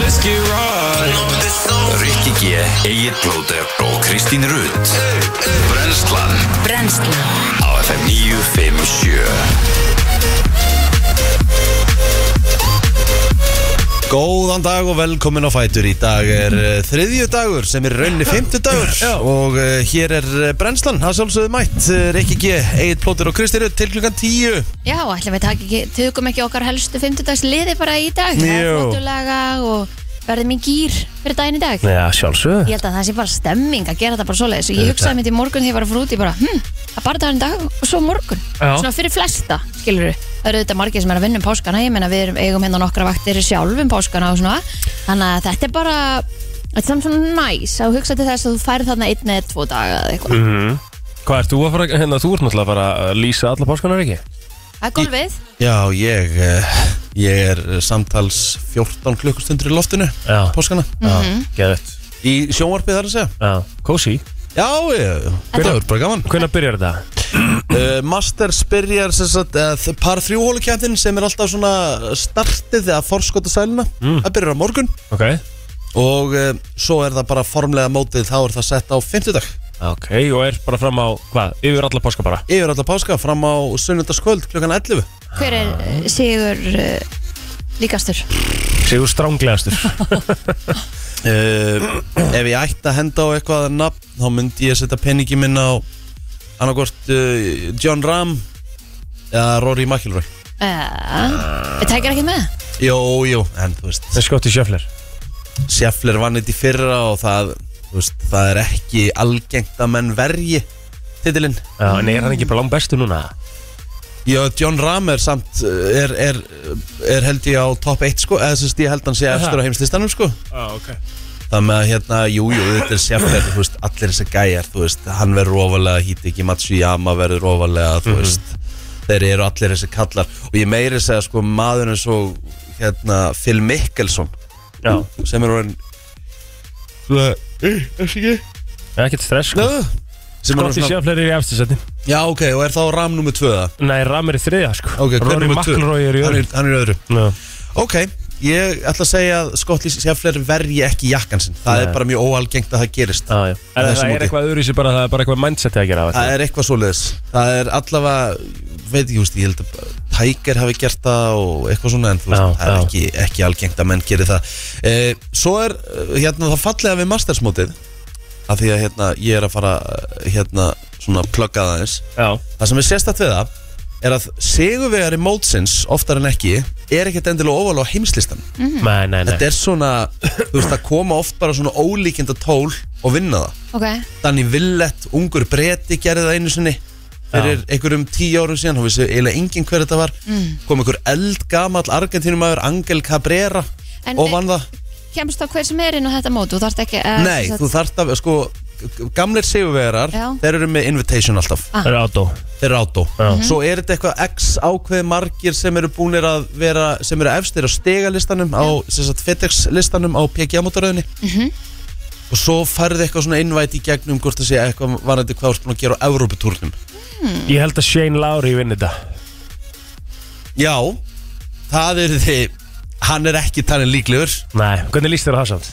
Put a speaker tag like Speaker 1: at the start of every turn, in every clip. Speaker 1: let's get right
Speaker 2: Rikki G, Egil Blóter og Kristín Rutt Brenslan
Speaker 3: Brennslan
Speaker 2: á FM 957
Speaker 4: Góðan dag og velkomin á Fætur Í dag er uh, þriðju dagur sem er raunni fymtudagur og uh, hér er uh, brennslan, það sjálfsögðu mætt uh, Rikki G, Egil Plóter og Kristi Rutt til klukkan 10
Speaker 3: Já, ætlum við taka ekki, tökum ekki okkar helstu 50 dags liði bara í dag Það er
Speaker 4: Jú.
Speaker 3: flottulega og verðum í gýr fyrir daginn í dag
Speaker 4: Já, sjálfsögðu
Speaker 3: Ég held að það sé bara stemming að gera þetta bara svoleiðis og ég hugsaði mitt í morgun þegar ég var að fara út ég bara, hm, það er bara daginn í dag og svo morgun
Speaker 5: Já.
Speaker 3: Svona fyrir flesta, skilur við Það eru auðvitað margir sem er að vinna um páskana Ég meina við erum, eigum hérna nokkra vaktir sjálf um páskana og svona Þannig að þetta er bara, þetta er samt svona næs að hugsa til þess að þú færð þarna einn eða tvo daga eða eitthvað
Speaker 4: Mhm.
Speaker 5: Hvað ert þú að fara, hérna, þú ert náttúrulega að fara að lýsa alla páskanar ekki?
Speaker 3: Það er golfið,
Speaker 4: Já, ég, uh, ég er uh, samtals 14 klukkustundur í loftinu
Speaker 5: Já.
Speaker 4: Páskana
Speaker 5: Mhm.
Speaker 4: Mhm.
Speaker 5: Geðvett
Speaker 4: Í sjónvarpið þar að segja
Speaker 5: Já, kósi
Speaker 4: Já, ég,
Speaker 5: Hvenær-
Speaker 4: þetta er bara gaman
Speaker 5: Hvernig byrjar þetta?
Speaker 4: uh, Masters byrjar sem sagt, uh, par 3 hólukjæftin sem er alltaf svona startið eða forskota sæluna
Speaker 5: Mm.
Speaker 4: Það byrjar á morgun
Speaker 5: Ok
Speaker 4: og uh, svo er það bara formlega mótið þá er það sett á 50 dag
Speaker 5: Ok, og er bara fram á, hvað, yfir alla páska bara?
Speaker 4: yfir alla páska fram á sunnundaskvöld klukkan 11
Speaker 3: hver er eh, sigur eh, líkastur?
Speaker 5: Sigur stránglegastur
Speaker 4: uh, ef ég ætti að henda á eitthvað nafn þá myndi ég setja peningi minn á annarkort uh, John Ram eða Rory McIlroy
Speaker 3: Uh, ég tækir ekki með
Speaker 4: Jó, jú, en þú veist
Speaker 5: En skotti sjöfler
Speaker 4: Sjeffler vann þetta í fyrra og það þú veist, það er ekki algengt að menn verji titilinn
Speaker 5: Já, en er hann ekki bara langt bestu núna?
Speaker 4: Já, John Ram er samt eh, er, er, er held ég á top 1 sko, eða sérst ég held hann sé eftir á heimslistanum sko
Speaker 5: Já, ok
Speaker 4: Það með að hérna, jú, jú, þetta er sérfæður, þú veist, allir þessi gæjar, þú veist, hann verður ofalega, híti ekki Matsuyama verður ofalega, þú veist, þeir eru allir þessi kallar og ég meiri segja, sko, maður eins og, hérna, Phil Mickelson,
Speaker 5: Já,
Speaker 4: sem er orðin,
Speaker 5: ekkert stress sko
Speaker 4: Nö, sem er orðin
Speaker 5: Skotti
Speaker 4: svona,
Speaker 5: sjöfler er í eftirsetti
Speaker 4: já, ok, og er þá Ram nummer 2 það?
Speaker 5: Nei, Ram er í þriðja sko
Speaker 4: Ok, hver
Speaker 5: Rory
Speaker 4: númer tvö?
Speaker 5: McIlroy er í
Speaker 4: Hann
Speaker 5: öðru
Speaker 4: er- Hann er í öðru.
Speaker 5: Já,
Speaker 4: Ok, ég ætla að segja að Skotti Sjafler verji ekki jakkan sinn, það
Speaker 5: Nei.
Speaker 4: er bara mjög óalgengt að það gerist.
Speaker 5: já, já En
Speaker 4: Þessu
Speaker 5: það
Speaker 4: móti.
Speaker 5: er eitthvað öðru sem bara, það er bara eitthvað mindset að gera af
Speaker 4: Það
Speaker 5: þetta.
Speaker 4: er eitthvað svoleiðis Það er allavega, veit ekki, þú veist, ég held að Tiger hafi gert það og eitthvað svona En þú veist,
Speaker 5: Já,
Speaker 4: það er
Speaker 5: já.
Speaker 4: ekki, ekki algengt að menn geri það e, Svo er, eh, hérna, það fallega við mastersmótið Af því að, hérna, ég er að fara, eh, hérna, svona plugga það eins
Speaker 5: Já,
Speaker 4: Það sem er sérstætt við það er að sigurvegari mótsins, oftar en ekki Er ekkert endilega óval á heimslistan
Speaker 5: Mhm. nei, nei, nei
Speaker 4: Þetta er svona, þú veist, það koma oft bara svona ólíkinda tól og vinna það
Speaker 3: Ok,
Speaker 4: Danny Willett, ungur breti gerði það einu sinni fyrir einhverjum tíu árum síðan, hún vissi eiginlega enginn hver þetta var
Speaker 3: Mm.
Speaker 4: kom einhver eldgamall Argentínumæður Angel Cabrera
Speaker 3: En
Speaker 4: og
Speaker 3: vi-
Speaker 4: vann það
Speaker 3: kemst þá hver sem er inn á þetta mót Þú þarft ekki eh, að
Speaker 4: Nei, þú þarft að, sko, gamlir sigurvegarar
Speaker 3: Já.
Speaker 4: þeir eru með invitation alltaf
Speaker 5: Það er átó
Speaker 4: þeir eru átó,
Speaker 5: Já.
Speaker 4: svo er þetta eitthvað x ákveð margir sem eru búinir að vera sem eru efstir á stegalistanum á sem sagt, FedEx listanum á PGA-mótaröðinni og svo færði eitthvað svona innvæti í gegnum hvort það sé eitthvað varandi hvað þú ert búin að gera á Európutúrnum
Speaker 5: Ég held að Shane Lowry vinni þetta
Speaker 4: Já, það er því Hann er ekki talin líklegur
Speaker 5: Nei, hvernig líst þér á það samt?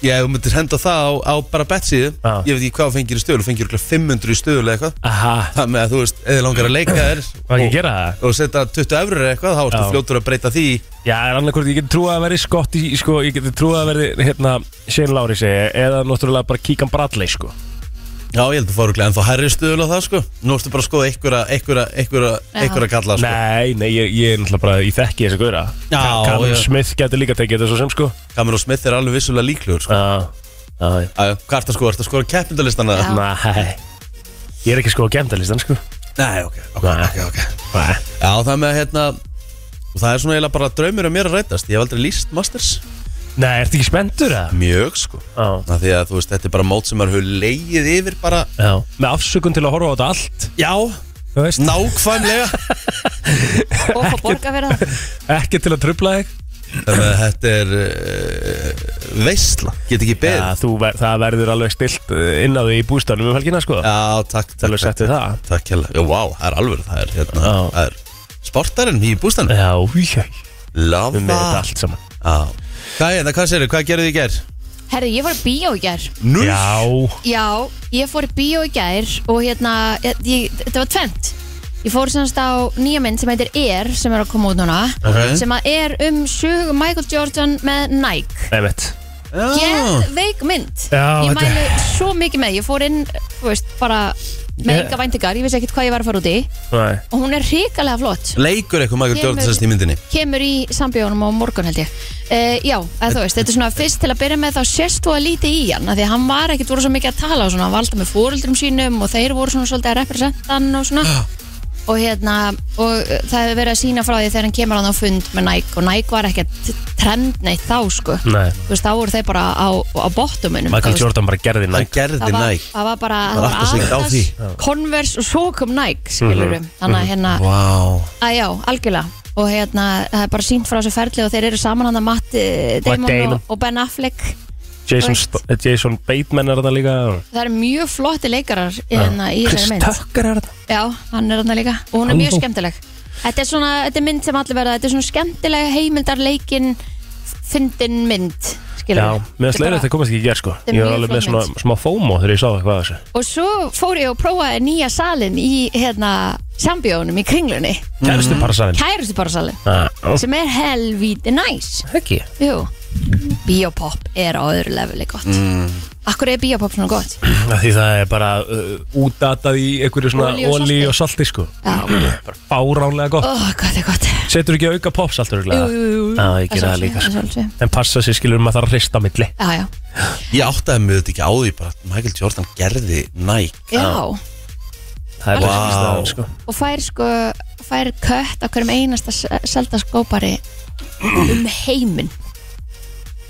Speaker 4: Ég hef myndir henda það á, á bara bettsíðu
Speaker 5: Já.
Speaker 4: Ég veit ekki hvað þú fengir í stöðul Þú fengir örugglega 500 í stöðul eða eitthvað
Speaker 5: Aha,
Speaker 4: Það með að þú veist, eða langar að leika þér
Speaker 5: var ekki að
Speaker 4: og,
Speaker 5: gera það?
Speaker 4: og setja 20 eurur eða eitthvað Þá ertu
Speaker 5: Já.
Speaker 4: fljótur að breyta því í-
Speaker 5: Já, er annarkvort, ég geti trúið að verði skott í, sko, ég geti trúið að verði, hérna, Shane Lowry segi, eða náttúrulega bara Kíkan Bradley, sko.
Speaker 4: Já, ég held að fór En þá herri stöðul á það sko Nú ertu bara að skoða einhverja, einhverja, einhverja,
Speaker 3: Já.
Speaker 4: einhverja kalla sko.
Speaker 5: Nei, nei, ég, ég er náttúrulega bara, ég þekki þessi góðra.
Speaker 4: Já,
Speaker 5: Cam
Speaker 4: já.
Speaker 5: Smith getur líka tekið þetta svo sem, sko.
Speaker 4: Cameron Smith er alveg vissulega líklegur sko.
Speaker 5: Já, já, já.
Speaker 4: Æ, Hvað ertu að skoða? Ertu að skoða keppindalistana?
Speaker 3: Já.
Speaker 5: Nei, ég er ekki sko að gemdalistan, sko.
Speaker 4: Nei, ok, ok,
Speaker 5: Nei.
Speaker 4: ok, ok
Speaker 5: Nei.
Speaker 4: Já, það með að hérna Og það er svona eiginlega bara draumur um mér að rætast Ég hef aldrei líst Masters
Speaker 5: Nei, ertu ekki spenntur, eða?
Speaker 4: Mjög sko
Speaker 5: Já.
Speaker 4: Það því að þú veist, þetta er bara mót sem maður hefur leið yfir bara
Speaker 5: Já. Með afsökun til að horfa á þetta allt,
Speaker 4: Já,
Speaker 5: þú veist.
Speaker 4: nákvæmlega
Speaker 3: Og fá borga fyrir það
Speaker 5: Ekki til að trubla þig.
Speaker 4: Þannig að þetta er uh, veisla Get ekki beðið
Speaker 5: Já,
Speaker 4: Já,
Speaker 5: þú, ver- það verður alveg stilt eh, inn á því í bústanum um helgina, sko.
Speaker 4: takk, takk
Speaker 5: Alveg settið það.
Speaker 4: Takk hella Já, vá, það er alveg það er hérna
Speaker 5: Já.
Speaker 4: Það er sportarinn í bústanum
Speaker 5: Já, já,
Speaker 4: Love
Speaker 5: um með þetta allt saman
Speaker 4: Já Hvað er þetta, hvað sérðu, hvað gerðu þið í gær?
Speaker 3: Herði, ég var í bíó í gær
Speaker 4: Nú?
Speaker 5: Já,
Speaker 3: Já, ég fór í bíó í gær og hérna, ég, ég, þetta var tvent Ég fór semst á nýja mynd sem heitir Air sem er að koma út núna
Speaker 4: Ok.
Speaker 3: sem að er um sögu Michael Jordan með Nike
Speaker 5: nefnitt
Speaker 3: Geðveik mynd
Speaker 5: Já,
Speaker 3: Ég
Speaker 5: þetta-
Speaker 3: mæli svo mikið með, ég fór inn þú veist, bara með
Speaker 5: Ég-
Speaker 3: enga væntingar ég vissi ekkert hvað ég var að fara út í
Speaker 5: Nei,
Speaker 3: og hún er hrikalega flott
Speaker 4: Leikur eitthvað Michael
Speaker 3: Kemur-
Speaker 4: Jordan sérst í myndinni
Speaker 3: kemur í sambjónum á morgun held ég uh, Já, eða þú veist, þetta er svona fyrst til að byrja með þá sérst þú að lítið í hann af því að hann var ekkert voru svo mikið að tala og svona, hann var alltaf með fóreldrum sínum og þeir voru svona svolítið að representa hann og svona og hérna, og eh, það hefur verið að sína frá því þegar hann kemur hann á fund með Nike og Nike var ekkert trend neitt þá sko
Speaker 5: nei
Speaker 3: þú veist, þá voru þeir bara á, á bottumunum
Speaker 5: Michael Jordan bara gerði
Speaker 4: Hann
Speaker 5: nægt
Speaker 4: gerði
Speaker 3: það var,
Speaker 4: Nike
Speaker 3: það var bara
Speaker 4: Það var alltaf sig á því.
Speaker 3: Adidas, Converse og svo kom Nike skilur
Speaker 5: Mhm.
Speaker 3: þannig að hérna
Speaker 4: Vá
Speaker 3: að já, algjörlega og hérna, það er bara sínt frá þessu ferli og þeir eru saman hann að Matt eh, Damon,
Speaker 5: Damon.
Speaker 3: Og, og Ben Affleck
Speaker 5: Jason,
Speaker 3: Þú
Speaker 5: St- Jason Bateman er þarna líka
Speaker 3: það eru mjög flotti leikarar hérna, í
Speaker 5: Chris
Speaker 3: þessari mynd
Speaker 5: Tucker er þarna
Speaker 3: já, hann er hann líka og hún er mjög
Speaker 5: Halló.
Speaker 3: skemmtileg þetta er svona, þetta er mynd sem allir verða þetta er svona skemmtilega heimildarleikin fyndin mynd skilur
Speaker 5: Já,
Speaker 3: við.
Speaker 5: mér
Speaker 3: Þetta er
Speaker 5: slegir þetta
Speaker 3: bara-
Speaker 5: komast ekki í gerð sko
Speaker 3: er
Speaker 5: Ég var
Speaker 3: mjög
Speaker 5: alveg með
Speaker 3: flott
Speaker 5: svona, smá FOMO þegar ég sá eitthvað af þessu
Speaker 3: og svo fór ég og prófaði nýja salin í hérna, sambjónum í kringlunni Mhm.
Speaker 5: Kæristu bara sæðin
Speaker 3: kærustu bara salin
Speaker 5: Það
Speaker 3: sem er helvíti næs
Speaker 5: ekki
Speaker 3: Jú, biopop er á öðru leveli gott
Speaker 4: Mm.
Speaker 3: Akkur er biopop svona gott?
Speaker 5: Af Því það er bara uh, útdatað í einhverju svona
Speaker 3: Olíu og
Speaker 5: olí og salti sko
Speaker 3: Já,
Speaker 5: Bara
Speaker 3: ó,
Speaker 5: Fáránlega gott
Speaker 3: gott er gott
Speaker 5: Setur ekki auka popsalt
Speaker 3: Jú,
Speaker 5: örgulega
Speaker 3: jú, jú
Speaker 5: Já, ég gera það líka
Speaker 3: sjálfsögðu, að
Speaker 5: sko.
Speaker 3: sjálfsögðu.
Speaker 5: En passa sér skilur maður þarf að hrista á milli
Speaker 3: Já, já,
Speaker 4: Ég áttaði mig þetta ekki á því bara að Michael Jordan gerði Nike
Speaker 3: já
Speaker 5: Það er
Speaker 4: Vá.
Speaker 5: ekki staðan sko
Speaker 3: Og fær sko, fær kött á hverjum einasta se- selda skópari um heiminn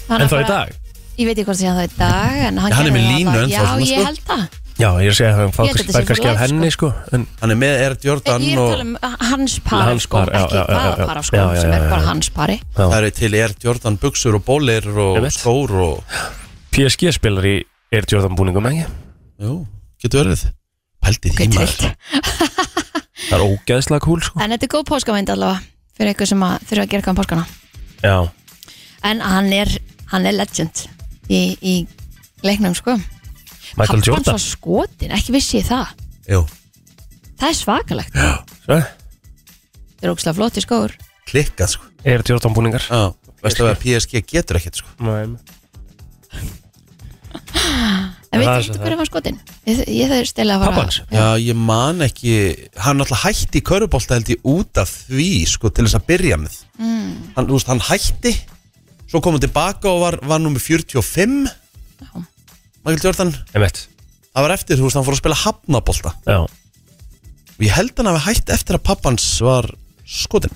Speaker 3: Þannig
Speaker 5: En
Speaker 3: að
Speaker 5: þá í
Speaker 3: bara-
Speaker 5: dag
Speaker 3: Ég veit ekki hvort sé hann þá í dag En hann,
Speaker 4: Já, hann er
Speaker 3: gerði
Speaker 4: með
Speaker 3: það
Speaker 4: línu
Speaker 3: bara-
Speaker 4: ennþá svona,
Speaker 3: Já,
Speaker 4: sko.
Speaker 3: ég held það
Speaker 5: Já, ég er að segja að
Speaker 3: Ég held
Speaker 5: það
Speaker 3: þetta
Speaker 5: var
Speaker 3: sé
Speaker 5: kannski
Speaker 3: fyrir
Speaker 5: af
Speaker 3: life,
Speaker 5: henni sko En
Speaker 4: Hann er með Air Jordan
Speaker 3: Ég er að
Speaker 4: og
Speaker 3: tala um hans par
Speaker 5: Hans
Speaker 3: sko,
Speaker 5: par, já,
Speaker 3: Ekki
Speaker 5: já, já,
Speaker 3: hvaða
Speaker 5: já.
Speaker 3: para sko
Speaker 5: Já, já,
Speaker 3: Sem
Speaker 5: já,
Speaker 3: er bara
Speaker 5: já.
Speaker 3: hans pari
Speaker 4: það eru til Air Jordan buksur og bólir og
Speaker 5: Einmitt.
Speaker 4: skór og
Speaker 5: PSG spilar í Air Jordan búningum ekki
Speaker 4: Jú, getur verið Pældi því maður
Speaker 3: Guttrilt
Speaker 5: Það er ógeðslega cool sko
Speaker 3: En þetta er góð póskamynd allavega fyrir ykkur sem að þurfa að gera eitthvað um páskana
Speaker 5: Já,
Speaker 3: en hann er, hann er legend í, í leiknum sko Pabbi
Speaker 5: Michael
Speaker 3: hans
Speaker 5: Jordan
Speaker 3: var skotin, ekki vissi ég það
Speaker 4: Jú,
Speaker 3: það er svakalegt,
Speaker 5: Svo?
Speaker 3: það er ógslag flott í skóur
Speaker 4: klikkað sko
Speaker 5: Air Jordan búningar
Speaker 4: Já, veistu að PSG getur ekkert sko
Speaker 5: Nei,
Speaker 3: en
Speaker 5: Já,
Speaker 3: við
Speaker 5: það
Speaker 3: þurfum
Speaker 5: er svo
Speaker 3: ekki
Speaker 5: það.
Speaker 3: hverju var skotin ég, ég þau stila að fara
Speaker 5: Pappans
Speaker 4: Já, ég man ekki Hann alltaf hætti í körubólta held ég út af því sko, til þess að byrja með mm. hann, þú veist, hann hætti svo kom hann tilbaka og var, var nummer 45 Michael Jordan
Speaker 5: Emmett
Speaker 4: það var eftir, þú veist, hann fór að spila hafnabólta
Speaker 5: Já
Speaker 4: og ég held hann hafi hætt eftir að pappans var skotin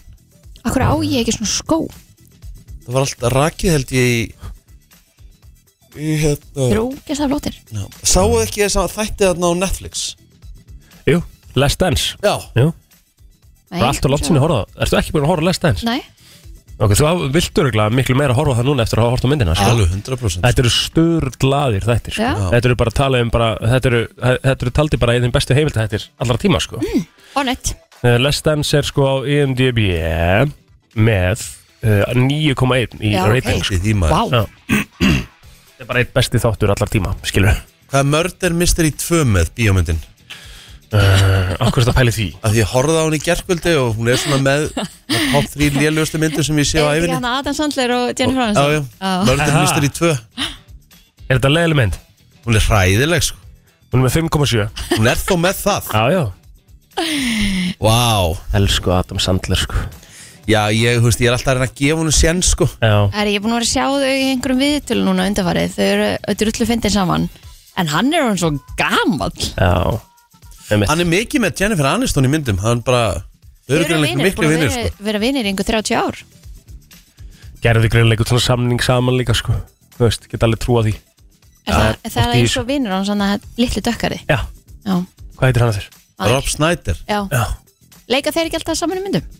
Speaker 3: akkur á ég ekki svona skó
Speaker 4: það var alltaf rakið held ég í í hérna
Speaker 3: þeir eru ógslag flottir
Speaker 4: Já. sáu ekki þess að þætti þarna á Netflix
Speaker 5: Jú, Last Dance
Speaker 4: já,
Speaker 5: Jú,
Speaker 3: Nei,
Speaker 5: það er allt og langt sinni að horfa á það. Ertu ekki búin að horfa á Last Dance?
Speaker 3: Nei,
Speaker 5: Ok, þú hafa- viltu örgulega miklu meira að horfa á það núna eftir að hafa horfa á myndina sko.
Speaker 4: alveg 100%
Speaker 5: Þetta eru sturglaðir þættir sko.
Speaker 3: Já.
Speaker 5: Þetta eru bara að tala um bara Þetta eru, þetta eru taldi bara í þeim bestu heimildahættir allra tíma sko
Speaker 3: on it
Speaker 5: uh, Last Dance er sko á IMDb með uh, 9,1 í
Speaker 3: Já,
Speaker 5: rating
Speaker 4: Pældi því maður.
Speaker 3: wow.
Speaker 5: Já. Þetta er bara eitt besti þáttur allar tíma, skilur
Speaker 4: hvað er Murder Mystery 2 með bíómyndin
Speaker 5: Eh, Akkur er þetta pælið því?
Speaker 4: að því ég horfði á hún í gerkvöldi og hún er svona með með top 3 lélugustu myndir sem ég sé
Speaker 3: er
Speaker 4: á
Speaker 3: þetta ekki
Speaker 4: æfinni
Speaker 3: hann að Hérna Adam Sandler og Jennifer
Speaker 4: Já, já,
Speaker 3: Aniston Já.
Speaker 4: Murder
Speaker 5: Aha.
Speaker 4: Mystery 2
Speaker 5: Er þetta leiðileg mynd?
Speaker 4: Hún er hræðileg sko
Speaker 5: Hún er með 5,7
Speaker 4: Hún er þó með það
Speaker 5: Já, já
Speaker 4: Vá wow.
Speaker 5: Elsku Adam Sandler, sko
Speaker 4: Já, ég, þú veist, ég er alltaf að reyna að gefa hún sén sko
Speaker 5: Já,
Speaker 3: Æri, ég er búin að vera að sjá þau í einhverjum viðtölu núna undanfarið, þau eru drullu fyndin saman en hann er hann svo gamall
Speaker 5: já Einmitt.
Speaker 4: Hann er mikið með Jennifer Aniston í myndum Hann bara Þau eru greinlega
Speaker 3: búin
Speaker 4: miklu
Speaker 3: að
Speaker 4: vinnir
Speaker 3: vera,
Speaker 4: sko
Speaker 3: vera vinnir í einhver 30 ár
Speaker 5: Gerði greinlega eitthvað svona samning saman líka, sko Þú veist, geta alveg trúa því
Speaker 3: Er það,
Speaker 5: er
Speaker 3: er það
Speaker 5: oft í
Speaker 3: eins og vinnur hann svona litlu dökkari
Speaker 5: Já,
Speaker 3: Já,
Speaker 5: hvað heitir hann þér?
Speaker 4: Rob Snyder
Speaker 3: já.
Speaker 5: Já
Speaker 3: Leika þeir ekki alltaf saman í myndum?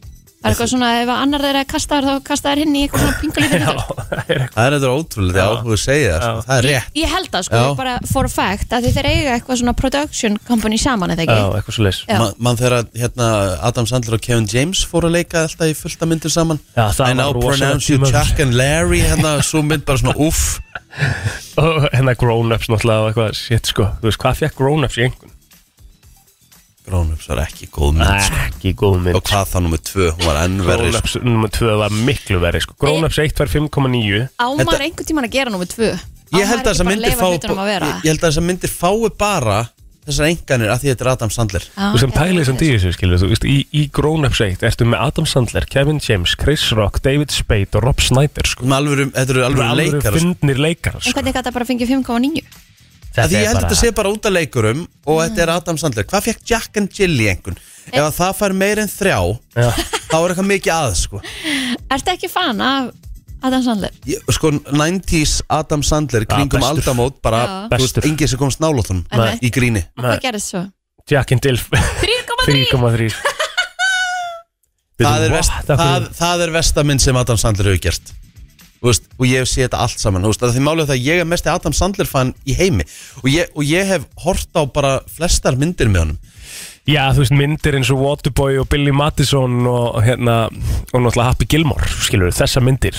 Speaker 3: Það er eitthvað svona, ef annar þeirra kastar þá kastar hinn í eitthvað svona pingulítið
Speaker 5: Já,
Speaker 3: hlutur.
Speaker 5: það er
Speaker 4: Það er eitthvað ótrúlega þegar áhuga segja það sko.
Speaker 5: Já.
Speaker 4: Það er rétt
Speaker 3: Ég held það sko,
Speaker 4: Já.
Speaker 3: bara for a fact að þeir eiga eitthvað svona production company saman eða
Speaker 5: já,
Speaker 3: ekki.
Speaker 5: eitthvað svo leis
Speaker 3: Já.
Speaker 4: Ma- Mann þegar að, hérna, Adam Sandler og Kevin James fóru að leika alltaf í fullta myndir saman
Speaker 5: Já, það
Speaker 4: I
Speaker 5: var
Speaker 4: now
Speaker 5: rosalegt
Speaker 4: pronounce you
Speaker 5: tímabil.
Speaker 4: Chuck and Larry hérna, svo mynd bara svona uff
Speaker 5: Og hérna grown-ups náttúrulega og eitthvað shit sko Þú veist, hvað fekk grown-ups í einhvern?
Speaker 4: Grónups var ekki góð mynd sko.
Speaker 5: Ekki góð mynd
Speaker 4: Og hvað það nummið tvö, hún var ennverri sko.
Speaker 5: Grown-ups nummer 2 var miklu verri sko Grown-ups 1 var 5,9
Speaker 3: Ámar
Speaker 4: Þetta-
Speaker 3: einhvern tíman að gera númið tvö. Á
Speaker 4: Ég
Speaker 3: maður
Speaker 4: held að þessar
Speaker 3: ekki bara
Speaker 4: myndir
Speaker 3: leyfa
Speaker 4: fá
Speaker 3: hlutunum að vera?
Speaker 4: ég, ég held að þessar myndir fái bara Þessar enganir að því þetta er Adam Sandler
Speaker 3: Já,
Speaker 5: Þú sem
Speaker 3: þetta er
Speaker 5: pælið sem
Speaker 3: svoleiðis.
Speaker 5: dýðis, skilur þú veist, í, í Grown-ups 1 ertu með Adam Sandler, Kevin James, Chris Rock, David Spade og Rob Snyder sko.
Speaker 4: Um alvöru, Þetta eru alvöru
Speaker 5: Alvöru
Speaker 4: leikar sko.
Speaker 5: fyndnir leikar
Speaker 3: En
Speaker 5: sko.
Speaker 3: hvernig gæti það bara fengið 5,9?
Speaker 4: Af Því ég held að þetta sé bara út af leikurum Og þetta
Speaker 3: Mm.
Speaker 4: er Adam Sandler Hvað fekk Jack and Jill í einhvern?
Speaker 3: Eh.
Speaker 4: Ef að það fær meir en þrjá
Speaker 5: Já.
Speaker 4: Þá er eitthvað mikið að sko.
Speaker 3: Ertu ekki fan af Adam Sandler?
Speaker 4: Ég, sko 90s Adam Sandler Kringum
Speaker 5: bestur.
Speaker 4: aldamót bara
Speaker 3: Já.
Speaker 4: þú veist,
Speaker 5: Bestur.
Speaker 4: Engið sem komst nálóttunum
Speaker 3: Nei.
Speaker 4: Í gríni
Speaker 3: Og Hvað gerðist svo?
Speaker 5: Jack and Dill
Speaker 3: 3,3!
Speaker 5: 3,3
Speaker 4: það
Speaker 5: What?
Speaker 4: er, vest,
Speaker 5: Það
Speaker 4: það, það er vestaminn sem Adam Sandler hefur gert Þú veist, og ég hef séð þetta allt saman þú veist, að því málið er það að ég er mest Adam Sandler fan í heimi og ég, og ég hef hort á bara flestar myndir með honum
Speaker 5: Já, þú veist, myndir eins og Waterboy og Billy Madison og hérna og náttúrulega Happy Gilmore, skilur við, þessa myndir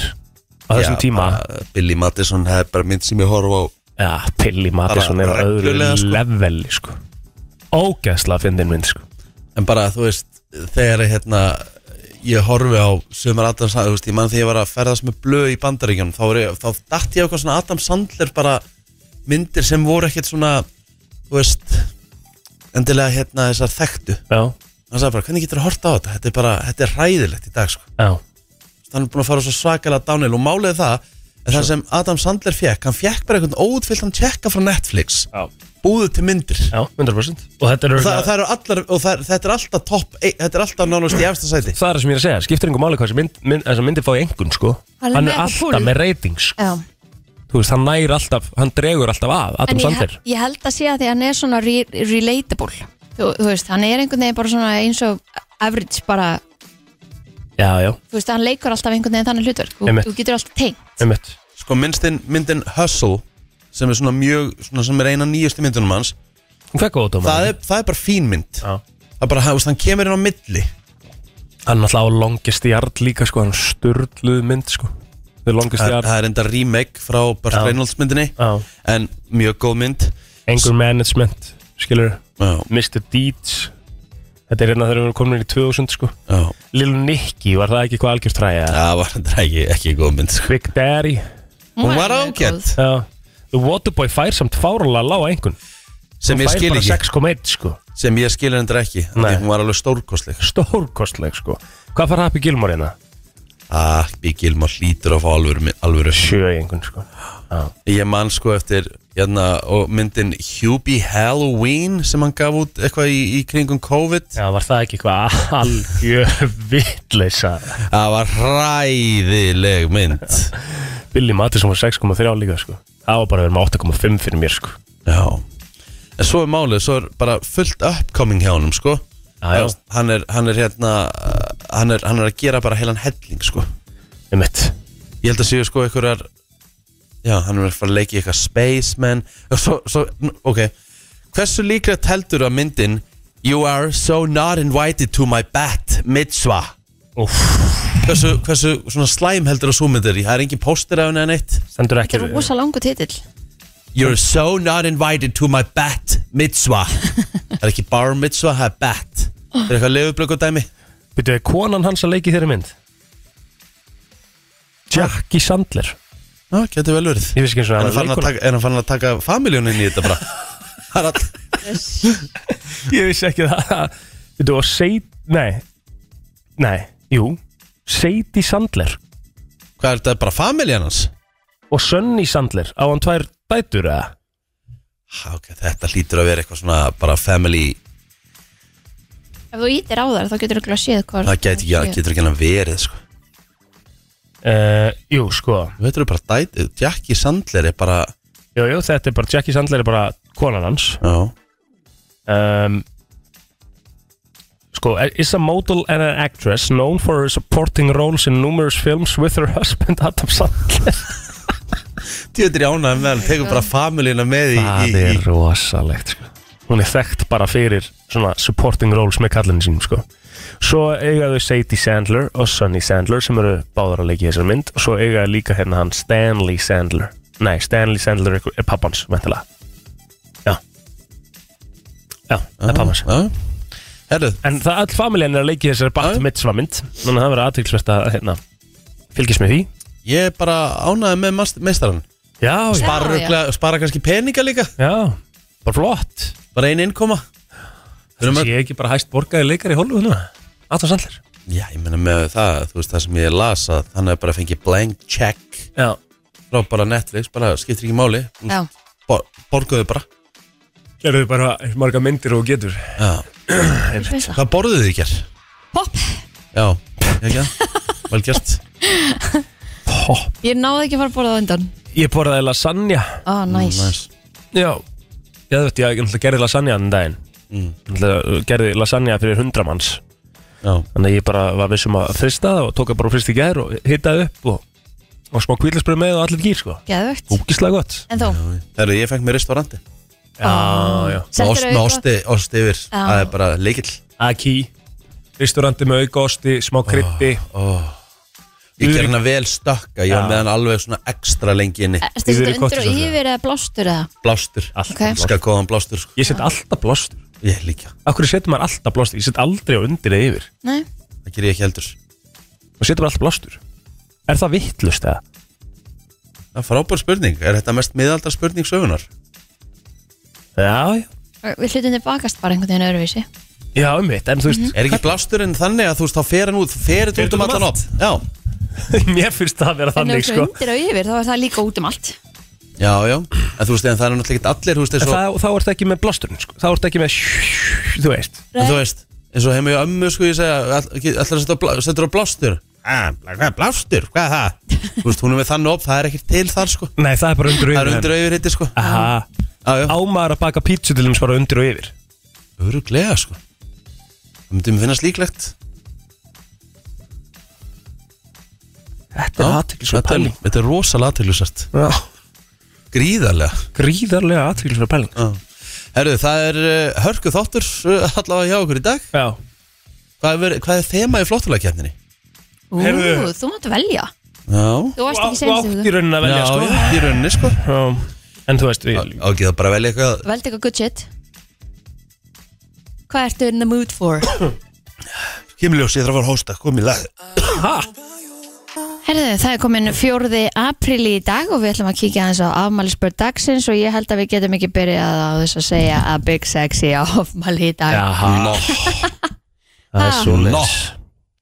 Speaker 5: á þessum
Speaker 4: Já,
Speaker 5: tíma
Speaker 4: bara Billy Madison hefur bara mynd sem ég horf á
Speaker 5: Já, Billy Madison er á öðru
Speaker 4: reglulega, sko.
Speaker 5: leveli, sko Ógæsla að fyndin mynd, sko
Speaker 4: en bara þú veist þegar hérna, ég horfi á sumar Adam Sandler, þú veist, ég mann þegar ég var að ferðast með blöð í bandaríkjunum þá, var ég, þá datt ég á eitthvað svona Adam Sandler bara myndir sem voru ekkert svona þú veist endilega hérna þessar þekktu
Speaker 5: Já,
Speaker 4: hann sagði bara, hvernig getur þú horta á þetta þetta er bara, þetta er ræðilegt í dag sko.
Speaker 5: já,
Speaker 4: hann er búin að fara svo svakalega dánil og málið er það, er það sem Adam Sandler fekk hann fekk bara einhvern óutfylltan tjekka frá Netflix,
Speaker 5: já,
Speaker 4: búðu til myndir
Speaker 5: já 100% Og þetta er
Speaker 4: og, það, það eru allar, og það, þetta er alltaf topp, ei- þetta er alltaf nánast í efsta sæti
Speaker 5: það er það sem ég er að segja, skiptir einhver máli hvað þessi mynd, mynd, þessa myndir fá í engun sko
Speaker 3: Hann er með
Speaker 5: hann er
Speaker 3: eitthvað
Speaker 5: alltaf
Speaker 3: púl.
Speaker 5: með ratings sko.
Speaker 3: Já.
Speaker 5: þú veist, hann næri alltaf, hann dregur alltaf að
Speaker 3: En
Speaker 5: Adam
Speaker 3: ég,
Speaker 5: Sandler,
Speaker 3: ég held að sé að því hann er svona re relatable. Þú, þú veist, hann er einhvern veginn bara svona eins og average bara,
Speaker 5: já, já,
Speaker 3: þú veist, hann leikur alltaf einhvern veginn þannig hlutverk. Þú,
Speaker 5: Einmitt.
Speaker 3: þú getur alltaf tengt.
Speaker 5: einmitt
Speaker 4: sko myndin, myndin Hustle sem er svona mjög, svona sem er eina nýjustu myndunum hans,
Speaker 5: hún fekk góða dóma
Speaker 4: það er, það er bara fín mynd
Speaker 5: Já.
Speaker 4: það er bara, þú veist, hann kemur inn á milli
Speaker 5: hann er alltaf á longest yard líka sko, hann störluð mynd sko þau longest
Speaker 4: það,
Speaker 5: yard,
Speaker 4: það er enda remake frá Burt
Speaker 5: Já.
Speaker 4: Reynolds myndinni
Speaker 5: Já.
Speaker 4: en mjög góð mynd
Speaker 5: anger management skilur,
Speaker 4: já,
Speaker 5: Mr. Deeds þetta er hérna þegar við erum komin inn í 2000 sko
Speaker 4: já
Speaker 5: Lil Nicky, var það ekki eitthvað algjört fræja
Speaker 4: Það var þetta ekki, ekki góð mynd sko.
Speaker 5: Big Daddy,
Speaker 4: Hún var
Speaker 3: alveg góð.
Speaker 4: ágætt
Speaker 5: já The Waterboy fær samt fárala lág engun
Speaker 4: Sem ég skil ekki
Speaker 5: 6,1 sko
Speaker 4: Sem ég skil hendur ekki af því
Speaker 5: Nei.
Speaker 4: Hún var alveg stórkostleg
Speaker 5: stórkostleg sko Hvað fara Happy Gilmore hérna?
Speaker 4: Ah, Bíkil, maður hlýtur að fá alvöru, mi- alvöru.
Speaker 5: Sjö í einhvern sko Já,
Speaker 4: Ég man sko eftir hérna, og myndin Hubie Halloween sem hann gaf út eitthvað í, í kringum COVID
Speaker 5: Já var það ekki eitthvað algjör vitleisa
Speaker 4: Það var hræðileg mynd
Speaker 5: Billy Madison var 6,3 líka sko Það var bara að vera með 8,5 fyrir mér sko
Speaker 4: Já En svo er málið, svo er bara fullt upcoming hjá honum sko
Speaker 5: Já, já.
Speaker 4: Hann er, hann er hérna uh, hann er, hann er að gera bara heilan helling sko
Speaker 5: Um mitt
Speaker 4: Ég held að séu sko einhverjar Já, hann er að fara að leika í eitthvað Spaceman og svo, svo, ok Hversu líklegt heldur að myndin You are so not invited to my bat mitzvah
Speaker 5: Úff,
Speaker 4: Hversu, hversu svona slæm heldur að svo myndir Það er engin póster af henni en eitt
Speaker 5: stendur
Speaker 3: Þetta
Speaker 5: ekki
Speaker 3: er rosa langu titill.
Speaker 4: You're so not invited to my bat mitzvah Það er ekki bar mitzvah, það er bat
Speaker 3: Oh.
Speaker 4: Það er eitthvað lefublöku dæmi
Speaker 5: Býtu, er konan hans að leiki þeirri mynd? Jackie Sandler
Speaker 4: Já, getur vel verið
Speaker 5: Ég vissi ekki eins og hann
Speaker 4: Er hann
Speaker 5: var
Speaker 4: farin að
Speaker 5: leikona.
Speaker 4: taka, er hann farin að taka familjónin í þetta bara Það er all-
Speaker 5: Ég vissi ekki það Býtu, og Seid Nei Nei, jú Seidi Sandler
Speaker 4: Hvað er þetta, bara familjan hans?
Speaker 5: og Sunny Sandler á hann tvær dætur eða?
Speaker 4: Ha, ok, þetta hlýtur að vera eitthvað svona bara family,
Speaker 3: Ef þú ítir á þar, þá getur þú að séð hvað...
Speaker 4: það get, já, getur ekki hann verið sko.
Speaker 5: Uh, jú, sko
Speaker 4: Þú veitur bara dætið, Jackie Sandler er bara
Speaker 5: Jú, jú, þetta er bara, Jackie Sandler er bara konan hans
Speaker 4: já,
Speaker 5: um, Sko, is a model and an actress known for her supporting roles in numerous films with her husband Adam Sandler
Speaker 4: Djöður í ánæðum með hann, tekur bara familíuna með í, í,
Speaker 5: Það
Speaker 4: í
Speaker 5: er rosalegt sko. Hún er þekkt bara fyrir svona supporting roles með kallinu sínum sko. Svo eiga þau Sadie Sandler og Sonny Sandler sem eru báðar að leika í þessari mynd og svo eiga þau líka hérna hann Stanley Sandler Nei, Stanley Sandler er, er pappans væntanlega. Já Já, það er pappans
Speaker 4: Já. Ah, Herðu, Ah.
Speaker 5: En það all familjan er að leika í þessari Bat
Speaker 4: Já.
Speaker 5: Mitzvah mynd Þannig að það verður aðtilsvert að hérna, fylgjast með því
Speaker 4: ég er bara ánæðum með mas- meistarann
Speaker 5: Já, já,
Speaker 4: Bara,
Speaker 3: já.
Speaker 4: rugla, bara kannski peninga líka
Speaker 5: já, bara flott
Speaker 4: Bara ein innkoma Við erum
Speaker 5: Það sé ekki bara hæst borgaði leikar í Hollywood núna Adam Sandler
Speaker 4: Já, ég meina með það, þú veist það sem ég las að hann hefur bara fengið blank check
Speaker 5: Já,
Speaker 4: frá bara Netflix, bara skiptir ekki máli þú
Speaker 3: Já,
Speaker 4: veist, bor, borguðu bara
Speaker 5: gerðu bara eins marga myndir og getur
Speaker 4: Já.
Speaker 3: veist það.
Speaker 4: Hvað borðuðu þið ekki?
Speaker 3: Hopp,
Speaker 4: Já, ekki það? Vel gert
Speaker 3: ég náði ekki að fara að borða á undan
Speaker 5: Ég borðaði lasagna
Speaker 3: Ó, næs
Speaker 4: Næs.
Speaker 5: Já Ég veit, ég náttúrulega gerði lasagna þann daginn
Speaker 4: Mm.
Speaker 5: Náttúrulega uh, gerði lasagna fyrir hundra manns
Speaker 4: Já,
Speaker 5: Þannig að ég bara var vissum að frista það og tók að bara frist í gær og hitaði upp og, og smá kvíðlisbröð með og allir gýr sko
Speaker 3: Geðvögt
Speaker 5: Úkislega gott
Speaker 3: En þú,
Speaker 4: það eru, ég fengt mér restauranti
Speaker 5: Já, já
Speaker 4: Með
Speaker 3: settur
Speaker 4: ost- með osti, osti yfir, það er bara leikill
Speaker 5: Aki Ristorandi með aukosti, smá kryddi
Speaker 4: Ég
Speaker 5: Yfir-
Speaker 4: ger hana vel stökka, ég var
Speaker 5: Já.
Speaker 4: með hann alveg svona ekstra lengi inni
Speaker 3: Erstu
Speaker 5: Yfir í
Speaker 3: þetta undir og
Speaker 5: kottisósu.
Speaker 3: yfir eða blástur eða?
Speaker 4: Blástur,
Speaker 5: Allt
Speaker 3: Ok.
Speaker 4: skal góðan blástur sko.
Speaker 5: Ég set alltaf blóstur
Speaker 4: Ég líka,
Speaker 5: Akkur setur maður alltaf blóstur Ég set aldrei á undir eða yfir
Speaker 3: Nei,
Speaker 4: það ger ég ekki heldur
Speaker 5: og setur bara alltaf blástur Er það vittlust eða?
Speaker 4: Það er frábær spurning, er þetta mest miðaldar spurning sögunar?
Speaker 5: Já, já
Speaker 3: við hlutum bakast bara einhvern veginn öðruvísi
Speaker 5: Já, um mitt, en þú veist
Speaker 4: Er ekki blásturinn þannig að þú veist þá fer hann út fer þetta út um allan opp já.
Speaker 5: Mér finnst það að vera
Speaker 3: En
Speaker 5: þannig
Speaker 3: ef
Speaker 5: sko
Speaker 3: þú undir og yfir, þá er það líka út um allt
Speaker 4: já, já, en þú veist en það er náttúrulega ekki allir þú veist,
Speaker 5: En
Speaker 4: eins og,
Speaker 5: þá- Þá ertu ekki með blásturinn sko Þá ertu ekki með Þú veist
Speaker 4: en þú veist eins og heim og ömmu sko ég segja ætlar að setja á blá- setur á blástur Ah, Hvað er blástur? Hvað er það? Þú veist, hún er með þannig opp, það er ekkert til þar sko
Speaker 5: Nei, það er bara undir og
Speaker 4: Það er
Speaker 5: yfir
Speaker 4: undir og yfir hitti sko
Speaker 5: Aha
Speaker 4: Já, já,
Speaker 5: Ámaður að baka pítsu til þeim bara undir og yfir
Speaker 4: öruglega sko Það myndum við finnast líklegt
Speaker 5: Þetta
Speaker 4: Já,
Speaker 5: er aðtýrlisverð
Speaker 4: þetta er-
Speaker 5: pæling
Speaker 4: Þetta er rosalega aðtýrlisvært
Speaker 5: Já
Speaker 4: Gríðarlega
Speaker 5: Gríðarlega aðtýrlisverð pæling
Speaker 4: Já. Herru, það er uh, hörku þáttur uh, allavega hjá okkur í dag
Speaker 5: Já
Speaker 4: Hvað er, verið- hvað er þema í flottulegkefninni?
Speaker 3: Ú,
Speaker 5: Heyrðu.
Speaker 3: þú mátt velja
Speaker 4: Já
Speaker 3: Þú varst ekki
Speaker 5: Þú
Speaker 3: senst
Speaker 5: átt í
Speaker 3: þú
Speaker 5: rauninni að velja
Speaker 4: já,
Speaker 5: sko
Speaker 4: já, í rauninni sko
Speaker 5: Já En þú veist við-
Speaker 4: Ok, það bara velja eitthvað
Speaker 3: Veldi eitthvað good shit Hvað ertu in the mood for?
Speaker 4: Kimiljós, ég þarf að fara að hósta, kom í lag
Speaker 5: Ha?
Speaker 3: Herðu, það er komin fjórði apríl í dag og við ætlum að kíkja aðeins á afmælisbörn dagsins og ég held að við getum ekki byrjað á þess að segja að Big Sexy á afmæli í dag.
Speaker 5: Jaha Ah.
Speaker 4: Nó.
Speaker 5: Það er svo
Speaker 4: Nó.
Speaker 5: leys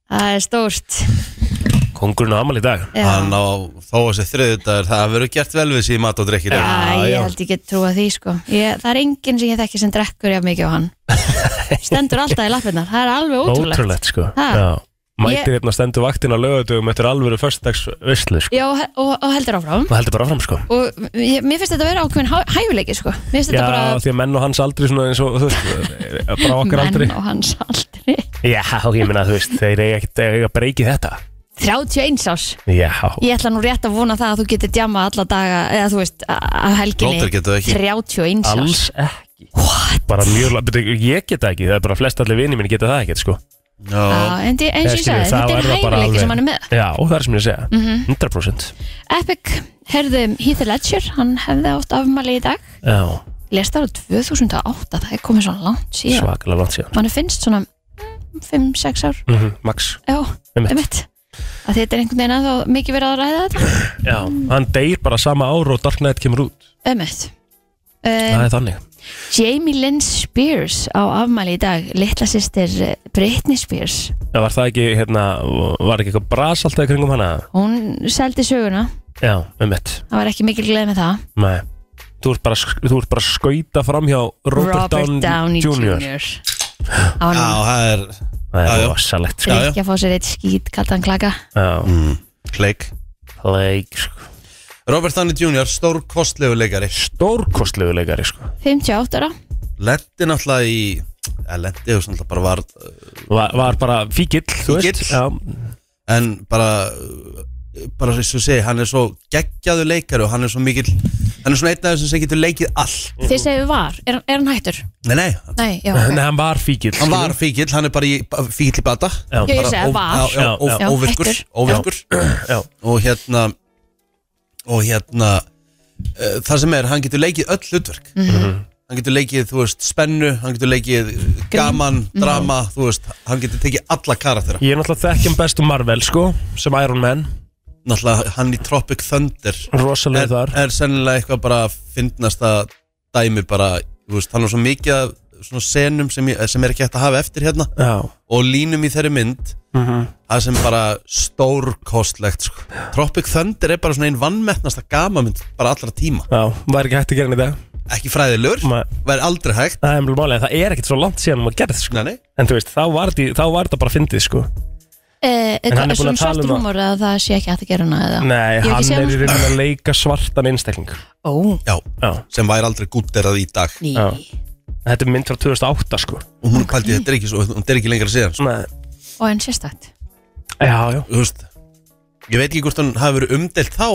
Speaker 3: Það er stórt.
Speaker 5: Kongurinn á amal í dag
Speaker 3: Já.
Speaker 4: Hann á þó að þessi þriðudagur Það verður gert vel við síðan mat og drikk í dag
Speaker 3: Já,
Speaker 5: já.
Speaker 3: ég held ég get trúa því sko ég, Það er enginn sem ég þekki sem drekkur jafn mikið á hann Stendur alltaf í lappirnar Það er alveg ótrúlegt,
Speaker 5: Ótrúlegt sko
Speaker 3: Ha.
Speaker 5: Já Mætir
Speaker 3: Ég-
Speaker 5: hérna stendur vaktin á lögadögum Þetta er alvöru förstags veistlu sko
Speaker 3: Já, og, og, og heldur áfram
Speaker 5: Það heldur bara áfram sko
Speaker 3: Og ég, mér finnst þetta að vera ákveðin hæ- hæfileiki sko Mér finnst
Speaker 5: Já,
Speaker 3: þetta bara
Speaker 5: því að menn og hans aldrei svona eins og þú veist, bara okkar aldrei
Speaker 3: menn og hans aldri
Speaker 5: Já, ég meina þú veist, þeir eiga ekkert eiga að breyki þetta
Speaker 3: 31 ás
Speaker 5: Já,
Speaker 3: Ég ætla nú rétt að vona það að þú getur djama alla daga eða þú veist, á á helginni
Speaker 4: Blóter getur það ekki.
Speaker 3: 31 ás
Speaker 5: alls ekki What? Bara mjög, la- betur, ég get það ekki, það er bara flest allir vini mín geta það ekkert sko
Speaker 4: Já,
Speaker 3: En því- eins og ég
Speaker 5: Ég skil,
Speaker 3: sagði,
Speaker 5: þá
Speaker 3: þetta
Speaker 5: er
Speaker 3: er
Speaker 5: það bara alveg-
Speaker 3: hæfileiki sem hann er með Mhm.
Speaker 5: Já, það er sem ég að segja, 100%
Speaker 3: Epic, herðu Heath Ledger, hann hefði átt afmæli í dag
Speaker 5: Já,
Speaker 3: lest ára 2008, það er komið svona langt síðan.
Speaker 5: svakalega langt síðan
Speaker 3: Mann finnst svona 5-6 ár,
Speaker 5: mm Max,
Speaker 3: já,
Speaker 5: Einmitt.
Speaker 3: um mitt. Að þetta er einhvern veginn að þá mikið verið að ræða þetta.
Speaker 5: já, hann deyr bara sama ár og Dark Knight kemur út
Speaker 3: Um mitt.
Speaker 5: Það
Speaker 3: Um,
Speaker 5: er þannig
Speaker 3: Jamie Lynn Spears á afmæli í dag, litla sýstir Britney Spears.
Speaker 5: Já, Var það ekki, hérna, var ekki eitthvað bras alltaf í kringum hana?
Speaker 3: Hún seldi söguna,
Speaker 5: Já, um mitt
Speaker 3: það var ekki mikil gleð með það.
Speaker 5: Nei Þú ert bara, sk- þú ert bara að skauta fram hjá Robert, Downey, Jr.
Speaker 3: Það var
Speaker 4: Já,
Speaker 3: nú
Speaker 4: það er Já,
Speaker 5: Það
Speaker 4: já.
Speaker 5: er rosalegt sko.
Speaker 4: já, já.
Speaker 3: ekki að fá sér eitt skýt kallan klaka.
Speaker 5: Já,
Speaker 4: kleik
Speaker 5: leik sko.
Speaker 4: Robert Downey Jr., stór kostlegu leikari
Speaker 5: Stórkostlegu leikari sko.
Speaker 3: 58 ára,
Speaker 4: Lendi náttúrulega í lendi og svona bara var
Speaker 5: var, var bara fíkill, þú veist
Speaker 4: Fíkill.
Speaker 5: já,
Speaker 4: en bara uh, bara eins og ég segi, hann er svo geggjaðu leikari og hann er svo mikill hann er svona einn af þessum sem getur leikið allt
Speaker 3: Þið segðu var, er, er hann hættur?
Speaker 4: nei, nei, hann-
Speaker 3: Nei, já,
Speaker 5: Nei,
Speaker 3: ok
Speaker 5: hann var fíkill
Speaker 4: hann var fíkill, hann er bara í, bara fíkill í bata
Speaker 5: Já,
Speaker 3: Ég
Speaker 4: Bara
Speaker 3: segi
Speaker 4: óv-
Speaker 3: var.
Speaker 4: já, já,
Speaker 5: Já,
Speaker 4: óv-
Speaker 3: já.
Speaker 4: óvirkur,
Speaker 3: Hættur.
Speaker 4: óvirkur.
Speaker 5: já.
Speaker 4: og hérna og hérna uh, það sem er, hann getur leikið öll hlutverk
Speaker 3: Mhm.
Speaker 5: Mhm.
Speaker 4: hann getur leikið, þú veist, spennu hann getur leikið gaman, drama
Speaker 3: Mhm.
Speaker 4: þú veist, hann getur tekið alla karaktera
Speaker 5: Ég er náttúrulega þekkjum bestu Marvel sko sem Iron Man,
Speaker 4: náttúrulega hann í Tropic Thunder
Speaker 5: rosalega
Speaker 4: er,
Speaker 5: þar
Speaker 4: er sennilega eitthvað bara að finnast að dæmi bara, þú veist, hann er svo mikið af svona senum sem, ég, sem er ekki hægt að hafa eftir hérna
Speaker 5: Já, Mhm.
Speaker 4: og línum í þeirri mynd það sem bara stórkostlegt sko. Tropic Thunder er bara svona einn vannmettnasta gama mynd bara allra tíma,
Speaker 5: já, var ekki hægt að gera henni það
Speaker 4: ekki fræðilegur
Speaker 5: Ma-
Speaker 4: væri aldrei hægt
Speaker 5: Það er mjög málega, það er ekkert svo langt síðan maður gerð sko.
Speaker 4: Nei, nei.
Speaker 5: En þú veist, þá var, því, þá var þetta bara fyndið sko.
Speaker 3: Eh,
Speaker 5: En hann er
Speaker 3: eitthvað-
Speaker 5: búinn
Speaker 3: Svona
Speaker 5: að tala um
Speaker 3: svartur
Speaker 5: það.
Speaker 3: húmor að það sé ekki hægt að gera hana eða
Speaker 5: Nei,
Speaker 3: Ég hef ekki
Speaker 5: hann
Speaker 3: séð
Speaker 5: er
Speaker 3: hann,
Speaker 5: í rauninni að leika svartan einstakling
Speaker 3: Ó,
Speaker 4: Já,
Speaker 5: Já,
Speaker 4: sem væri aldrei gútterað í dag
Speaker 3: ný
Speaker 5: Já. þetta er mynd frá 2008 sko.
Speaker 4: og hún pældi, þetta er ekki, svo, þetta er ekki lengra síðan sko.
Speaker 5: Nei.
Speaker 3: Og en sérstakt
Speaker 5: Já, já
Speaker 4: Þú veist, ég veit ekki hvort hann hafi verið umdelt þá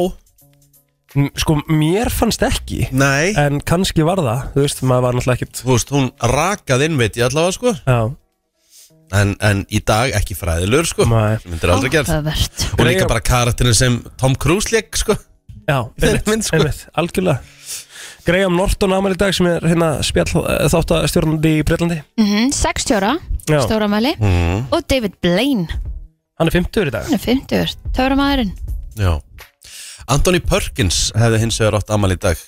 Speaker 5: M- Sko, mér fannst ekki
Speaker 4: Nei,
Speaker 5: En kannski var það, þú veist, maður var náttúrulega ekkert
Speaker 4: þú veist, hún rakað inn veit ég allavega sko
Speaker 5: Já,
Speaker 4: en, en í dag ekki fræðilegur sko
Speaker 5: maður
Speaker 4: sem myndir aldrei gerð
Speaker 3: Áhugavert.
Speaker 4: og líka bara karakterin sem Tom Cruise leik sko
Speaker 5: Já,
Speaker 4: Þeirri mynd, sko.
Speaker 5: einmitt, algjörlega Graham Norton ámæli í dag sem er hérna spjall þáttastjórnandi í Breitlandi
Speaker 3: Mhm, 60 ára,
Speaker 5: Já.
Speaker 3: stóramæli Og David Blaine,
Speaker 5: Hann er 50 í dag
Speaker 3: hann er 50 Töframæðurinn
Speaker 4: Já Anthony Perkins hefði hins vegar átt amal í dag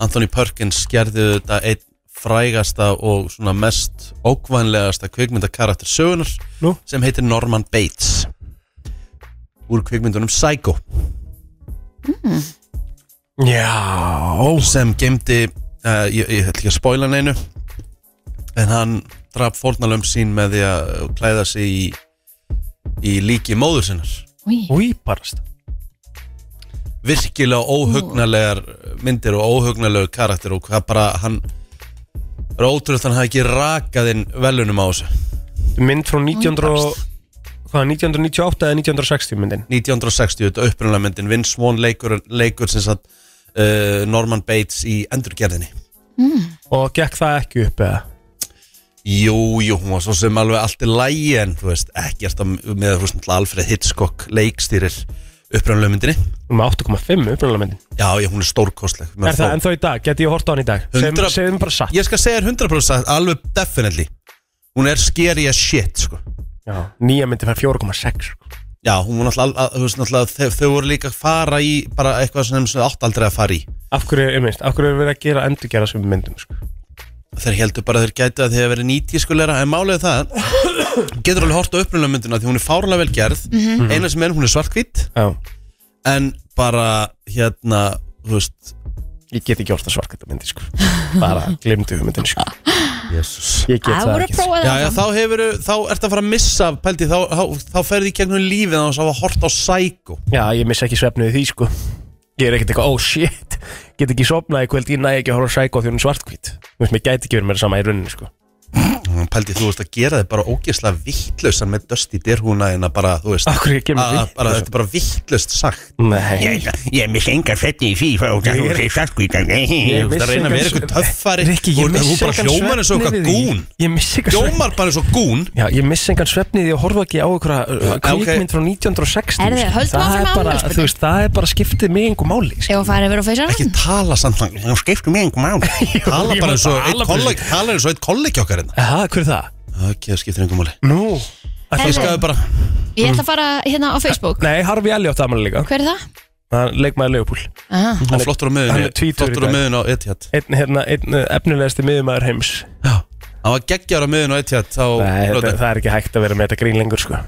Speaker 4: Anthony Perkins gerði þetta einn frægasta og svona mest ókvænlegasta kvikmyndakarakter sögunar
Speaker 5: Nú?
Speaker 4: sem heitir Norman Bates úr kvikmyndunum Psycho
Speaker 5: Mm. Já
Speaker 4: sem gemdi uh, ég, ég ætla ekki að spoila neinu en hann draf fórnalöfum sín með því að klæða sig í, í líki móður sinnar
Speaker 3: Új,
Speaker 5: Új, barast
Speaker 4: virkilega óhugnalegar myndir og óhugnalegur karakter og hvað bara hann er ótrúlegt að hann hafi ekki rakað inn velunum á þessu
Speaker 5: Mynd frá 1900 og- Hvað, 1998 eða 1960 myndin
Speaker 4: 1960, þetta er upprunalega myndin Vin Swan leikur, leikur sem sagt uh, Norman Bates í endurgerðinni
Speaker 5: Og gekk það ekki upp eða
Speaker 4: Jú, jú, hún var svo sem alveg allt í lægi en þú veist, ekkert að með þú veist, náttúrulega Alfred Hitchcock leikstýrir upprunalega myndinni
Speaker 5: Um 8,5 upprunalega myndin
Speaker 4: Já, já, hún er stórkostleg
Speaker 5: Er það ennþá í dag? Geti ég hort á hann í dag? Segðu
Speaker 4: 100
Speaker 5: segðu mér bara satt
Speaker 4: Ég skal segja þér 100% alveg definitely Hún er scary as shit, sko
Speaker 5: Já, nýja myndi fær 4,6 sko.
Speaker 4: Já, hún var náttúrulega, al- al- þú veist, náttúrulega þau, þau voru líka að fara í bara eitthvað sem þau átt aldrei að fara í
Speaker 5: Af hverju, einmitt, af hverju er verið að gera endurgerða sem myndum sko?
Speaker 4: Þeir heldur bara að þeir gætu að þeir hafa verið nýtískulera en málið er það getur alveg hort á upprunalega myndina því hún er fárlega vel gerð eina sem er, hún er svartkvít
Speaker 5: Já,
Speaker 4: en bara, hérna, þú veist
Speaker 5: ég get ekki hort að svarkvæta myndi sko. Bara glimtu myndin sko.
Speaker 4: Jesus.
Speaker 5: Ég get
Speaker 3: það
Speaker 5: það
Speaker 3: voru
Speaker 5: ekki
Speaker 3: að
Speaker 5: sko.
Speaker 3: prófa
Speaker 4: Já, já,
Speaker 3: það
Speaker 4: þá hefur, þá ert að fara að missa pældi, þá, þá, þá ferði í gegnum lífið þá að hafa hort á Psycho
Speaker 5: Já, ég missa ekki svefnið því sko. Ég er ekkert eitthvað, oh shit Get ekki sopnað í kvöld, ég næ ekki að horfa sækó því hún er svartkvít Þú veist, mér gæti ekki verið meira sama í rauninni sko.
Speaker 4: Mm, Pældi, þú veist að gera þið bara ógeðslega vittlausan með dösti derhúna en að bara, þú veist
Speaker 5: Af hverju ég kemur
Speaker 4: að-
Speaker 5: því?
Speaker 4: að- bara, þetta er bara vittlaust sagt
Speaker 5: Nei,
Speaker 1: Ég, ég missi engar fætti í því frá hún sé svartkvítan.
Speaker 5: Ég
Speaker 4: Þú ert að reyna að vera eitthvað töffari
Speaker 5: Rikki, ég
Speaker 4: og
Speaker 5: missi
Speaker 4: þú bara
Speaker 5: engan
Speaker 4: hljómar eins og
Speaker 5: svefn
Speaker 4: eitthvað
Speaker 5: yfir því.
Speaker 4: gún
Speaker 5: Ég missi eitthvað svefn
Speaker 4: Hljómar bara eins og gún
Speaker 5: Já, ég missi engan svefni því að horfa ekki á einhverja uh,
Speaker 4: ok.
Speaker 5: kvikmynd frá 1960
Speaker 3: Herðu,
Speaker 5: sko.
Speaker 3: höldum
Speaker 5: Það
Speaker 3: áfram
Speaker 5: er
Speaker 3: með
Speaker 5: bara,
Speaker 3: afmælisbörnin.
Speaker 5: þú veist, það er bara skiptið mig einhver máli sko.
Speaker 3: Ef hún færi yfir á feysa
Speaker 4: Ekki tala samt hann
Speaker 1: Hún skiptir mig engum máli.
Speaker 4: Tala
Speaker 5: ég var
Speaker 4: bara eins og
Speaker 5: bara
Speaker 4: einn
Speaker 5: alveg-
Speaker 4: kollegi Tala eins og einn kollegi okkar hérna
Speaker 5: Aha, hver er það?
Speaker 4: Ok, það skiptir engum máli
Speaker 5: Nú
Speaker 3: Herðu.
Speaker 5: Ætli,
Speaker 4: Fiskaðu bara
Speaker 3: Ég ætla að fara hérna á Facebook
Speaker 5: Nei, Harfi Elliot aðmæli líka
Speaker 3: Hver er það?
Speaker 5: Hann leik maður Leopold
Speaker 3: Ah.
Speaker 4: Hann er flottur á
Speaker 5: hann er
Speaker 4: miðunni
Speaker 5: tvítugur í
Speaker 4: Flottur á
Speaker 5: dag.
Speaker 4: miðunni á Etihad
Speaker 5: Einn, hérna, einn eh, efnilegasti miðumæður heims
Speaker 4: Já Hann var geggjar á miðunni á Etihad þá
Speaker 5: Nei, þetta,
Speaker 4: Lóta-
Speaker 5: það er ekki hægt að vera með þetta grín lengur sko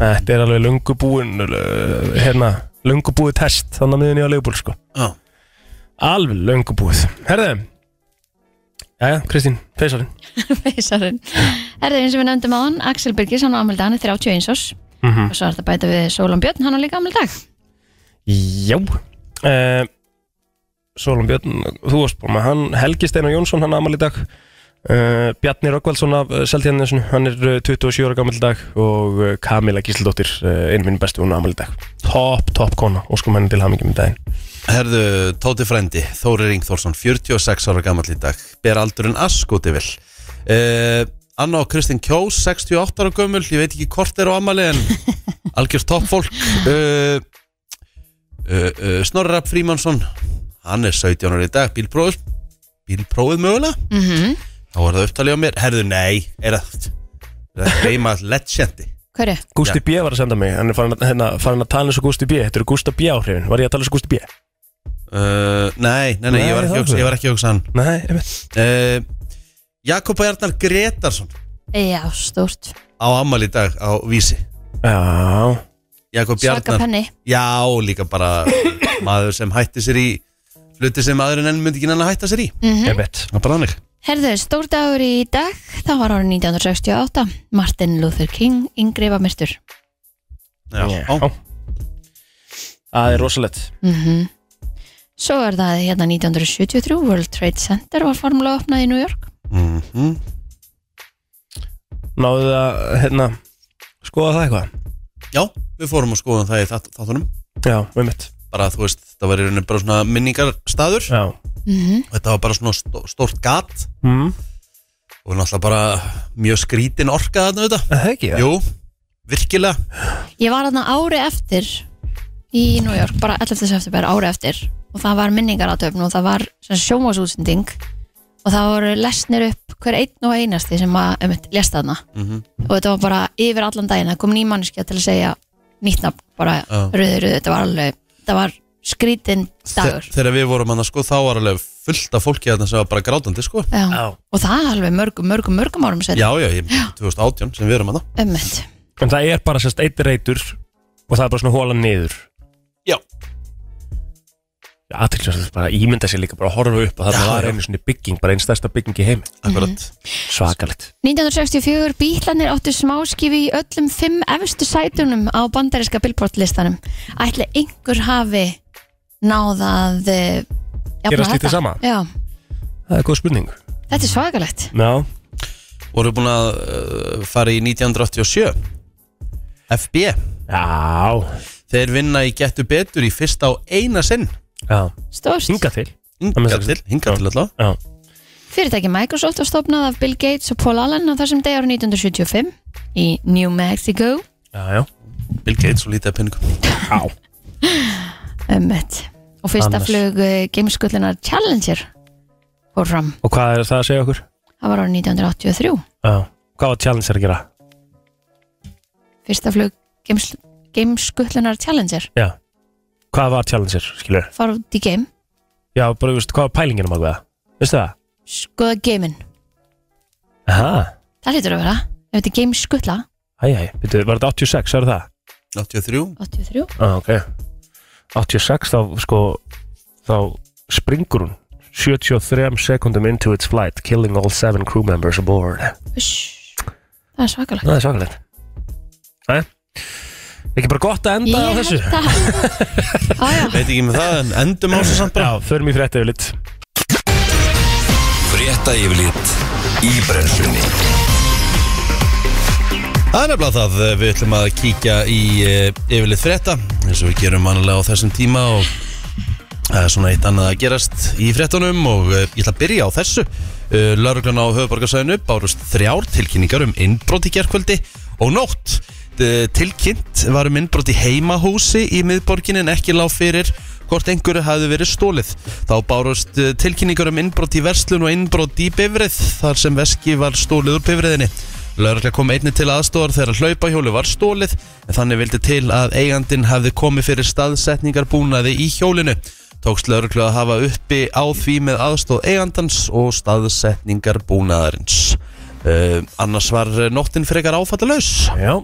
Speaker 5: Þetta er alveg lungubúin Hérna, lungubúið test Þannig að miðunni á Leopold sko
Speaker 4: Já.
Speaker 5: Alveg lungubúið Herðu Jæja, Kristín, feysarinn
Speaker 3: Feysarinn Erðið eins og við nefndum á hann Axel Birgis, hann á ammaldið hann er 31 árs
Speaker 5: Mhm.
Speaker 3: Og svo er þetta að bæta við Sólum Björn, hann á líka ammaldið dag
Speaker 5: Já Eh, uh, Sólum Björn, þú varst búin með hann Helgi Steinar Jónsson, hann amal í dag Uh, Bjarni Röggvaldsson af uh, Seltjarnarsson, hann er uh, 27 ára gammal dag og uh, Kamila Gísladóttir, uh, einu minn bestu hún gammal dag. Top, top kona, óskum henni til hamingjum í daginn.
Speaker 4: Herðu, Tóti Frendi, Þóri Ringþórsson, 46 ára gammal í dag, ber aldurinn ask út yfir. Uh, Anna og Kristinn Kjós, 68 ára gömul, ég veit ekki hvort er á amali en algjör toppfólk. Uh, uh, uh, Snorri Rapp Frímansson, hann er 17 ára í dag, bílprófið, bílprófið mögulega? Mm
Speaker 3: Mhm.
Speaker 4: -hmm. Þá var það upptalið á mér, herðu, nei, er það, er það heima legendi.
Speaker 3: Hverju?
Speaker 5: Gústi B var að senda mig, hann er farin að, hérna, farin að tala eins og Gústi B, þetta eru Gústa B áhrifin, var ég að tala eins og Gústi B?
Speaker 4: Uh, nei, nei, nei, ég var
Speaker 5: Nei, það
Speaker 4: ekki að hugsa-
Speaker 5: er
Speaker 4: ég var ekki að hugsa um hann.
Speaker 5: Nei, ég veit.
Speaker 4: Uh, Jakob Arnar Gretarsson
Speaker 3: Já, stórt
Speaker 4: á ammal í dag á vísi
Speaker 5: Já,
Speaker 4: Jakob
Speaker 3: Svaka
Speaker 4: Bjarnar
Speaker 3: penni
Speaker 4: Já, líka bara maður sem hætti sér í hluti sem maðurinn enn myndi ekki nann að hætta sér í
Speaker 3: Mhm.
Speaker 5: ég veit.
Speaker 4: Það er bara þannig
Speaker 3: Herðu, stór dagur í dag, þá var árið 1968 Martin Luther King, yngri var myrtur
Speaker 4: Já,
Speaker 5: Já.
Speaker 4: á,
Speaker 5: Það er rosalegt.
Speaker 3: Mhm. Svo er það hérna 1973 World Trade Center var formulega opnað í New York
Speaker 4: Mhm.
Speaker 5: Náðu það, hérna, skoða það eitthvað?
Speaker 4: já við fórum að skoða það í þátt- þáttunum
Speaker 5: Já, ég veit.
Speaker 4: bara þú veist, það var í rauninu bara svona minningarstaður
Speaker 5: Já.
Speaker 4: þetta var bara svona stó- stórt gat
Speaker 5: Mm.
Speaker 4: og náttúrulega bara mjög skrítin orka þarna auðvitað
Speaker 5: Það ekki, já.
Speaker 4: Jú, virkilega
Speaker 3: Ég var þarna ári eftir í New York, bara 11. september ári eftir og það var minningaratöfn og það var sjómasútsending og það voru lesnir upp hver einn og einasti sem að um, lesta þarna
Speaker 2: Mhm.
Speaker 3: og þetta var bara yfir allan daginn það kom nýmanniski til að segja nýtt nafn, bara
Speaker 4: Já.
Speaker 3: rauður, rauður, þetta var alveg þetta var skrítin dagur
Speaker 4: Þe- Þegar við vorum að sko þá var alveg fullt af fólki þarna sem var bara grátandi sko
Speaker 3: Já.
Speaker 5: Já.
Speaker 3: og það er alveg mörgum, mörgum, mörgum árum sér
Speaker 4: Já, já, ég, 2018 sem við erum að það
Speaker 3: ömmet
Speaker 5: En það er bara sérst eitt reytur og það er bara svona hólan niður.
Speaker 4: Já
Speaker 5: aðtilsvæmst bara ímynda sér líka bara að horfa upp að það
Speaker 4: Já,
Speaker 5: var
Speaker 4: já.
Speaker 5: einu svona bygging, bara einn stærsta bygging í heimi
Speaker 4: Akkurat
Speaker 5: svakalegt
Speaker 3: 1964 bílarnir áttu smáskifi í öllum fimm efstu sætunum á bandaríska billbortlistanum ætli einhver hafi náðað eh, jafna
Speaker 5: Gera slíkt hið
Speaker 3: þetta?
Speaker 5: sama?
Speaker 3: Já,
Speaker 5: það er góð spurning
Speaker 3: þetta er svakalegt
Speaker 5: já,
Speaker 4: voru búin að uh, fara í 1987 FB
Speaker 5: já,
Speaker 4: þeir vinna í Gettu Betur í fyrsta á eina sinn
Speaker 5: já.
Speaker 3: Stórst.
Speaker 5: hinga til
Speaker 4: hinga til, hinga til allavega
Speaker 5: já.
Speaker 3: Fyrirtæki Microsoft var stofnað af Bill Gates og Paul Allen á þessum degi árið 1975 í New Mexico
Speaker 5: Já, já.
Speaker 4: Bill Gates og lítið að pinningum
Speaker 5: Já.
Speaker 3: ömmet Um, og fyrsta
Speaker 5: Annars.
Speaker 3: flug gameskullunar Challenger fór fram,
Speaker 5: og hvað er það að segja okkur?
Speaker 3: það var árið 1983
Speaker 5: Já. hvað var Challenger að gera?
Speaker 3: fyrsta flug games- gameskullunar Challenger
Speaker 5: Já. hvað var Challenger, skilur?
Speaker 3: fór út í game
Speaker 5: já, bara, veist, hvað var pælingin um að veða? veistu það?
Speaker 3: skoða Sko, geiminn
Speaker 5: aha,
Speaker 3: Það lítur að vera Ef þetta er game skuttla
Speaker 5: æj, æj, Byrju, var þetta 86, var það?
Speaker 4: 83
Speaker 3: 83
Speaker 5: já,
Speaker 4: Ah,
Speaker 5: ok 86, þá sko þá springur hún 73 sekundum into its flight killing all seven crew members aboard
Speaker 3: Uss, Það er svakalegt
Speaker 5: Það er svakalegt Nei Ekki bara gott að enda á þessu
Speaker 3: Ég held það Ájá
Speaker 4: veit ekki með það en endum á þessu samt bara
Speaker 5: Já, förum í frétta yfir litt
Speaker 2: Frétta yfirlit í brennslunni
Speaker 4: það er nefnilega það eh, við ætlum að kíkja í eh, yfirlið frétta eins og við gerum mannilega á þessum tíma og það er svona eitt annað að gerast í fréttunum og eh, ég ætla að byrja á þessu lauruglan á höfuborgarsæðinu bárust þrjár tilkynningar um innbrot í gerkvöldi og nótt Eh, tilkynnt var um innbrot í heimahúsi í miðborgin en ekki lág fyrir hvort einhverju hafði verið stólið þá bárust eh, tilkynningar um innbrot í verslun og innbrot í bifrið þar sem veski var stólið úr bifriðinni Lörgla kom einni til aðstóðar þegar hlaupahjólu var stólið en þannig vildi til að eigandin hafði komið fyrir staðsetningarbúnaði í hjólinu tókst lauruglu að hafa uppi á því með aðstóð eigandans og staðsetningar búnaðarins. Uh, annars var eh, nóttin frekar áfallalaus.
Speaker 5: Já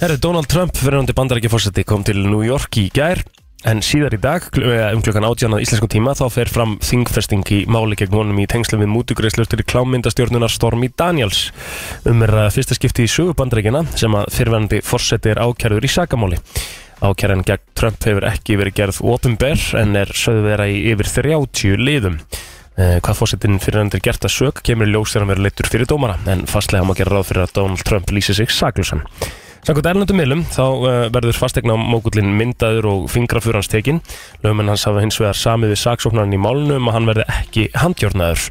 Speaker 5: Herri, Donald Trump, fyrirhundi bandarækjaforseti, kom til New York í gær En síðar í dag, kl- eh, um klukkan átján að íslenskum tíma, þá fer fram þingfesting í máli gegn honum í tengslu við mútugreislur til klámyndastjórnunar Stormi Daniels. Um er að fyrsta skipti í sögu bandarækjana sem að fyrirverandi forseti er ákjærður í sakamáli. Ákjæran gegn Trump hefur ekki verið gerð ofinber en er sögðu vera í yfir 30 liðum. Eh, Hvað fósettin fyrir hendur gert að sög kemur í ljós þegar hann verður leittur fyrir dómara en fastlega má gera ráð fyrir að Donald Trump lýsi sig saklausan. Samkvæmt erlendum miðlum þá uh, verður fastegna mókullin myndaður og fingrafur hans tekin. Lögumenn hans hafa hins vegar samið við saksóknarinn í málinu um að hann verði ekki handjórnaður.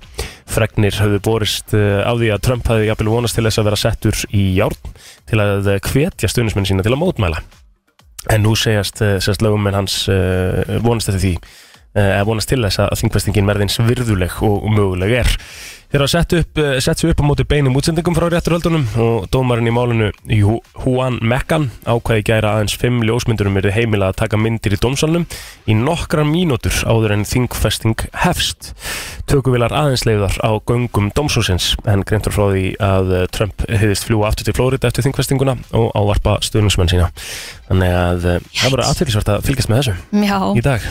Speaker 5: Fregnir höfðu borist uh, á því að Trump hafi jafnvel vonast til þess að vera settur í járn til að eh, hvetja stuðnismenn sína til að mótmæla. En nú segjast, eh, segjast lögumenn hans uh, vonast eftir því eh, eða vonast til þess að þingfestingin verði eins virðuleg og og möguleg er. Þeir hafa sett, upp, eh, sett sig upp á móti beinum útsendingum frá rétturhöldunum og dómarinn í málinu Ju- Juan Mekkan ákvæði í gæra aðeins fimm ljósmyndurum verið heimila að taka myndir í dómsalnum í nokkrar mínútur áður en þingfesting hefst. Tökuvilar aðeinsleiðar á göngum dómsúsins en greintur frá því að eh, Trump hefðist fljúa aftur til Flórida eftir þingfestinguna og ávarpa stuðningsmenn sína. Þannig að eh, það verður aðtöklisvært að fylgjast með þessu
Speaker 3: Já,
Speaker 5: í dag.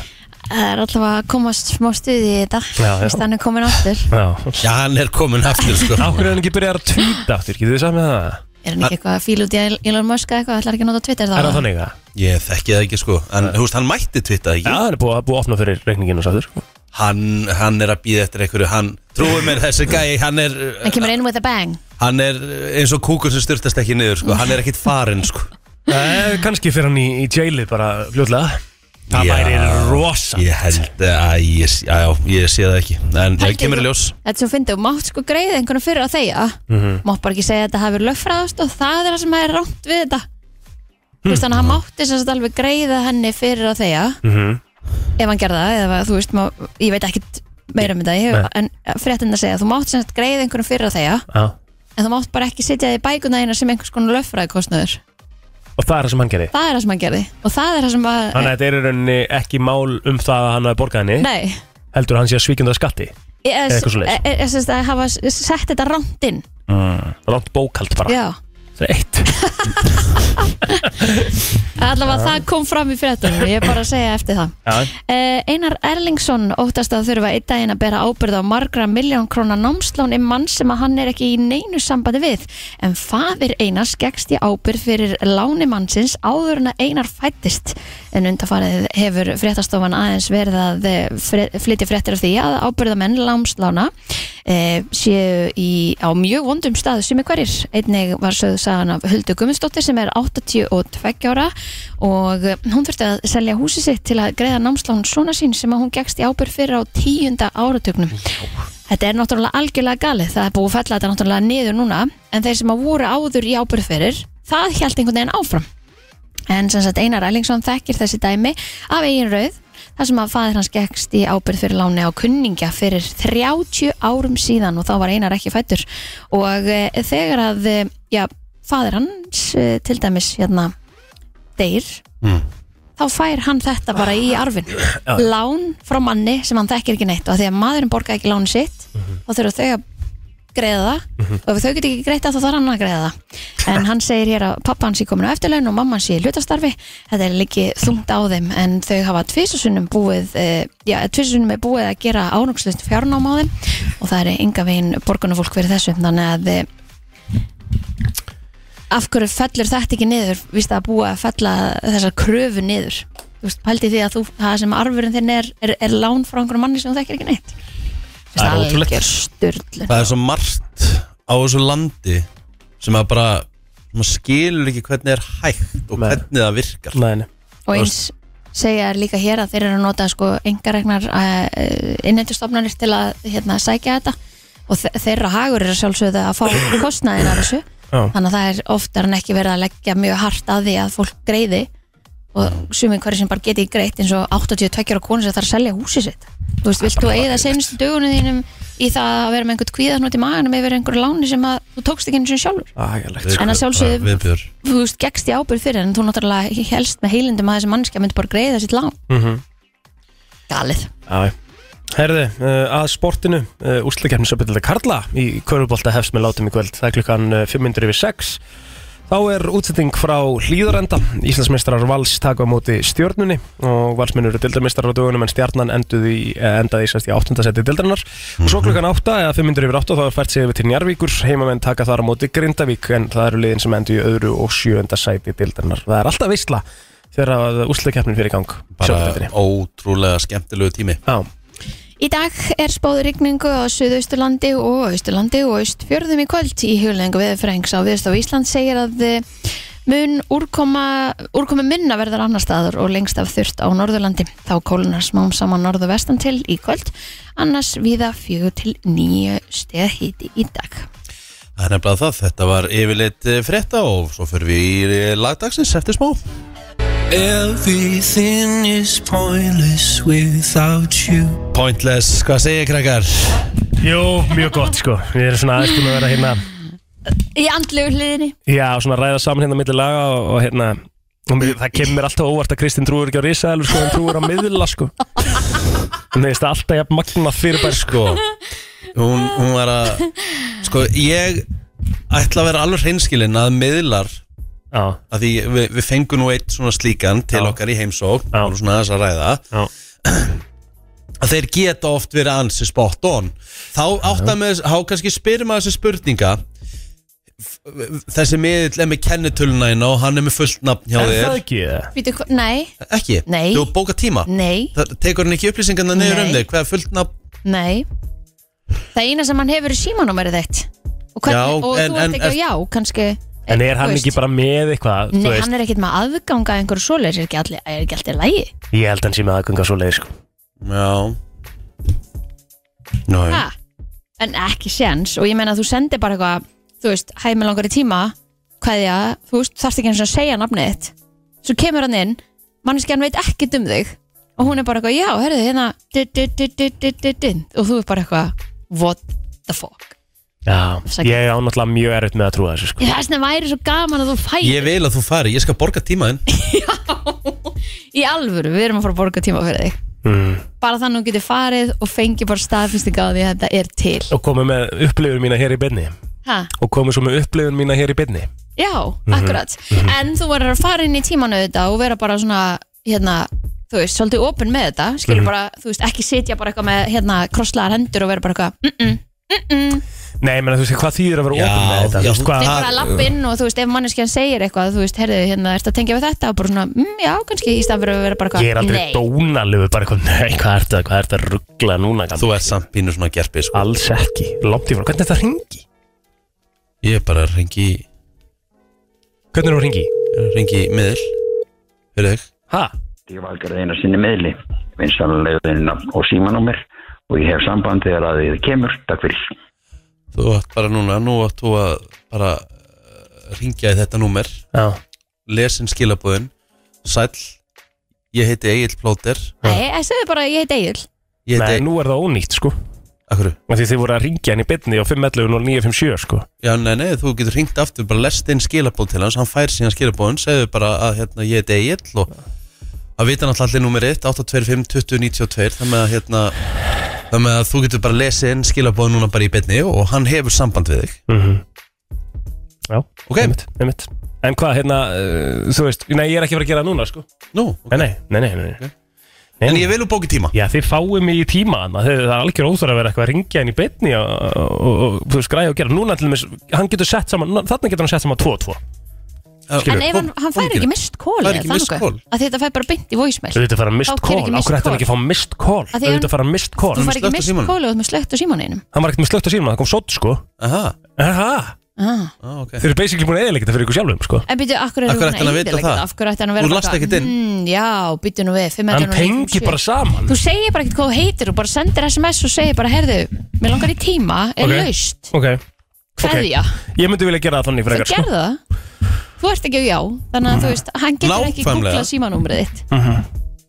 Speaker 3: það er alltaf að komast smá stuði í þetta
Speaker 5: Já, já.
Speaker 3: Þannig hann er komin aftur
Speaker 5: Já,
Speaker 4: Já, hann er komin aftur sko
Speaker 5: Akkur er hann ekki byrjað að tvíta aftur, getur þið sagt með það?
Speaker 3: Er hann ekki eitthvað að fíla út í Elon Musk eða eitthvað, ætlar ekki að nota Twitter þá
Speaker 5: Er það þannig að?
Speaker 4: Ég þekki það ekki sko En þú veist, hann mætti tvitta
Speaker 5: Já,
Speaker 4: ekki
Speaker 5: hann er búið að búið að opna fyrir reikninginu og sko. sattur
Speaker 4: hann, hann er að býða eftir einhverju Hann, trúið mér þessi gæi Hann er,
Speaker 3: Hann kemur inn with a bang
Speaker 4: hann er eins og kúkur sem styrtast ekki niður sko Hann er ekkit farinn sko
Speaker 5: Nei, Eh, kannski fyrir hann í, í jailið bara fljóðlega Það
Speaker 4: Já.
Speaker 5: væri rosa
Speaker 4: Ég held að ég, já, já, ég sé það ekki En það
Speaker 3: Heldur
Speaker 4: kemur í
Speaker 3: þú-
Speaker 4: ljós
Speaker 3: Þetta er svo fyndið, þú mátt sko greið einhvern fyrir að þegja
Speaker 5: Mhm.
Speaker 3: Mátt bara ekki segja að þetta hafi verið lögfræðast og það er það sem er rámt við þetta Þú veist þannig að
Speaker 5: Hmm.
Speaker 3: hann mátti sem sagt alveg greiða henni fyrir að þegja
Speaker 2: Mhm.
Speaker 3: ef hann gerða það, eða þú veist, má, ég veit ekkit meira um þetta, ég,
Speaker 5: Nei.
Speaker 3: en fréttin að segja þú mátt sem sagt greiða einhvern fyrir að þegja
Speaker 5: Já.
Speaker 3: en þú mátt bara ekki sitja því bækuna eina sem einhvers konar lögfræðikostnaður
Speaker 5: Og það er það sem hann gerði
Speaker 3: það er það sem hann gerði og það er það sem að
Speaker 5: Þannig að þetta er í rauninni ekki mál um það að hann hafi borgað henni
Speaker 3: nei,
Speaker 5: Heldur hann sé að svíkjum það skatti
Speaker 3: ég e-
Speaker 5: Eitthvað svoleiðis.
Speaker 3: er þess að hafa s- sett þetta rámt inn
Speaker 5: Ránt bókald bara
Speaker 3: já,
Speaker 5: Það er eitt
Speaker 3: allavega það kom fram í fréttunum ég er bara að segja eftir það
Speaker 5: Já,
Speaker 3: Eh, Einar Erlingsson óttast að þurfa einn daginn að bera ábyrð á margra miljón króna námslán um mann sem að hann er ekki í neinu sambandi við en faðir Einars gegst í ábyrð fyrir láni mannsins áður en að Einar fættist en undarfarið hefur fréttastofan aðeins verið að eh, fre- flytja fréttir af því að ábyrðamenn lámslána eh, séu í, á mjög vondum staðu sem er hverjir. Einnig var sögðu sagan af Huldu Gumminsdóttir sem er 82 ára og eh, hún þurfti að selja húsi sitt til að greiða námslán svona sín sem að hún gegst í ábyrð fyrir á tíunda áratugnum. Þetta er náttúrulega algjörlega galið, það er búið að fella þetta náttúrulega niður núna en þeir sem að voru áður í ábyrð fyrir, það hjælt einhvern veginn áfram. En sem sagt Einar Ellingsson þekkir þessi dæmi af eigin rauð þar sem að faðir hans gekkst í ábyrð fyrir láni á kunningja fyrir 30 árum síðan og þá var Einar ekki fættur og e, þegar að e, já, faðir hans e, til dæmis hérna deyr þá fær hann þetta bara í arfin lán frá manni sem hann þekkir ekki neitt og að því að maðurinn borga ekki láni sitt þá þurfa þau að greiða það
Speaker 2: Mhm.
Speaker 3: og ef þau getur ekki greitt það þá þarf hann að greiða það en hann segir hér að pappa hans sé komin á eftirlaun og mamma hans sé í hlutastarfi þetta er líki þungt á þeim en þau hafa tvisasunum búið e, já, tvisasunum er búið að gera ánugslust fjárnám á þeim og það er enga veginn borgunafólk fyrir þessu þannig að e, af hverju fellur þetta ekki niður víst að búa að fella þessar kröfu niður þú veist, pældi því að þú, það sem arfurinn þinn er, er, er lán frá einhverjum manni sem þú þekkir ekki neitt Þú
Speaker 5: Það er
Speaker 3: veist,
Speaker 5: ótrúlegt.
Speaker 3: algjör sturlun
Speaker 4: Það er svo margt á þessu landi Sem að bara maður skilur ekki hvernig er hægt Og
Speaker 5: Nei.
Speaker 4: hvernig það virkar
Speaker 5: nei, nei
Speaker 3: og eins segja er líka hér að þeir eru að nota sko engaregnar innendustofnanir til að hérna, sækja þetta og þe- þeirra hagur er að sjálfsögðu að fá kostnaðin af þessu
Speaker 5: Já.
Speaker 3: þannig að það er oftar en ekki verið að leggja mjög hart að því að fólk greiði og sumi hverju sem bara geti ekki greitt eins og 82 ára konu sem þarf að selja húsi sitt þú veist, vilt þú eigða seinustu dögunum þínum í það að vera með einhvern kvíðarnót í maganum yfir einhverju láni sem að þú tókst ekki eins og sjálfur
Speaker 5: Ægilegt sko.
Speaker 3: En að sjálfsögðu-
Speaker 4: Viðbjör
Speaker 3: þú veist, gegst í ábyrð fyrir en þú náttúrulega helst með heilindum að þessi mannskja myndi bara greiða sitt lán
Speaker 5: Mhm.
Speaker 3: Galið
Speaker 5: Já, herði, uh, að sportinu uh, úrslagkeppnis að byrja Karla í Körfubólta hefst með látum í kvöld það er klukkan 500 yfir 6 þá er útsetting frá hlýðarenda Íslandsmeistrar Vals taka á móti stjórnunni og Valsminn eru dildarmeistrar á dögunum en stjarnan enduði, í- eh, endaði ísast í áttundasetti dildarinnar og svo klukkan 8 eða 500 yfir 8 þá er fært sig yfir til Njarvíkur heimamenn taka þar á móti Grindavík en það eru liðin sem endur í öðru og sjöunda sæti dildarinnar það er alltaf veistla þegar úrslagkeppnin fyrir gang
Speaker 4: Bara
Speaker 5: Sjöfndeldinni.
Speaker 4: ótrúlega skemmtilegu tími
Speaker 5: Já,
Speaker 3: Í dag er spáð rigningu á Suðausturlandi og Austurlandi og Austfjörðum í kvöld í huglengu viðfrængs á Viðstof Ísland segir að eh, mun úrkoma, úrkoma minna verður annar staður og lengst af þurft á Norðurlandi. Þá kólunar smám saman norðu vestan til í kvöld, annars viða fjögur til nýju steð hiti í dag.
Speaker 4: Það er nefnilega það, þetta var yfirleitt eh, frétta og svo fyrir við í eh, lagdagsins eftir smá
Speaker 6: Everything is pointless without you.
Speaker 4: Pointless, hvað segir krakkar?
Speaker 5: Jú, mjög gott sko Ég er svona aðeins búin að vera hérna
Speaker 3: Í andlegu hliðinni.
Speaker 5: Já, svona ræða saman hérna millir laga og, og hérna og mér, það kemur mér alltaf á óvart að Kristinn trúur ekki á risaðalur sko, hann trúur á miðla sko Mér finnst það alltaf jafn magna fyrirbær sko
Speaker 4: Sko, hún, hún var að Sko, ég ætla að vera alveg hreinskilinn að miðlar
Speaker 5: Já,
Speaker 4: að því við, við fengum nú eitt svona slíkan til
Speaker 5: Já.
Speaker 4: okkar í heimsókn
Speaker 5: Já.
Speaker 4: og svona aðeins að ræða
Speaker 5: já,
Speaker 4: að þeir geta oft verið ansi spot on þá átta með, þá kannski spyrir maður þessi spurninga F- þessi miðill er með kennitöluna hérna og hann er með fullt nafn hjá
Speaker 5: er það
Speaker 4: þér
Speaker 5: ekki það?
Speaker 3: Býtu, hva- nei,
Speaker 4: ekki,
Speaker 3: Nei.
Speaker 4: þú bóka tíma
Speaker 3: nei,
Speaker 4: það tekur hann ekki upplýsingarna niður um
Speaker 3: Nei.
Speaker 4: þig hvað er fullt nafn
Speaker 3: nei. Það eina sem hann hefur er símanúmerið þitt. Og, hvernig,
Speaker 4: Já,
Speaker 3: og
Speaker 4: en-
Speaker 3: þú
Speaker 4: en-
Speaker 3: ert ekki á já, kannski.
Speaker 5: En
Speaker 3: þú
Speaker 5: er hann
Speaker 3: veist.
Speaker 5: ekki bara með eitthvað? þú
Speaker 3: Nei,
Speaker 5: veist?
Speaker 3: hann er ekkert með aðganga að einhverju svoleiðis, er ekki allir, er ekki allir lægi.
Speaker 5: Ég held hann sé með aðgönga svo leið sko
Speaker 4: já Ná,
Speaker 3: Ha? En ekki séns, og ég meina að þú sendir bara eitthvað, þú veist, hæ með langari tíma, hvaðja, þú veist, þarft ekki eins og að segja nafnið þitt. Svo kemur hann inn, manneskjan veit ekkert um þig, og hún er bara eitthvað, já, herðu, hérna, du, du, du, du, du, du, du, og þú er bara eitthvað, what the fuck.
Speaker 5: Já,
Speaker 3: Sækir.
Speaker 5: ég á náttúrulega mjög erfitt með að trúa þessu sko
Speaker 3: Þess vegna væri svo gaman að þú færi
Speaker 4: ég vil að þú fari, ég skal borga tímaðinn
Speaker 3: í alvöru, við erum að fara að borga tíma fyrir þig.
Speaker 5: mm.
Speaker 3: Bara þannig að þú getur farið og fengi bara staðfyrsting á því að þetta er til.
Speaker 5: Og komið með upplifur mína hér í byrni
Speaker 3: Ha?
Speaker 5: Og komið svo með upplifur mína hér í byrni
Speaker 3: Já,
Speaker 5: Mhm.
Speaker 3: akkurat En þú verður að fara inn í tímanu þetta og vera bara svona, hérna þú veist, svolítið opinn með þetta
Speaker 5: Mhm.
Speaker 3: skilur bara, þú veist, ekki sitja bara eitthvað með hérna, krosslaðar hendur og vera bara eitthvað mm -mm.
Speaker 5: Nei, menn að þú veist hvað þýðir að vera
Speaker 4: Já,
Speaker 5: opinn með þetta
Speaker 4: já,
Speaker 5: Þú veist
Speaker 4: þú-
Speaker 5: hvað
Speaker 3: þeir bara
Speaker 4: það-
Speaker 3: lapp inn og þú veist, ef manneskjan segir eitthvað þú veist, herðu, hérna, ertu að tengja við þetta og bara svona, mm, já, kannski, í stað fyrir að vera bara eitthvað
Speaker 5: Ég er aldrei
Speaker 3: nei,
Speaker 5: dónalegu bara eitthvað, nei, hvað er þetta, hvað er þetta ruggla núna gamla?
Speaker 4: þú er samt pínu svona gerpi sko.
Speaker 5: Alls ekki, langt í frá, hvernig er þetta að ringi?
Speaker 4: ég er bara að ringi,
Speaker 5: Hvernig er það að ringi?
Speaker 4: ringi í miðl fyrir þig
Speaker 5: Ha?
Speaker 7: Ég valgar einu sinni miðli, vinsanlegin nafn og símanúmer og ég hef samband þegar að þið kemur, takk fyrir.
Speaker 4: þú átt bara núna, nú átt þú að bara eh, ringja í þetta númer
Speaker 5: Já,
Speaker 4: lesin skilabóðin sæll, ég heiti Egil Plóter
Speaker 3: nei, segðu bara, ég heit Egil
Speaker 4: ég
Speaker 5: nei,
Speaker 4: heiti,
Speaker 5: nú er það ónýtt, sko
Speaker 4: akkur
Speaker 5: Af Því þið voru að ringja henni í byrni á 511 og 957, sko
Speaker 4: já, nei, nei, þú getur ringt aftur, bara lest inn skilabóð til hans hann fær síðan skilabóðin, segðu bara að hérna, ég heiti Egil og að vita náttúrulega allir númer 1, 825 2092 þannig að hérna þannig að þú getur bara lesið inn skilabóðin núna bara í beinni og hann hefur samband við þig
Speaker 5: Já,
Speaker 4: Ok.
Speaker 5: Mhm. einmitt, einmitt En hvað, hérna, uh, þú veist, nei, ég er ekki að fara að gera það núna, sko
Speaker 4: nú,
Speaker 5: Nei, nei, nei, nei, nei, nei. nei.
Speaker 4: en ég vil úr bóki tíma
Speaker 5: Já, þið fáið mig í tíma þannig að það er algjör óþvara að vera eitthvað að ringja henni í beinni og, og, og, og þú veist, græja og gera Núna til þess, hann getur sett saman, þarna getur hann sett saman 2-2
Speaker 3: en ef hann, hann fær ekki mist kól
Speaker 4: Fær
Speaker 3: eða
Speaker 4: ekki missed
Speaker 3: þannig,
Speaker 4: call.
Speaker 3: að þetta fær bara beint í voismæl
Speaker 5: Þú veit að fara mist
Speaker 3: Þá gerir
Speaker 5: call,
Speaker 3: ekki missed call. Af því
Speaker 5: af hverju ætti hann ekki að fá mist call Þú veit
Speaker 3: hann-
Speaker 5: að fara mist call
Speaker 3: þú fær ekki
Speaker 4: slökkt á
Speaker 3: mist
Speaker 4: símanum.
Speaker 3: kól og þú ert með slögt á símaninum
Speaker 5: Hann var ekkert með slögt á síma, það kom sótt sko
Speaker 4: Aha,
Speaker 5: Aha,
Speaker 3: ah.
Speaker 4: ah, ok
Speaker 5: þeir eru basically búin að eða þetta fyrir ykkur sjálfum sko
Speaker 3: En byrju, akkur er
Speaker 4: Af hverju ætti hann að vita
Speaker 3: eiginlega ekkert?
Speaker 4: það?
Speaker 3: Af hverju ætti hann að vera
Speaker 4: Þú last
Speaker 3: eitthvað,
Speaker 4: ekkert inn.
Speaker 3: "Hmm, Já, byrju nú við 511
Speaker 5: Hann tengi
Speaker 3: 957.
Speaker 5: bara saman
Speaker 3: Þú segir bara ekkert hvað þú heitir og bara sendir sms og segir bara Herðu, mér langar í tíma, er
Speaker 5: Ok.
Speaker 3: okay. laust
Speaker 5: Ok,
Speaker 3: Kveðja,
Speaker 5: ég myndi vilja gera það þannig
Speaker 3: þú
Speaker 5: frekar sko
Speaker 3: gerðu það Þú ert ekki á já, þannig að þú veist Hann getur ekki
Speaker 4: Nákvæmlega.
Speaker 3: googlað símanúmrið þitt
Speaker 5: Mhm.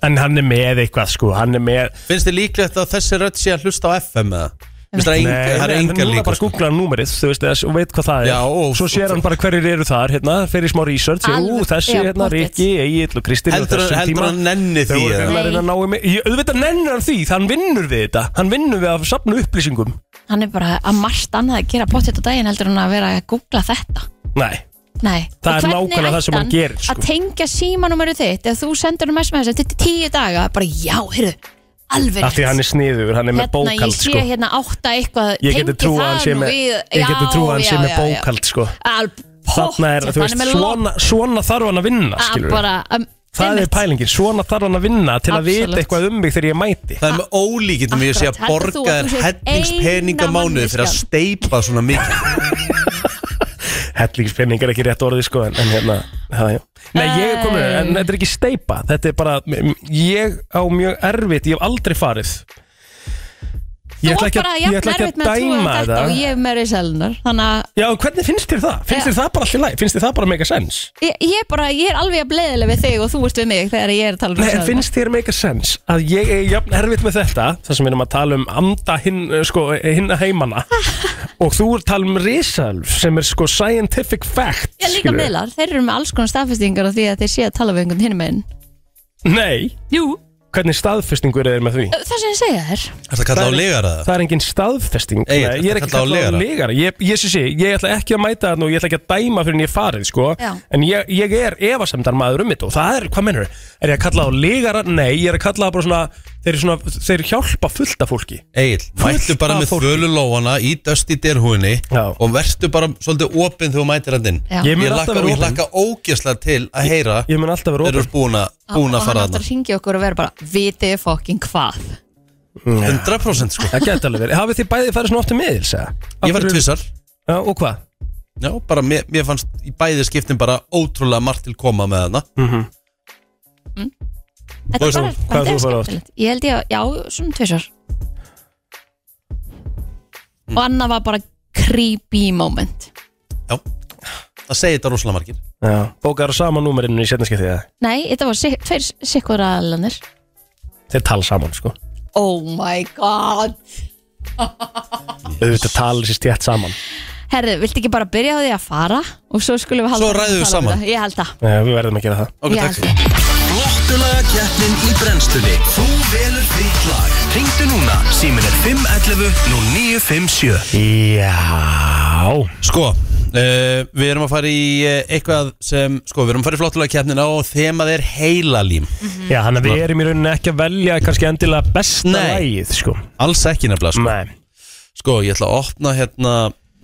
Speaker 5: En hann er með eitthvað sko, hann er með
Speaker 4: Finnst þið líklegt að þessi rödd sé að hlusta á FM eða? Finnst það enga,
Speaker 5: Nei,
Speaker 4: það er
Speaker 5: nei, en
Speaker 4: enga
Speaker 5: núna
Speaker 4: líka sko.
Speaker 5: bara googlar númerið, þú veist, eða- og veit hvað það er
Speaker 4: Já, sko, og-
Speaker 5: Svo sér hann bara hverjir eru þar, hérna, fer í smá research Jú,
Speaker 3: Alveg-
Speaker 5: þessi,
Speaker 3: já,
Speaker 5: hérna,
Speaker 3: pottþétt.
Speaker 5: Rikki, Egil og Kristín á
Speaker 4: Heldur,
Speaker 5: þessum
Speaker 4: hann- heldur
Speaker 5: tíma.
Speaker 4: hann nenni
Speaker 5: Þau
Speaker 4: því
Speaker 5: voru
Speaker 4: eða?
Speaker 5: hérna að reyna að ná í mig Ég- Auðvitað nennir hann því, hann vinnur við þetta Hann vinnur við að sapna upplýsingum
Speaker 3: Hann er bara að margt annað að gera pottet á daginn heldur hann að vera að googla þetta
Speaker 5: Nei,
Speaker 3: Nei,
Speaker 5: Það
Speaker 3: Og
Speaker 5: er
Speaker 3: hvernig
Speaker 5: nákvæmlega það sem
Speaker 3: ætti
Speaker 5: hann gerir, sko.
Speaker 3: Að tengja símanúmerið þitt, ef þú sendur um sms þetta er tíu daga, bara já, heyrðu Alveg
Speaker 5: af því hann er sniður, hann er með
Speaker 3: hérna ég
Speaker 5: bókald
Speaker 3: sé
Speaker 5: sko
Speaker 3: hérna átta eitthvað
Speaker 5: Ég geti
Speaker 3: tengi
Speaker 5: trú að
Speaker 3: það
Speaker 5: hann sé
Speaker 3: nú
Speaker 5: með
Speaker 3: við,
Speaker 5: Ég geti trú að hann sé með bókald sko
Speaker 3: alp
Speaker 5: Þarna er, þú veist, svona, svona þarf hann að vinna skilur
Speaker 3: bara um,
Speaker 5: Það er
Speaker 3: Einmitt.
Speaker 5: pælingin, svona þarf hann að vinna til að vita
Speaker 3: Absolutt.
Speaker 5: eitthvað um mig þegar ég mæti
Speaker 4: Það er með ólíkindum ég sé að
Speaker 3: Akkurat. Heldur þú
Speaker 4: borga
Speaker 3: að þú
Speaker 4: þér
Speaker 3: sért
Speaker 4: hellingspeninga
Speaker 3: eina
Speaker 4: mánuði fyrir að
Speaker 3: manneskjan?
Speaker 4: steipa svona mikið
Speaker 5: Hellingspenning er ekki rétt orðið sko En, en hérna, það já Nei, ég er komin, en þetta er ekki steipa Þetta er bara, m- m- ég á mjög erfitt Ég hef aldrei farið
Speaker 3: Þú
Speaker 5: Ég ætla
Speaker 3: átt
Speaker 5: ekki
Speaker 3: bara
Speaker 5: að,
Speaker 3: að
Speaker 5: ég
Speaker 3: jafna
Speaker 5: ætla ekki
Speaker 3: erfitt
Speaker 5: að
Speaker 3: með að trúa
Speaker 5: dæma
Speaker 3: þetta
Speaker 5: þetta
Speaker 3: og ég er meiri selunar Þannig að
Speaker 5: Já, hvernig finnst þér það? Finnst
Speaker 3: Já.
Speaker 5: þér það bara allir læg? Finnst þér það bara make a sense?
Speaker 3: ég, ég, er bara, ég er alveg að bleiðilega við þig og þú ert við mig þegar ég er að tala um
Speaker 5: Nei, en
Speaker 3: selurnar.
Speaker 5: finnst þér make a sense að ég er jafn erfitt með þetta þar sem við erum að tala um anda hinn, eh, sko, hinn heimana og þú er að tala um risalv sem er sko scientific fact
Speaker 3: Ég er líka
Speaker 5: skilurðu.
Speaker 3: miðlar, þeir eru með alls konar staðfestingar á því að þeir sé að tala við einhvern hinum einn
Speaker 5: Nei,
Speaker 3: Jú,
Speaker 5: hvernig staðfestingur er með því?
Speaker 3: það sem ég segja þér
Speaker 4: Er það kallað á legara það?
Speaker 5: Það er engin staðfesting
Speaker 4: Nei,
Speaker 5: Nei, Ég er ekki kallað á legara Ég, ég sé sé, ég ætla ekki að mæta þarna og ég ætla ekki að dæma fyrir en ég er farið sko.
Speaker 3: Já.
Speaker 5: En ég, ég er efasemdar maður um þetta Og það er, hvað mennur Er ég að kalla á legara? Nei, ég er að kalla bara svona Þeir, eru svona, þeir hjálpa fullt af fólki
Speaker 4: Egil, mættu
Speaker 5: af
Speaker 4: bara með
Speaker 5: fólki.
Speaker 4: þölulóana í dösti derhúinni
Speaker 5: Já.
Speaker 4: og verstu bara svolítið opinn þegar þú mætir hann inn
Speaker 3: Já.
Speaker 5: Ég mun
Speaker 4: Ég
Speaker 5: alltaf
Speaker 4: lakka,
Speaker 5: vera
Speaker 4: ég
Speaker 5: opinn.
Speaker 4: lakka ógæslega til að heyra
Speaker 5: Ég mun alltaf vera
Speaker 4: þeir
Speaker 5: opinn
Speaker 4: eru búin að búin að
Speaker 3: Og hann
Speaker 4: fara
Speaker 3: aftur
Speaker 4: þarna
Speaker 3: að ringja okkur og vera bara Vitið fokkin hvað
Speaker 4: 100% sko
Speaker 5: Það geti alveg verið. Hafið þið bæðið farið svona oft um miðils, eða?
Speaker 4: Ég var tvissar
Speaker 5: Já, og hvað?
Speaker 4: Já, bara mér, mér fannst í bæði skiptin bara ótrúlega margt til koma með hana
Speaker 5: Mhm.
Speaker 3: Þetta
Speaker 4: Hvað
Speaker 3: er bara,
Speaker 4: er þú-
Speaker 5: hvað er
Speaker 3: þetta
Speaker 5: þú
Speaker 3: er
Speaker 5: farið oft?
Speaker 3: skemmtilegt Ég held ég, að- já, svona tvisar Og annað var bara creepy moment
Speaker 4: Það segir þetta rosalega margir
Speaker 5: Já. Bókar á sama númerinu í setnarskiptið, eða?
Speaker 3: Nei, þetta var si- tveir sikkur aðalanir
Speaker 5: Þeir tala saman, sko.
Speaker 3: Oh my god
Speaker 5: Auðvitað tala sér stjætt saman.
Speaker 3: Herðu, viltu ekki bara byrja á því að fara og svo skulum við halda
Speaker 4: Svo
Speaker 3: áfram
Speaker 4: ræðum
Speaker 3: að
Speaker 4: við
Speaker 3: tala um
Speaker 4: saman.
Speaker 3: þetta. Ég held það
Speaker 5: Já, við verðum að gera það.
Speaker 4: Ok,
Speaker 3: Ég held
Speaker 4: takk
Speaker 3: það.
Speaker 2: Flottulaga keppnin í brennstunni Þú velur þitt lag Ringdu núna, símin er 511 nú 957
Speaker 5: Já.
Speaker 4: Sko, uh, við erum að fara í uh, eitthvað sem, sko, við erum að fara í flottulega keppnina og þemað er heilalím Sko.
Speaker 5: Já, þannig að við erum í rauninni ekki að velja kannski endilega besta
Speaker 4: Nei.
Speaker 5: lagið, sko.
Speaker 4: Alls ekki nefnilega, sko
Speaker 5: Nei.
Speaker 4: Sko, ég ætla að opna hérna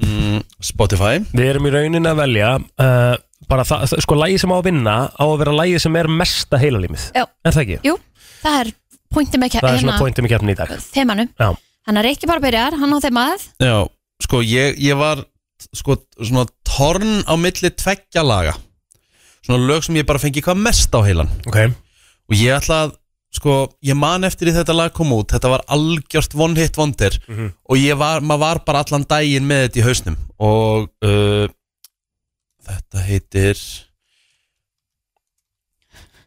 Speaker 4: mm, Spotify
Speaker 5: Við erum í rauninni að velja, uh, bara það, það- sko, lagið sem á að vinna á að vera lagið sem er mesta heilalímið.
Speaker 3: Já.
Speaker 5: Er það ekki?
Speaker 3: Jú, það er pointi með
Speaker 5: Það er svona
Speaker 3: hérna
Speaker 5: pointum í keppni í dag.
Speaker 3: þemanum
Speaker 5: Já.
Speaker 3: Hann er ekki bara byrjar, hann á þemað
Speaker 4: Já, sko, ég, ég var sko, svona torn á milli tveggja laga Svona lög sem ég bara fengi hvað mest á heilan
Speaker 5: Ok.
Speaker 4: Og ég ætla að, sko, ég man eftir í þetta lag kom út Þetta var algjört one hit wonder Og ég var, maður var bara allan daginn með þetta í hausnum Og uh, þetta heitir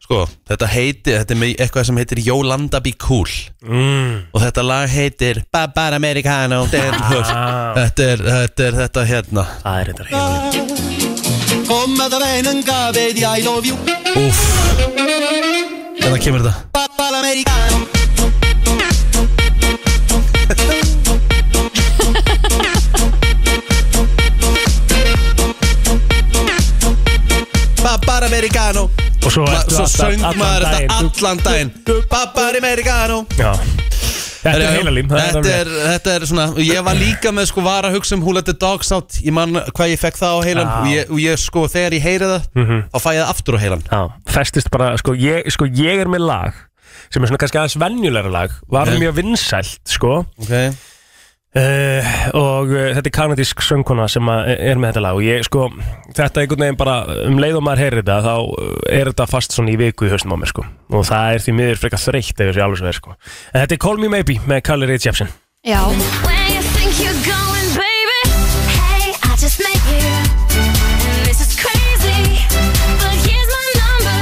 Speaker 4: Sko, þetta heitir, þetta er með eitthvað sem heitir Jólanda Be Cool
Speaker 5: Mm.
Speaker 4: Og þetta lag heitir Babar Americano Den Hurt
Speaker 5: Ah,
Speaker 4: Þetta er, þetta er þetta hérna
Speaker 5: það er þetta heilalímið.
Speaker 4: Úff Hérna kemur þetta Babar Americano
Speaker 5: Og svo,
Speaker 4: Ma-
Speaker 5: ertu
Speaker 4: Svo
Speaker 5: alltaf-
Speaker 4: söng
Speaker 5: allan
Speaker 4: maður
Speaker 5: daginn.
Speaker 4: þetta allan daginn Babar Americano
Speaker 5: Já Þetta
Speaker 4: Herra,
Speaker 5: er
Speaker 4: já,
Speaker 5: heilalím það
Speaker 4: þetta, er, þetta er svona Ég var líka með sko var að hugsa um Who Let The Dogs Out Ég man hvað ég fekk það á heilan
Speaker 5: Já. Mhm.
Speaker 4: og ég, og ég sko þegar ég heyri það Þá fæ ég það aftur á heilan
Speaker 5: Já, festist bara, sko ég, sko ég er með lag sem er svona kannski aðeins venjulegra lag var
Speaker 4: Ok.
Speaker 5: mjög vinsælt, sko
Speaker 4: okay.
Speaker 5: uh, og uh, þetta er kanadísk söngkona sem að er með þetta lag og ég, sko, þetta einhvern veginn bara um leið og maður heyrir þetta þá eh, er þetta fast svona í viku í haustum á mér, sko og það er því miður frekar þreytt ef þessi alveg svo er, sko en þetta er Call Me Maybe með Carly Rae Jepsen
Speaker 3: Já,
Speaker 8: Where you think you're going, baby? Hey, I just met you. And this is crazy. But here's my number.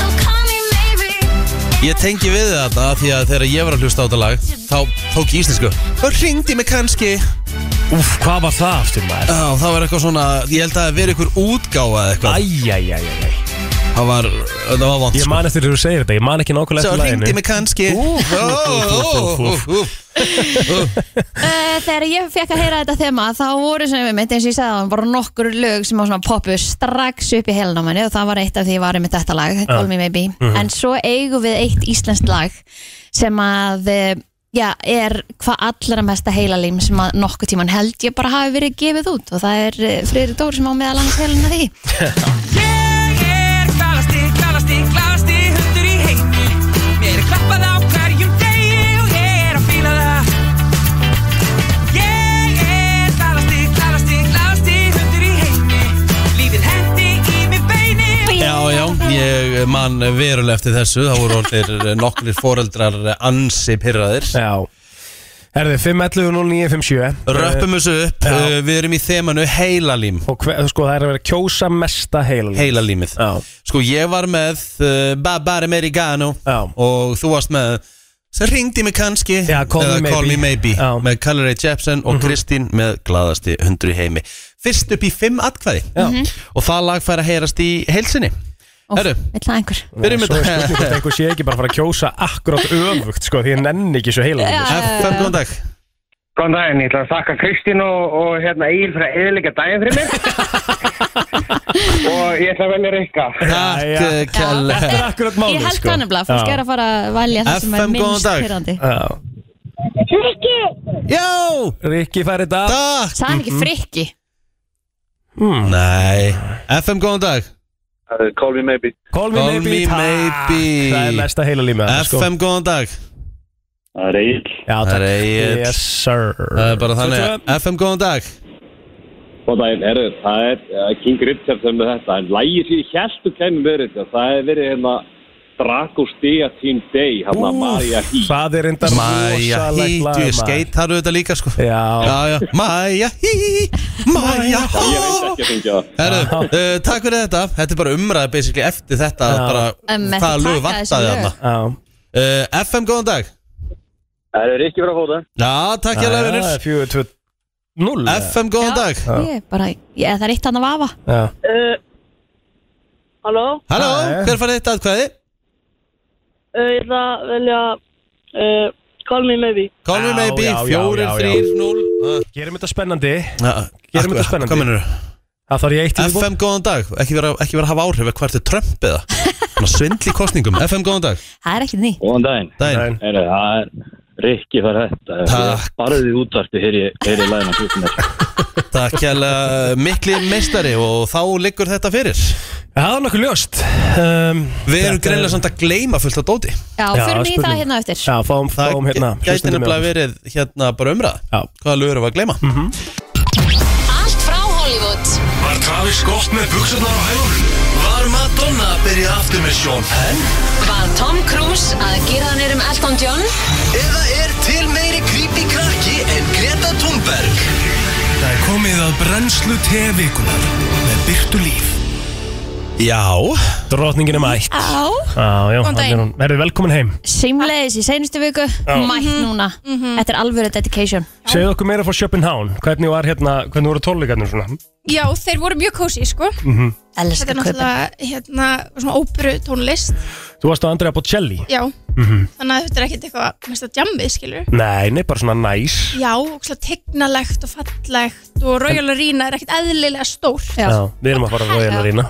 Speaker 8: So call me maybe.
Speaker 4: Ég tengi við þetta af því að þegar ég var að hlusta á þetta lag Þá tók ég íslensku Og ringdi mig kannski
Speaker 5: Úf, hvað var það aftur maður?
Speaker 4: Á, Það var eitthvað svona Ég held að það veri ykkur útgáfa eða eitthvað
Speaker 5: Æjæjæjæjæ
Speaker 4: Það var, það var sko. vant
Speaker 5: Ég man eftir þegar þú segir þetta, ég man ekki nákvæmlega
Speaker 4: Svo
Speaker 5: eftir laginu.
Speaker 4: ringdi mig kannski
Speaker 5: Úff,
Speaker 4: Ó,
Speaker 5: úff, úff, úff,
Speaker 4: ó, ó,
Speaker 5: úff.
Speaker 4: ó, ó.
Speaker 3: uh, þegar ég fekk að heyra þetta þema þá voru sem við mitt eins og ég sagði það bara nokkur lög sem á svona poppu strax upp í heilin á manni og það var eitt af því ég var með þetta lag, Call Me Maybe
Speaker 5: Mhm.
Speaker 3: en svo eigum við eitt íslenskt lag sem að eh, já, er hvað allra mesta heilalím sem að nokkuð tíman held ég bara hafi verið gefið út og það er eh, Friðri Dór sem á meðal annars heilina því
Speaker 9: Ég er galastík, galastík, galastík
Speaker 4: ég man verulega eftir þessu þá voru orðir nokkrir foreldrar ansi pyrraðir
Speaker 5: Já Herðu, 5.11.09.57
Speaker 4: Röppum þessu upp, uh, við erum í þemanu heilalím
Speaker 5: Og hver, sko, það er að vera að kjósa mesta heilalíf
Speaker 4: Heilalímið
Speaker 5: Já.
Speaker 4: Sko ég var með uh, Babar Americano
Speaker 5: Já.
Speaker 4: Og þú varst með Sem ringdi mig kannski
Speaker 5: Já, Call Me
Speaker 4: eða
Speaker 5: Maybe.
Speaker 4: Call Me Maybe
Speaker 5: Já. Mhm.
Speaker 4: Með Callary Jepsen og Kristín með Glaðasti hundru í heimi Fyrst upp í fimm atkvæði
Speaker 3: Mhm.
Speaker 4: Já. Og það lag fær að heyrast í heilsinni Herru,
Speaker 3: Vill það einhver
Speaker 4: byrjum
Speaker 5: Svo
Speaker 4: með
Speaker 5: er spurning hvort einhver sé ekki bara að fara að kjósa akkurát öfugt sko, því ég nenni ekki svo heilalíf
Speaker 4: FM, góðan dag
Speaker 9: Góðan daginn, ég ætla að þakka Kristín og, og hérna Egil fyrir að eðilega daginn fyrir mig og ég ætla að velja Rikka
Speaker 5: já.
Speaker 4: Takk, Kjell
Speaker 5: Það er akkurát málið
Speaker 3: Ég held
Speaker 5: sko.
Speaker 3: það nefnilega, fólk
Speaker 5: Já.
Speaker 3: er að fara að valja það sem er
Speaker 4: FM, góðan
Speaker 3: minnst
Speaker 4: dag.
Speaker 3: pyrrandi
Speaker 5: Já.
Speaker 4: Já,
Speaker 5: Rikki fær þetta
Speaker 4: takk
Speaker 3: Það er ekki frikki
Speaker 4: Hmm. Nei, FM, góðan dag
Speaker 10: Call me maybe
Speaker 5: Call me
Speaker 4: Call
Speaker 5: maybe,
Speaker 4: me
Speaker 5: takk.
Speaker 4: maybe.
Speaker 5: Það er mesta heilalíf með það sko.
Speaker 4: FM, góðan dag
Speaker 10: Það er Egil
Speaker 5: Já,
Speaker 4: Það er
Speaker 5: takk
Speaker 4: Egill.
Speaker 5: Yes sir
Speaker 4: Það er bara þannig
Speaker 5: 22.
Speaker 4: FM, góðan dag
Speaker 10: Góðan daginn, herru, það er uh, King Richard sem er þetta En lægi sem ég held um kemur verið þetta Það hefur verið hérna Dragos Dia Team Day Hanna Maria Hí
Speaker 5: Það er enda
Speaker 4: Maja
Speaker 5: rosalegt lag
Speaker 4: hít, ég
Speaker 5: maður.
Speaker 4: skeitaru þetta líka sko
Speaker 5: Já,
Speaker 4: Já, já, Maja hí, Maja
Speaker 10: Ég veit
Speaker 4: hó
Speaker 10: ekki að fengja það
Speaker 4: Herru, uh, takk fyrir þetta Þetta er bara umræði basically eftir þetta
Speaker 5: Já.
Speaker 4: bara,
Speaker 3: Um, eftir
Speaker 4: Hvaða lög
Speaker 3: taka
Speaker 4: vantaði
Speaker 3: þessi
Speaker 4: þarna
Speaker 3: lög.
Speaker 5: já
Speaker 4: uh, FM, góðan dag
Speaker 10: Það er Rikki frá fóta
Speaker 4: Já, takk hjá
Speaker 5: Það
Speaker 4: lögunir
Speaker 5: er 4-2-0
Speaker 4: FM, góðan dag
Speaker 3: Ég er bara, ég, það er eitt annað vafa
Speaker 5: Já
Speaker 11: Halló,
Speaker 4: Halló,
Speaker 5: Hæ.
Speaker 4: hver fann þetta aðkvæði?
Speaker 11: uh, ég ætla að velja uh, Call Me Maybe
Speaker 4: Call me
Speaker 5: Já,
Speaker 4: maybe,
Speaker 5: já, já,
Speaker 4: 4,
Speaker 5: já, já.
Speaker 4: 3, 0
Speaker 5: Gerum þetta spennandi Gerum
Speaker 4: Gerum
Speaker 5: þetta spennandi.
Speaker 4: Hvað mennur
Speaker 5: Það þarf ég eitt í viðbót.
Speaker 4: FM, góðan dag Ekki vera, ekki vera að hafa áhrif að hvert er Trump eða Svona Svindl í kostningum FM, góðan dag
Speaker 3: Það er ekki ný
Speaker 10: Góðan daginn
Speaker 4: Dæn
Speaker 10: Herru, það er Rikki fyrir þetta
Speaker 4: Takk.
Speaker 10: Barðið útvarti hér í, hér í lægina klukkan er.
Speaker 4: Takk hjá mikli meistari Og þá liggur þetta fyrir
Speaker 5: Já, Það er nokkuð ljóst um,
Speaker 4: Við erum
Speaker 5: þetta er-
Speaker 4: greinlega samt að gleyma fullt af dóti
Speaker 3: Já,
Speaker 5: Já,
Speaker 3: fyrir mig í það
Speaker 5: spurning.
Speaker 3: hérna á eftir
Speaker 5: Já, fáum,
Speaker 4: Það
Speaker 5: fáum hérna
Speaker 4: gæti
Speaker 5: hlustendum
Speaker 4: nefnilega
Speaker 5: með okkur.
Speaker 4: verið hérna bara umræða
Speaker 5: Já. Mhm.
Speaker 4: Hvaða lögur við að gleyma
Speaker 8: Allt frá Hollywood
Speaker 2: Var Travis gott með buksarnar á hælunum? Var Madonna að byrja aftur með Sean Penn?
Speaker 8: Var Tom Cruise að gera hann um Elton John
Speaker 2: Eða er til meiri creepy krakki en Greta Thunberg? Það er komið að brennslu tevikunar með Byrtu Líf.
Speaker 4: Já,
Speaker 5: Drottningin er mætt Já,
Speaker 3: Á,
Speaker 5: já,
Speaker 11: Góðan
Speaker 5: þannig
Speaker 11: daginn.
Speaker 5: er hún Verður velkomin heim
Speaker 3: seimleis í seinustu viku Mætt
Speaker 11: Mhm.
Speaker 3: núna Þetta er alvöru dedication
Speaker 5: Segðu okkur meira frá Schopenhán Hvernig var hérna, hvernig voru tónleikarnir svona
Speaker 11: Já, þeir voru mjög kósi, sko Þetta
Speaker 3: Elskar
Speaker 11: er
Speaker 3: kaupin
Speaker 11: náttúrulega hérna, svona óperu tónlist
Speaker 5: Þú varst á Andrea Bocelli
Speaker 11: Já, þannig að þetta er ekkert eitthvað mest að djambið, skilur
Speaker 5: Nei, nei, bara svona næs
Speaker 11: Já, og svona tegnalegt og fallegt og Royal Arena er ekkert eðlilega stór
Speaker 3: Já.
Speaker 5: Já, við erum að fara á Royal Arena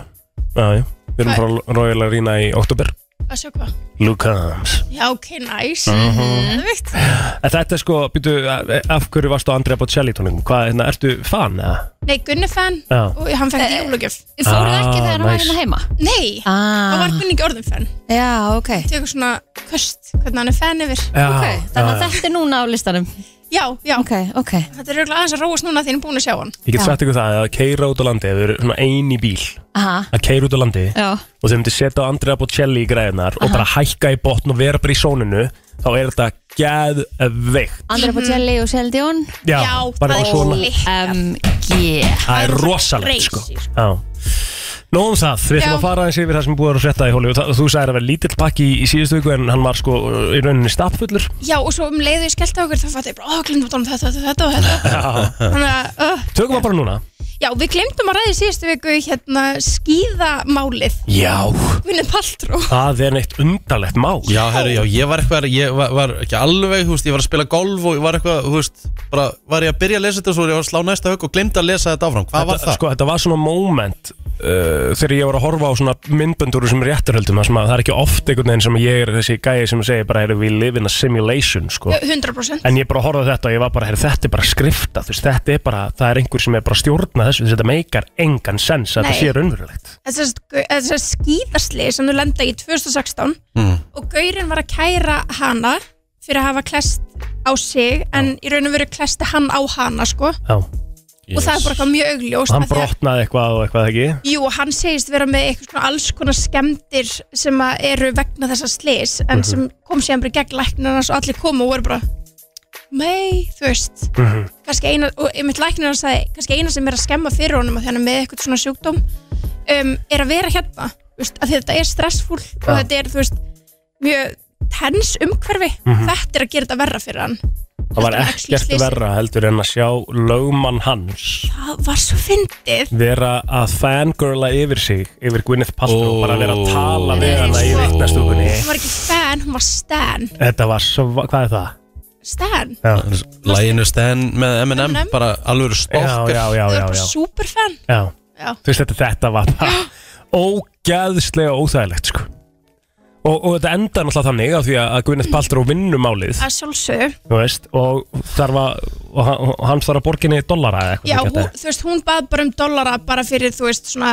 Speaker 5: Já, já, við erum að fara á Royal Arena í oktober
Speaker 11: að sjá hvað
Speaker 5: Luke Combs
Speaker 11: Já, ok, næs
Speaker 5: Mhm.
Speaker 11: Það veit
Speaker 5: En þetta er sko, býtu, af hverju varstu á Andrea Bocelli tónleikum? Hvað, hérna, ertu fan eða?
Speaker 11: Nei, Gunni fan
Speaker 5: Já.
Speaker 11: og hann fætti
Speaker 3: Eh,
Speaker 11: uh, jólugjöf
Speaker 3: Fóruð
Speaker 5: Ah,
Speaker 3: ekki þegar hann var
Speaker 5: nice.
Speaker 3: hérna heima
Speaker 11: Nei, þá var
Speaker 3: ah,
Speaker 11: Gunni ekki orðin fan
Speaker 3: Já, ok
Speaker 11: Tekur svona köst hvernig hann er fan yfir
Speaker 5: Já,
Speaker 3: Ok, þannig að
Speaker 5: já, já.
Speaker 3: þetta er núna á listanum
Speaker 11: Já, já,
Speaker 3: Ok, ok
Speaker 11: þetta er auðvitað aðeins að róast núna því hann er búin að sjá hann
Speaker 5: Ég get
Speaker 3: Já.
Speaker 5: sagt ykkur það að keira út á landi ef við erum svona ein í bíl
Speaker 3: Aha,
Speaker 5: að keira út á landi
Speaker 3: já
Speaker 5: og þau myndir setja á Andrea Bocelli í græðinar og bara hækka í botn og vera bara í sóninu þá er þetta geðveikt
Speaker 3: Andrea Bocelli og Celine Dion Um,
Speaker 5: Já, bara
Speaker 11: Mhm. það
Speaker 5: eitthvað
Speaker 11: er
Speaker 5: svona
Speaker 11: klikkað.
Speaker 3: MG
Speaker 5: Það er
Speaker 11: Það er
Speaker 5: rosalegt
Speaker 11: crazy,
Speaker 5: sko
Speaker 11: sko.
Speaker 5: Já Nóðum það, við ætlum
Speaker 11: Já.
Speaker 5: að fara aðeins yfir það sem búið að frétta í Hollywood Það- Þú sagðir að vera lítill pakki í, í síðustu viku en hann var sko í rauninni stappfullur
Speaker 11: Já, og svo um leiðu ég skellti á okkur þá fætti ég bara, ó, glemdum út á þetta, þetta, þetta og þetta
Speaker 5: Já.
Speaker 11: Þannig að, uh,
Speaker 5: Tökum það bara núna
Speaker 11: já, við glemdum að ræði síðustu viku hérna skíðamálið
Speaker 5: Já
Speaker 11: Vinnið Paltró
Speaker 5: Það er neitt undarlegt mál
Speaker 4: já, herru, já, ég var eitthvað, ég var, var ekki alveg, þú veist, ég var að spila golf og ég var eitthvað, þú veist, bara var ég að byrja að lesa þetta og svo var ég að slá næsta högg og glemd að lesa þetta áfram, hvað var
Speaker 5: Þetta,
Speaker 4: það?
Speaker 5: sko, þetta var svona moment uh, þegar ég var að horfa á svona myndböndur sem réttarhöldum, það sem að það er ekki oft einhvern veginn sem að ég er þessi gæi sem segir bara erum við live in a simulation sko.
Speaker 11: 100%
Speaker 5: en ég bara horfði á þetta og ég var bara, heyrðu, þetta er bara skrifta þú veist, þetta er bara, það er einhver sem er bara að stjórna þessu, þetta meikar engan sens að
Speaker 11: Nei.
Speaker 5: þetta sé raunverulegt
Speaker 11: Þetta er þess að skíðasli sem þú lenda í 2016 og Gaurin var að kæra hana fyrir að hafa klest á sig en í raun og veru klesti hann á hana sko
Speaker 5: Já,
Speaker 11: og það er bara eitthvað mjög augljóst
Speaker 5: Hann
Speaker 11: af því að-
Speaker 5: brotnaði eitthvað og eitthvað ekki
Speaker 11: Jú, og hann segist vera með eitthvað svona alls konar skemmdir sem að eru vegna þessa slis en
Speaker 5: Mhm.
Speaker 11: sem kom síðan bara í gegn læknarnas og allir komu og voru bara mei, þú veist
Speaker 5: Mhm.
Speaker 11: kannski eina, og einmitt læknir hann sagði kannski eina sem er að skemma fyrir honum að hann er með eitthvað svona sjúkdóm um, er að vera hérna, þú veist, að þetta er stressfúl og
Speaker 5: Já.
Speaker 11: þetta er, þú veist, mjög tens umhverfi,
Speaker 5: Mhm.
Speaker 11: þetta er að gera þetta verra fyrir hann
Speaker 5: Það var
Speaker 11: Þetta var
Speaker 5: ekkert
Speaker 11: actually slysið.
Speaker 5: verra heldur en að sjá lögmann hans
Speaker 11: það var svo fyndið
Speaker 5: vera að fangirla yfir sig yfir Gwyneth Paltrow, bara vera að tala við hana í vittnastúkunni
Speaker 11: hún var ekki fan, hún var stan
Speaker 5: Þetta var svo, hvað er það?
Speaker 11: stan,
Speaker 4: Læginu Stan með M&M
Speaker 11: M&M.
Speaker 4: Bara alvöru
Speaker 5: Já,
Speaker 4: stokkar
Speaker 5: já, já, já, já.
Speaker 11: superfan
Speaker 5: Já,
Speaker 11: Já.
Speaker 5: þú veist þetta, þetta var bara ógæðslega óþægilegt sko Og, og þetta endar náttúrulega þannig á því að að Gwyneth Paltrow vinnur málið
Speaker 11: að sjálfsögðu
Speaker 5: þú veist, og, þarf að, og, hann, og hann þarf að borginni dollara eða
Speaker 11: Já,
Speaker 5: eitthvað
Speaker 11: hún, þú veist, hún bað bara um dollara bara fyrir, þú veist, svona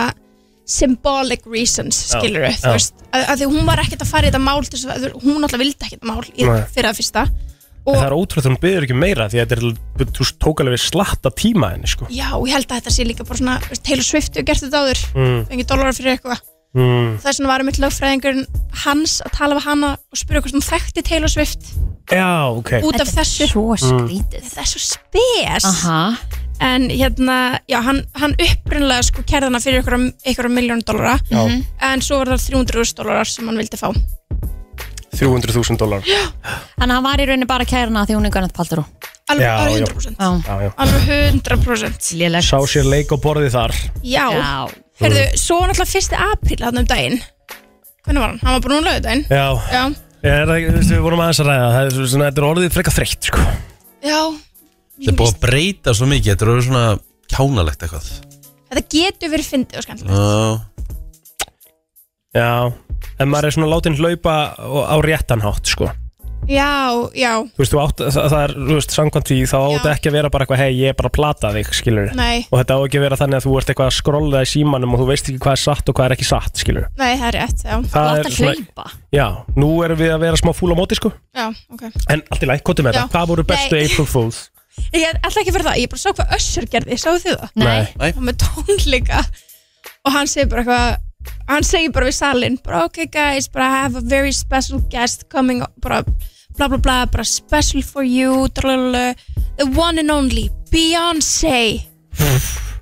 Speaker 11: symbolic reasons,
Speaker 5: Já,
Speaker 11: skilur við,
Speaker 5: já.
Speaker 11: þú veist að, að því hún var ekkert að fara í þetta mál til þess að, þú- hún alltaf vildi ekkert mál í,
Speaker 5: Nei.
Speaker 11: fyrir það fyrsta
Speaker 5: En það er ótrúlega hún byður ekki um meira því að þetta er, þú veist, tók alveg slatta tíma henni sko.
Speaker 11: Já, ég held að þetta sé líka bara svona þú veist, Taylor Swift hefur gert þetta áður
Speaker 5: Mm.
Speaker 11: fengið dollara fyrir eitthvað
Speaker 5: mm.
Speaker 11: þess vegna var einmitt lögfræðingurinn hans að tala við hana og spyrja hvort hún þekkti Taylor Swift
Speaker 5: Já, ok
Speaker 11: út af þessu
Speaker 3: svo
Speaker 5: Mm.
Speaker 11: skrítið Þetta er svo spes Aha. En hérna, já, hann, hann upprunlega sko kærðana fyrir einhverja, einhverja miljónu dólara
Speaker 5: Já.
Speaker 11: en svo var það 300.000 dólarar sem hann vildi fá
Speaker 5: 300.000 dólar
Speaker 3: Þannig að hann var í rauninni bara kærna því hún er Gwyneth Paltrow
Speaker 11: Alveg,
Speaker 5: Já,
Speaker 11: alveg
Speaker 5: já.
Speaker 11: 100%
Speaker 3: Já.
Speaker 5: Já, já.
Speaker 11: Alveg 100%
Speaker 3: Lélegt
Speaker 5: Sá sér leik og borði þar
Speaker 11: Já,
Speaker 5: Já.
Speaker 11: Heyrðu, svo var náttúrulega 1. apríl hann um daginn Hvernig var hann? Hann var bara núna lögudaginn
Speaker 5: Já,
Speaker 11: Já,
Speaker 5: Ég er, það- þú veist, við vorum aðeins að ræða það er svo- svona, Þetta er orðið frekar þreytt sko.
Speaker 11: já
Speaker 4: Þetta er búið að breyta svo mikið Þetta er orðið svona kjánalegt eitthvað
Speaker 11: Þetta getur verið fyndið og skemmtilegt
Speaker 4: Já
Speaker 5: Já, en maður er svona látin hlaupa á- á réttan hátt sko.
Speaker 11: Já, já,
Speaker 5: Þú veist, þú átt, það, það er, þú veist, samkvæmt því þá átt ekki að vera bara eitthvað, hei, ég er bara að plata þig, skilur
Speaker 11: Nei.
Speaker 5: Og þetta á ekki að vera þannig að þú ert eitthvað að skrolla í símanum og þú veist ekki hvað er satt og hvað er ekki satt, skilur
Speaker 11: nei, það er rétt já.
Speaker 5: Það er svona- Já, nú erum við að vera smá fúl á móti, sko
Speaker 11: Já, ok
Speaker 5: En allt í læk, kóttum með
Speaker 11: Já.
Speaker 5: þetta, hvað voru bestu
Speaker 11: Nei.
Speaker 5: April Fools?
Speaker 11: Ég ætla ekki fyrir það, ég bara sá hvað Össur gerði, sáu þið það?
Speaker 5: Nei. Nei.
Speaker 11: Hann með tónleika og hann segir bara eitthvað, hann segir bara við salin, bara ok guys, bara I have a very special guest coming, bara bla bla bla, bara special for you, drlululu, the one and only, Beyoncé.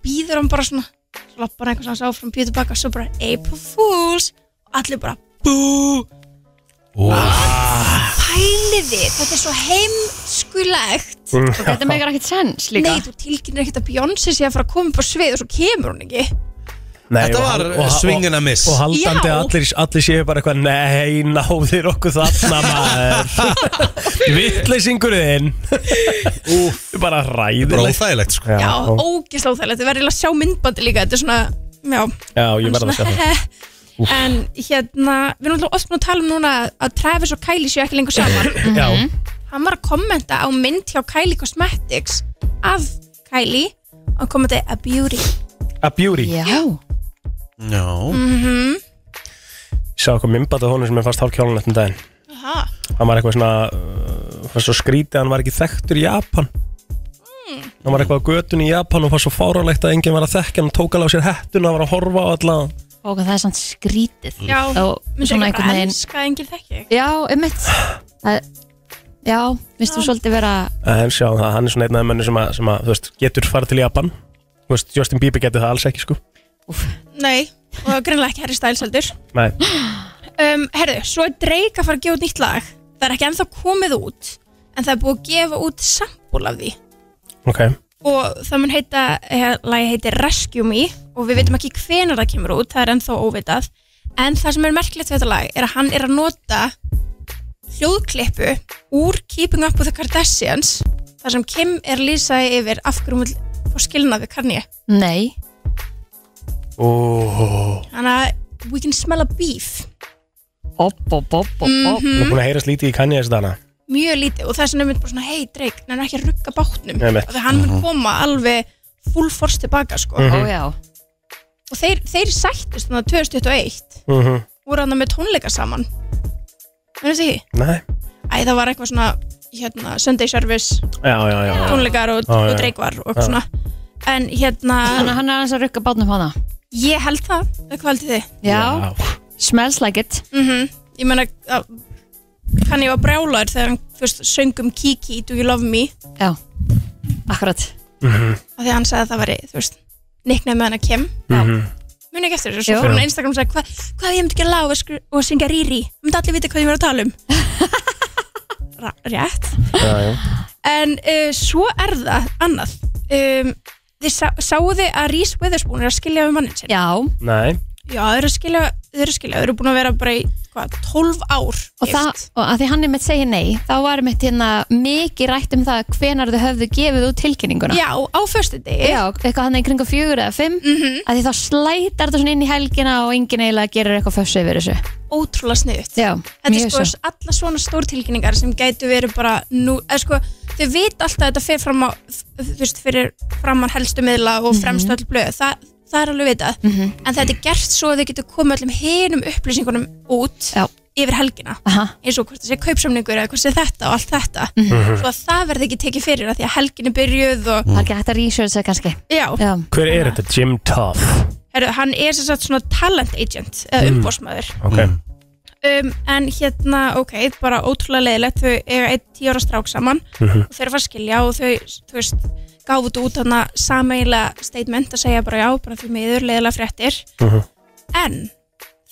Speaker 11: Býður hann bara svona, svo lappar hann eitthvað svona áfram, býður tilbaka, svo bara April Fools, og allir bara bú. Pæliði, þetta er svo heimskulegt.
Speaker 5: Mhm.
Speaker 3: Og þetta megar ekkert sens líka
Speaker 11: Nei, þú tilkynir ekkert að Beyoncé sé að fara að koma upp á svið og svo kemur hún ekki
Speaker 5: Nei,
Speaker 4: Þetta
Speaker 5: og
Speaker 4: var
Speaker 5: hal- og ha-
Speaker 4: swingin' a
Speaker 5: og-
Speaker 4: miss.
Speaker 5: Og haldandi
Speaker 11: Já.
Speaker 5: að allir, allir séu bara eitthvað Nei, náðir okkur þarna maður Vittleysingurin Þú bara ræðilegt
Speaker 4: Bara óþægilegt,
Speaker 5: sko
Speaker 11: Já, ógislega óþægilegt, þetta verður eiginlega að sjá myndbandi líka Þetta er svona, já
Speaker 5: Já, ég verð að sjá það
Speaker 11: það En hérna, við erum alltaf oft búin að tala um núna að Travis og Kylie séu ekki lengur saman Mhm.
Speaker 5: Já.
Speaker 11: Hann var að kommenta á mynd hjá Kylie Cosmetics af Kylie og hann kommentaði a beauty
Speaker 5: A Beauty
Speaker 11: Já
Speaker 4: Já
Speaker 11: Mhm.
Speaker 5: Sá eitthvað mymbat af honum sem ég fannst hálfkjólun eftir daginn
Speaker 11: Aha.
Speaker 5: Hann var eitthvað svona uh, Fannst svo skrítið, að hann var ekki þekktur í Japan
Speaker 11: Hmm.
Speaker 5: Hann var eitthvað á götun í Japan og fannst svo fárálegt að enginn var að þekka hann tók alveg á sér hettun að var að horfa á alla
Speaker 3: Og það er svona skrítið
Speaker 11: Já,
Speaker 3: og
Speaker 11: myndi
Speaker 3: svona
Speaker 11: ekki bara
Speaker 3: einhvern veginn
Speaker 11: elska að enginn þekki
Speaker 3: Já, einmitt Það- Já, minnst þú svolítið vera
Speaker 5: En sjá, það, hann er svona einn af menni sem, að, sem að, þú veist, getur farið til Japan Þú veist, Justin Bieber getur það alls ekki sko
Speaker 11: Nei, og greinlega ekki Harry Styles heldur
Speaker 5: Nei,
Speaker 11: um, Herðu, svo er Drake að fara að gefa út nýtt lag Það er ekki ennþá komið út En það er búið að gefa út sambúl af því
Speaker 5: ok
Speaker 11: Og það mun heita eh, Lagi heitir Rescue Me Og við veitum ekki hvenar það kemur út Það er ennþá óvitað En það sem er merkilegt við þetta lag Er að hann er að nota hljóðklippu Úr Keeping Up with the Kardashians þar sem Kim er að lýsa yfir Af hverju hún vil fá skilnað við Kanye
Speaker 3: Nei
Speaker 5: Ó
Speaker 11: Þannig að we can smell a beef Mhm.
Speaker 3: Opp, opp, opp, opp
Speaker 5: Þú er búin að heyra slítið í kanni þessi dana
Speaker 11: mjög lítið og það er svona einmitt bara svona hei Drake, hann er ekki að rugga bátnum
Speaker 5: Einmitt.
Speaker 11: og hann mun
Speaker 5: Mhm.
Speaker 11: koma alveg full force tilbaka sko
Speaker 5: Mhm. Ó, já.
Speaker 11: og þeir, þeir sættist þannig 2021
Speaker 5: mm -hmm.
Speaker 11: voru hann með tónleika saman verður þið því?
Speaker 5: Nei
Speaker 11: Æ, það var eitthvað svona hérna, Sunday Service
Speaker 5: Já, já, já, já
Speaker 11: tónleikar og,
Speaker 5: Já, já, já.
Speaker 11: og Drake var og
Speaker 5: Já.
Speaker 11: svona en hérna
Speaker 3: Þannig að hann er aðeins að rukka bátnum hana
Speaker 11: ég held það, það kvaldið þið
Speaker 3: Já, smells like it
Speaker 11: mm ég meina að- hann ég var brjálar þegar hann fyrst söngum um Kiki, Do You Love Me
Speaker 3: Já, akkurat
Speaker 5: Mhm.
Speaker 11: af því að hann sagði að það væri, þú veist nickname með hann að Kim
Speaker 5: Mhm.
Speaker 11: muni ekki eftir þessu, svo
Speaker 3: Jú.
Speaker 11: fór hann á Instagram og sagði "Hva- hvað ef ég myndi ekki að lága og skr- og syngja Riri það myndi allir vita hvað ég verið að tala um Ra- rétt en uh, svo er það annað um, þið sá, sáu þið að Reese Witherspoon er að skilja við mannin sinn
Speaker 3: já,
Speaker 5: Nei
Speaker 11: já þau eru að skilja, þau eru að skilja þau eru búin að vera bara í, hvað, 12 ár
Speaker 3: og, það, og að því hann er mitt segja nei þá var mitt hérna mikið rætt um það hvenar þau höfðu gefið út tilkynninguna
Speaker 11: Já, á Mhm. föstu degi
Speaker 3: Já, eitthvað hann í kringa fjögur eða fimm að því þá slætar þetta svona inn í helgina og engin eiginlega gerir eitthvað fössu yfir þessu
Speaker 11: ótrúlega sniðut
Speaker 3: Já,
Speaker 11: þetta
Speaker 3: mjög
Speaker 11: er sko
Speaker 3: svo
Speaker 11: alla svona stórtilkynningar sem gætu verið bara nú, eða sko, þau vit alltaf að þetta fer fram á, þú veist, fyrir framar helstu miðla og fremstu öll blöð Þa, það er alveg vitað,
Speaker 3: Mhm.
Speaker 11: en þetta er gert svo að þau getur komið öllum hinum upplýsingunum út
Speaker 3: Já.
Speaker 11: yfir helgina
Speaker 3: Aha.
Speaker 11: eins og hvort það sé kaupsamningur eða hvort það sé þetta og allt þetta
Speaker 5: Mhm.
Speaker 11: svo að það verði ekki tekið fyrir að því að helgin er byrjuð og
Speaker 3: Það er ekki hægt að researcha kannski
Speaker 11: Já,
Speaker 3: Já,
Speaker 5: Hver er þetta? Jim Tough
Speaker 11: Heru, hann er sem sagt svona talent agent eða
Speaker 5: Mm.
Speaker 11: umbósmaður
Speaker 5: Ok
Speaker 11: um, en hérna, ok, bara ótrúlega leiðilegt þau eiga einn tíu ára strák saman
Speaker 5: Mhm.
Speaker 11: og þau eru að fara að skilja og þau, þú veist, gáfu þetta út hana sameiginlega statement að segja bara já, bara því miður, leiðilega fréttir
Speaker 5: Mhm.
Speaker 11: en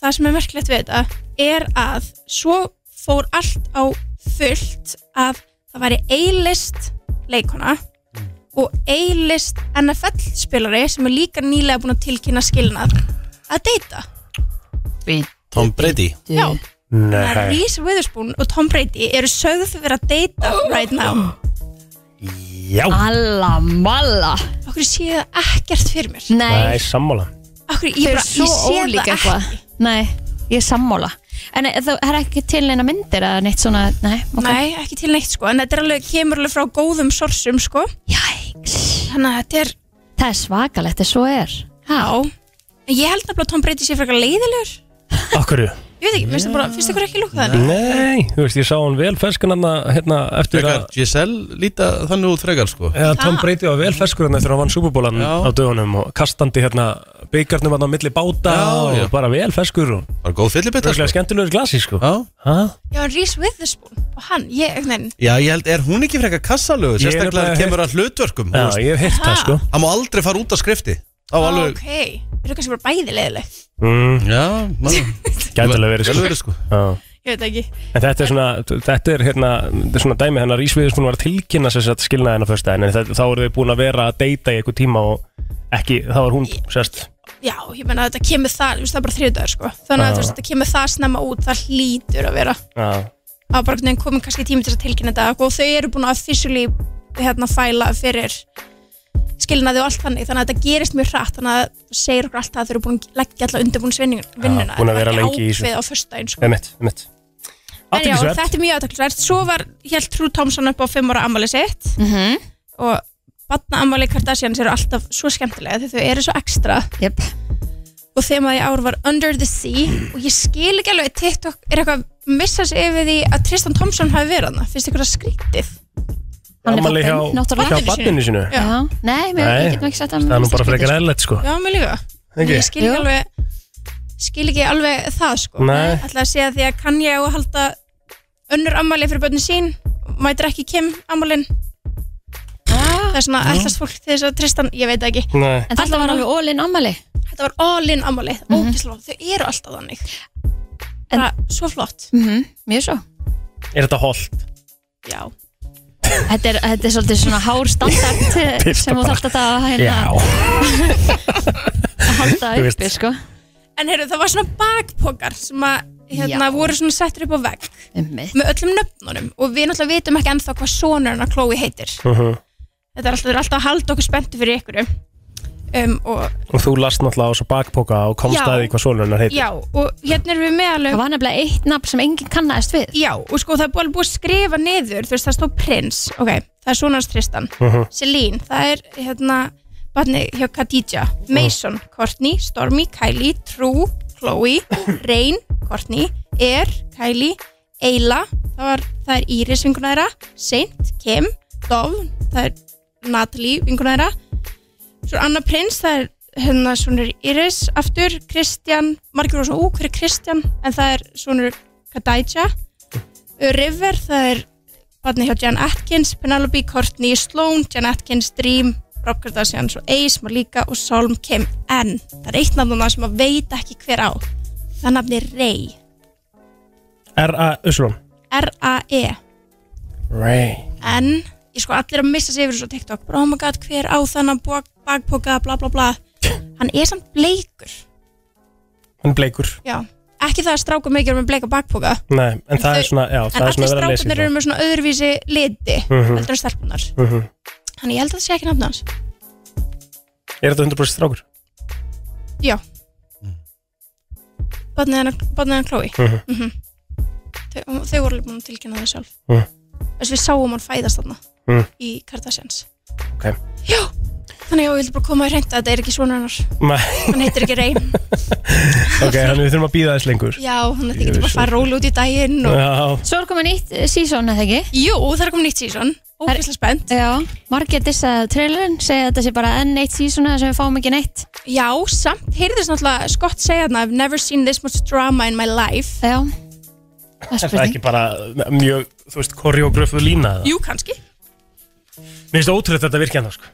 Speaker 11: það sem er merkilegt við þetta er að svo fór allt á fullt að það væri eilist leikona og eilist NFL-spilari sem er líka nýlega búin að tilkynna skilnað að deyta
Speaker 4: Tom Brady
Speaker 11: Já, Þannig að
Speaker 5: Nei
Speaker 11: Reese Witherspoon og Tom Brady eru sögðu fyrir að vera að deyta right now
Speaker 5: Já
Speaker 3: alla malla
Speaker 11: Okkur sé það ekkert fyrir mér
Speaker 5: Nei, sammála
Speaker 11: Okkur,
Speaker 3: Þau
Speaker 11: ég,
Speaker 3: eru
Speaker 11: bara,
Speaker 3: svo
Speaker 11: ég sé
Speaker 3: ólík
Speaker 11: það
Speaker 3: eitthvað
Speaker 11: ekki
Speaker 3: Nei, ég er sammála En e- það er ekki til neina myndir eða neitt svona Nei, ok
Speaker 11: Nei, ekki til neitt sko En þetta er alveg, kemur alveg frá góðum sorsum sko Jæks Þannig að þetta er,
Speaker 3: Það er svakalegt, þess svo er
Speaker 11: já En Ég held nefnilega að Tom Brady sé frekar leiðilegur
Speaker 5: Akkur
Speaker 11: Ég veit ekki, yeah. bara, finnst ykkur ekki lúka þannig?
Speaker 5: Nei, þú veist, ég sá hann vel ferskan hann hérna eftir
Speaker 4: Frekar,
Speaker 5: að
Speaker 4: Giselle líta þannig út frekar sko
Speaker 5: Já, Tom Brady var vel ferskur hann eftir að hann vann súbúbólan
Speaker 4: Já.
Speaker 5: á dögunum og kastandi hérna byggarnum hann á milli báta og
Speaker 4: já.
Speaker 5: bara vel ferskur og
Speaker 4: Bara góð fyllibita
Speaker 5: Röglega skemmtilegur glasi sko
Speaker 4: Já.
Speaker 11: Já, en Reese Witherspoon og hann, ég, nein
Speaker 4: Já, ég held, er hún ekki frekar kassalögu
Speaker 5: Ég er
Speaker 4: Sérstaklega
Speaker 5: nefnilega
Speaker 4: þegar kemur að hlutverkum
Speaker 5: Já, ég hef heyrt það sko
Speaker 4: Það má aldrei fara út af skrifti Á alveg
Speaker 11: Ok, eru kannski bara bæði leiðileg
Speaker 5: mm,
Speaker 4: Já, mann
Speaker 5: Gæti alveg verið
Speaker 4: Gæti verið,
Speaker 5: sko
Speaker 4: sko.
Speaker 5: Já.
Speaker 11: Ég veit ekki
Speaker 5: En þetta er svona, þetta er hérna þetta er svona dæmi hennar Ísviðis hún var að tilkynna sér að skilna hennar fyrst en þetta, þá eru þau búin að vera að deyta í eitthvað tíma og ekki, þá var hún sérst
Speaker 11: Já, ég menna að þetta kemur það, þú veist, það er bara þriðdagur sko Þannig að
Speaker 5: Já.
Speaker 11: þú veist, þetta kemur það snemma út, það hlýtur að vera
Speaker 5: Já,
Speaker 11: að bara einhvern veginn komið kannski tími til þess að tilkynna þetta og þau eru búin að officially hérna fæla fyrir skilnaði og allt þannig þannig að þetta gerist mjög hratt þannig að það segir okkur alltaf að þau eru búin að leggja alltaf undirbúins vinnuna
Speaker 5: búin að vera lengi í þessu.
Speaker 11: ákveð á föstudaginn sko.
Speaker 5: emitt, emitt
Speaker 11: en já,
Speaker 5: Athyglisvert.
Speaker 11: þetta er mjög aðtaklisvert svo var helt Trú Thompson upp á 5 ára ammali sitt -hmm. og batna ammali Kardashians eru alltaf svo skemmtilega því þau eru svo ekstra
Speaker 3: Jöp
Speaker 11: og þegar í ár var Under the Sea og ég skil ekki alveg að TikTok er eitthvað að missa sig yfir því að Tristan Thompson hafi verið hana, finnst ykkur það skrítið
Speaker 3: Hann er
Speaker 5: Afmæli
Speaker 3: barninn,
Speaker 5: hjá-
Speaker 3: náttúrulega.
Speaker 5: hjá barninu sínu
Speaker 11: Já.
Speaker 3: Já, nei, mér,
Speaker 5: Nei,
Speaker 3: ég getum ekki sagt að
Speaker 5: Það er nú bara
Speaker 3: skrítið,
Speaker 5: frekar
Speaker 3: sko.
Speaker 5: eðlert sko
Speaker 11: Já, mér líka
Speaker 5: Ekki?
Speaker 11: Ég skil
Speaker 3: Jú.
Speaker 11: ekki alveg skil ekki alveg það sko
Speaker 5: Nei.
Speaker 11: Ætla að segja því að kann ég á að halda önnur ammali fyrir börnin sín mætir ekki Kim ammalin Það er svona ætlast fólk til þess að Tristan, ég veit það ekki
Speaker 5: Ah. Nei,
Speaker 3: Ah. En þetta var alveg ólinn ammali
Speaker 11: Þetta var all in ammali, mm ógislega þau eru alltaf þannig
Speaker 3: En-
Speaker 11: Bara svo flott
Speaker 3: mm Mjög svo
Speaker 5: er þetta holdt?
Speaker 11: Já,
Speaker 3: Þetta er, þetta er svolítið svona hár standard eh, sem þú þarft að það hérna, að halda
Speaker 5: Þú
Speaker 3: uppi
Speaker 5: veist.
Speaker 3: sko.
Speaker 11: En heyrðu, það var svona bakpokar sem að hérna,
Speaker 3: Já.
Speaker 11: voru svona settur upp á vegg
Speaker 3: Einmitt.
Speaker 11: með öllum nöfnunum og við náttúrulega vitum ekki ennþá hvað sonur hennar Chloe heitir.
Speaker 5: Mhm.
Speaker 11: Þetta er alltaf, þau eru alltaf að halda okkur spenntu fyrir ykkur. Um, og,
Speaker 5: Og þú last náttúrulega á svo bakpoka og komst
Speaker 11: Já.
Speaker 5: að því hvað solunar heitir
Speaker 11: já, og hérna erum við með alveg...
Speaker 3: Það var nefnilega eitt nafn sem enginn kannaðist við
Speaker 11: Já, og sko það er búið alveg búið að skrifa niður, þú veist, það stóð prins, ok, það er svona hans Tristan.
Speaker 5: Mhm.
Speaker 11: Celine, það er hérna barni hjá Khadija, Mason, Courtney, Stormy, Kylie, True, Chloe, Rain, Courtney, Air, Kylie, Eila, það, var, það er Iris vingunæra, Saint, Kim, Dove, það er Natalie vingunæra, Svo annar prins, það er hérna svonur Iris aftur, Kristjan, margir og svo, ú, hver er Kristjan? En það er svonur Kadaja. River, það er barni hjá Jan Atkins, Penelope, Courtney, Sloan, Jan Atkins, Dream, Rob Kardashian, svo Ace, Malika og Solm Kim. En það er eitt nafn núna sem að veit ekki hver á. Það nafni er Rey,
Speaker 5: R.A. Uslum
Speaker 11: R-A-E.
Speaker 5: Ray
Speaker 11: en E ég sko allir að missa sig yfir þessu á TikTok bara oh my god hver á þannan bók, bakpoka bla bla bla hann er samt bleikur
Speaker 5: Hann er bleikur
Speaker 11: já. ekki það að stráka mikið með bleika bakpoka
Speaker 5: Nei, en, það er svona, já,
Speaker 11: en
Speaker 5: það er
Speaker 11: allir
Speaker 5: svona verið að leysa
Speaker 11: strákunar eru með svona öðruvísi liti
Speaker 5: Mhm.
Speaker 11: heldur en stelpunar
Speaker 5: mm
Speaker 11: hann ég held að það sé ekki nafn hans
Speaker 5: Er þetta 100% strákur?
Speaker 11: já barnið hann Chloe
Speaker 5: Mhm.
Speaker 11: mm -hmm. þau, þau voru alveg búin að tilkynna það sjálf
Speaker 5: Mhm.
Speaker 11: þess við sáum hann fæðast þarna
Speaker 5: Mhm.
Speaker 11: í Kardashians
Speaker 5: Ok
Speaker 11: já, þannig já, ég vildi bara koma í reynd að þetta er ekki svona hennar
Speaker 5: Nei,
Speaker 11: hann heitir ekki Rey
Speaker 5: Ok, þannig við þurfum að býða þess lengur
Speaker 11: Já, þannig að þið
Speaker 5: Ég
Speaker 11: getur bara
Speaker 5: vissi
Speaker 11: að fara róla út í daginn og...
Speaker 5: Já.
Speaker 3: Svo er komið nýtt eh, sísón, eða ekki?
Speaker 11: Jú, það er komið nýtt sísón Ógæslega spennt
Speaker 3: Já, margir dissaði trailerinn segja að þetta sé bara enn eitt sísón sem við fáum ekki neitt
Speaker 11: Já, samt heyrðist náttúrulega Scott segja þarna I've never seen this much drama in my life
Speaker 3: Já,
Speaker 5: Er það ekki bara mjög, þú veist, koreografu lína eða?
Speaker 11: Jú, kannski
Speaker 5: Mér finnst ótrúlega þetta virkja hann sko.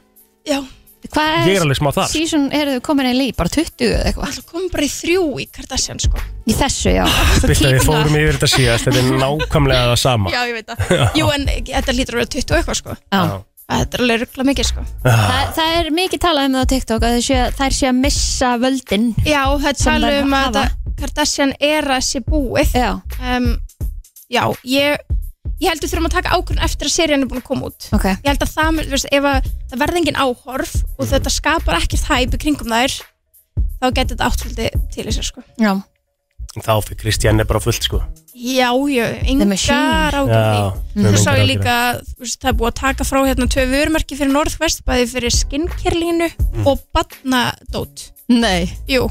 Speaker 11: Já
Speaker 3: Hvað
Speaker 5: Ég er alveg smá þar.
Speaker 3: Sísón eru þau komin eða í, bara 20 eða eitthvað
Speaker 11: Það komið bara í þrjú í Kardashian sko
Speaker 3: Í þessu, já Svo
Speaker 5: Birta, við
Speaker 3: típuna.
Speaker 5: fórum yfir þetta síðast Þetta er nákvæmlega það sama
Speaker 11: Já, ég veit það Jú, en þetta lítur að vera 20 og eitthvað sko
Speaker 5: Já.
Speaker 11: Þetta er alveg ruggla mikið sko
Speaker 5: Ah.
Speaker 3: Það, það er mikið talað um það á TikTok að þær sé, þær sé að missa völdin
Speaker 11: Já, það er
Speaker 3: Sem
Speaker 11: talað
Speaker 3: þær
Speaker 11: um að
Speaker 3: hafa.
Speaker 11: þetta Kardashian era sé búið
Speaker 3: Já,
Speaker 11: um, já ég, ég held við þurfum að taka ákvörðun eftir að serían er búin að koma út
Speaker 3: Ok.
Speaker 11: ég held að það, mun- þú veist, ef að, það verði engin áhorf
Speaker 5: Mhm.
Speaker 11: og þetta skapar ekkert hæp í kringum þær þá getur þetta áttvöldi til þess sko.
Speaker 3: já
Speaker 5: Þá fyrir Kristján er bara fullt sko.
Speaker 11: já, já,
Speaker 3: Machine.
Speaker 11: engar
Speaker 5: Já,
Speaker 11: ágjörði
Speaker 5: við höfum engar
Speaker 11: þú Mhm. sá
Speaker 5: áhyggjur.
Speaker 11: ég líka, þú veist, það er búið að taka frá hérna tvei vörumarki fyrir Northwest bæði fyrir skinnkerlínu
Speaker 5: Mhm.
Speaker 11: og badnadót
Speaker 3: Nei
Speaker 11: Jú,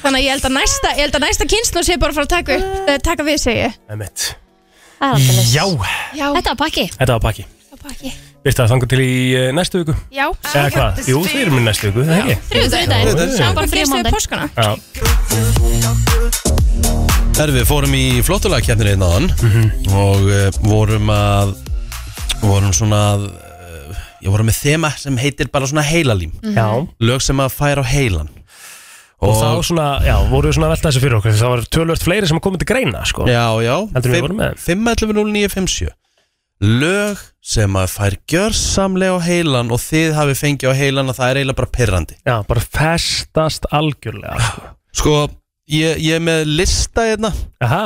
Speaker 11: þannig að ég held að næsta, ég held að næsta kynslu sé bara að fara að taka,
Speaker 3: Ah.
Speaker 11: upp, eh, taka við segi ég.
Speaker 5: Emmett. Já,
Speaker 3: Já
Speaker 11: Já,
Speaker 3: Þetta var pakki
Speaker 5: þetta var pakki
Speaker 11: pakki
Speaker 5: Birta, þangu til í eh, næstu viku
Speaker 11: Já,
Speaker 5: Eða hvað? Jú, þið erum í næstu viku, það ekki?
Speaker 3: Þriðudaginn
Speaker 5: Þriðjudaginn.
Speaker 3: Sá bara frí á
Speaker 11: Fyrstu
Speaker 3: mándi
Speaker 11: páskana
Speaker 5: Já,
Speaker 4: Herfi, við fórum í flottulagkjöndinu einn aðan
Speaker 5: Mhm.
Speaker 4: og uh, vorum að vorum svona að uh, ég vorum með þema sem heitir bara svona heilalím
Speaker 5: Mhm. já
Speaker 4: lög sem að færa á heilan
Speaker 5: Og, þá svona, já, voru við svona að velta þessu fyrir okkur Það var tölvört fleiri sem komið til greina sko.
Speaker 4: Já, já
Speaker 5: Heldur við vorum með
Speaker 4: 5.11.09.57 Lög sem að fær gjörsamlega á heilan og þið hafi fengið á heilan að það er eiginlega bara pirrandi
Speaker 5: Já, bara festast algjörlega sko.
Speaker 4: Sko, ég, ég er með lista hérna
Speaker 5: Aha,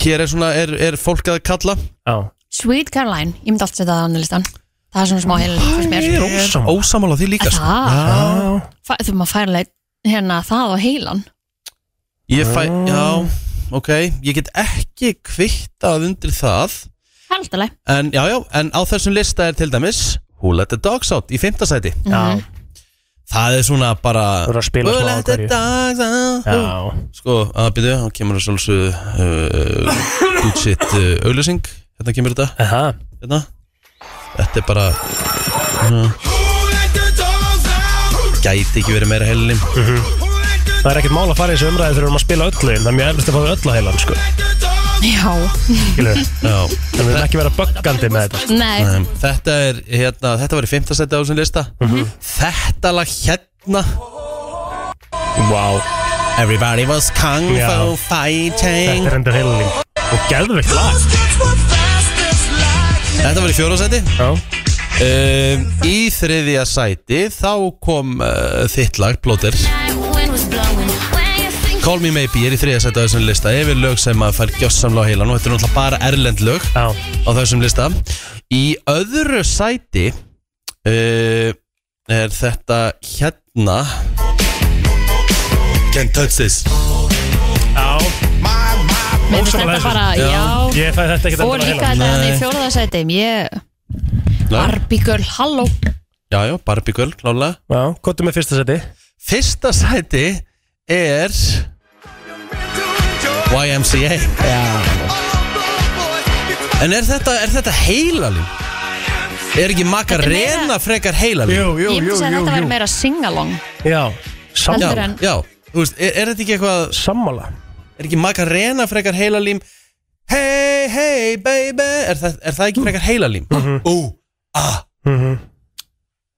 Speaker 4: Hér er svona, er, er fólk að kalla
Speaker 5: já
Speaker 3: Sweet Caroline Ég myndi allt setja það á annan listan Það er svona smá heilin fyrst mér
Speaker 5: Ég er ósamála.
Speaker 4: Ósamála því líka sko.
Speaker 3: Það
Speaker 5: Já,
Speaker 3: Fa- Þú maður færlega hérna það á heilan
Speaker 4: Ég fæ,
Speaker 5: Ah.
Speaker 4: já, ok Ég get ekki kvittað undir það
Speaker 3: Haldaleg
Speaker 4: En, já, já, en á þessum lista er til dæmis Who let the dogs out í fimmtasæti
Speaker 5: já
Speaker 4: Það er svona bara
Speaker 5: Þú eru að spila
Speaker 4: Who
Speaker 5: smá á
Speaker 4: let the
Speaker 5: hverju
Speaker 4: dogs out
Speaker 5: Já,
Speaker 4: Sko, að byrja, þá kemur þess alveg uh, Good shit uh, auglýsing Hérna kemur þetta
Speaker 5: aha
Speaker 4: hérna. Þetta er bara uh, Gæti ekki verið meira heilinum
Speaker 5: Mhm. Það er ekkert mál að fara í þessu umræði þegar við erum að spila öllu en það er mjög erfist að fá við öllu að heilan sko.
Speaker 3: Já
Speaker 5: Skilur,
Speaker 4: Já
Speaker 5: en við erum ekki að vera böggandi með þetta sko.
Speaker 3: Nei
Speaker 4: Nei, Þetta er, hérna, þetta var í fimmtasæti á þessum lista
Speaker 5: Mhm.
Speaker 4: Þetta lag hérna
Speaker 5: Vá,
Speaker 4: Everybody was kung
Speaker 5: Já.
Speaker 4: fu fighting
Speaker 5: þetta er endur heilan Og geðveikt lag
Speaker 4: Þetta var í fjórasæti
Speaker 5: Já,
Speaker 4: um, Í þriðja sæti þá kom uh, þitt lag, Blóter Call Me Maybe er í þriðja sæti á þessum lista Yfir lög sem að fær gjössamlega á heilan og þetta er náttúrulega bara erlend lög
Speaker 5: já,
Speaker 4: á þessum lista Í öðru sæti uh, er þetta hérna Can't touch this
Speaker 5: já
Speaker 3: Mér finnst þetta
Speaker 5: Ósammála þessu.
Speaker 3: bara Já
Speaker 5: Ég fæ þetta ekkert
Speaker 3: Og
Speaker 5: endur á
Speaker 3: líka
Speaker 5: heilan
Speaker 3: þetta hann í
Speaker 4: Nei.
Speaker 3: fjóraðarsætim Ég
Speaker 4: Bar
Speaker 3: Barbie girl, halló
Speaker 4: Já, já, Barbie Girl, klálega
Speaker 5: Já, hvað er með fyrsta seti?
Speaker 4: Fyrsta sæti er YMCA En er þetta, er þetta heilalíf? Er ekki
Speaker 3: Þetta er
Speaker 4: makarena
Speaker 3: meira-
Speaker 4: frekar heila
Speaker 3: Ég myndi segja að þetta væri meira singalong
Speaker 5: Já,
Speaker 3: sammála. Heldur en-
Speaker 4: Já, þú veist, er, er þetta ekki eitthvað
Speaker 5: Sammála
Speaker 4: Er ekki Macarena frekar heilalím Hey, hey, baby Er það, er það ekki frekar heilalím?
Speaker 5: Mhm.
Speaker 4: Mm -hmm. Ú, ah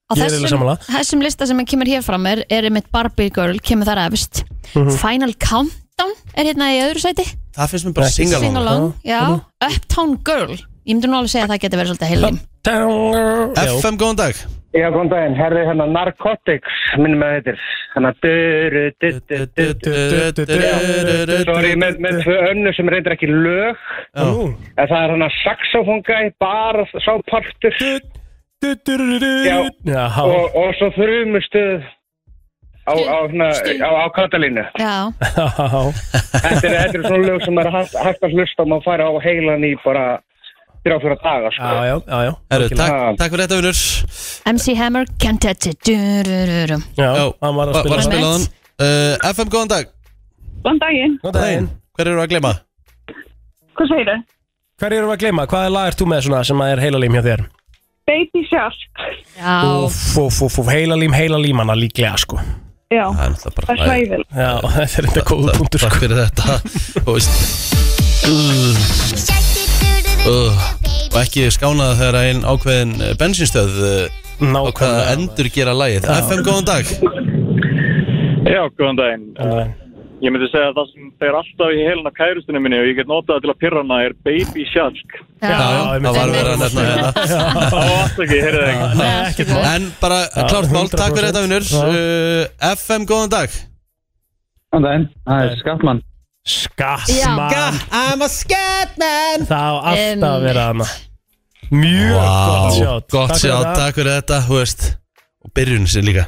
Speaker 3: Á
Speaker 4: Ég er eiginlega
Speaker 3: þessum,
Speaker 4: sammála.
Speaker 3: þessum lista sem kemur hér fram er, er mitt Barbie Girl, kemur þar efst
Speaker 5: Mhm.
Speaker 3: Final Countdown er hérna í öðru sæti
Speaker 4: Það finnst mér bara singalong
Speaker 3: Singalong, já Uptown Girl, ég myndi nú alveg segja að það getur verið svolítið heilin
Speaker 4: FM, góðan dag
Speaker 9: Já, góðan daginn, herði hérna Narcotics, minnum að þetta er hérna duru, du, du, du, du, du, du, du, Sorry, með, með tvö önnu sem reyndir ekki lög En það er hérna saxofónga í bar og sá partur Já,
Speaker 5: Jaha.
Speaker 9: og, og svo þrumustuð á, á, hérna, á, á katalínu
Speaker 3: Já
Speaker 9: Þetta er, þetta er svona lög sem er hægt, hægt að hlusta og maður færa á heilan í bara þrjá fyrir daga sko.
Speaker 5: Já, já, já, já
Speaker 4: Herru, takk, takk fyrir þetta, vinnur
Speaker 3: MC Hammer, Can't Touch It durururum.
Speaker 5: Já, hann var að
Speaker 4: var-
Speaker 5: spila
Speaker 4: var að spila hann uh, FM, góðan dag
Speaker 12: Góðan daginn.
Speaker 5: Góðan daginn
Speaker 4: Hver eru að glema?
Speaker 12: Hvað segir þau?
Speaker 5: Hver eru að glema? Hvaða lag ert þú með svona sem að er heilalím hjá þér?
Speaker 12: Baby Shark. Já.
Speaker 5: Úff, úff, úff, úff, heilalím, heilalím hana líklega sko
Speaker 12: Já. er
Speaker 4: Það
Speaker 12: svæðil.
Speaker 5: Já, þetta er enda góð punktur sko.
Speaker 4: Takk fyrir þetta Þú veist uh, uh, Og ekki skánað þegar einn ákveðin eh, bensínstöð Nákvæmlega að endur gera lagið FM, góðan dag
Speaker 10: Já, góðan daginn. Eh, Ég myndi segja að það sem fer alltaf í helina kærustinu minni og ég get notað það til að pyrra hana er Baby Shark.
Speaker 4: Já, já, það var verið að nefna
Speaker 10: Það var alltaf ekki, heyrðu það ekki.
Speaker 4: En bara eh, klárt mál, takk fyrir þetta vinnur uh, FM, góðan dag
Speaker 13: Góðan daginn, það er Skattmann
Speaker 5: Skattmann
Speaker 4: I'm a scatman
Speaker 5: Það á alltaf að vera hana Mjög
Speaker 4: Vá,
Speaker 5: gott sjátt
Speaker 4: Gott sjátt, takk fyrir þetta, þú veist Og byrjun sér líka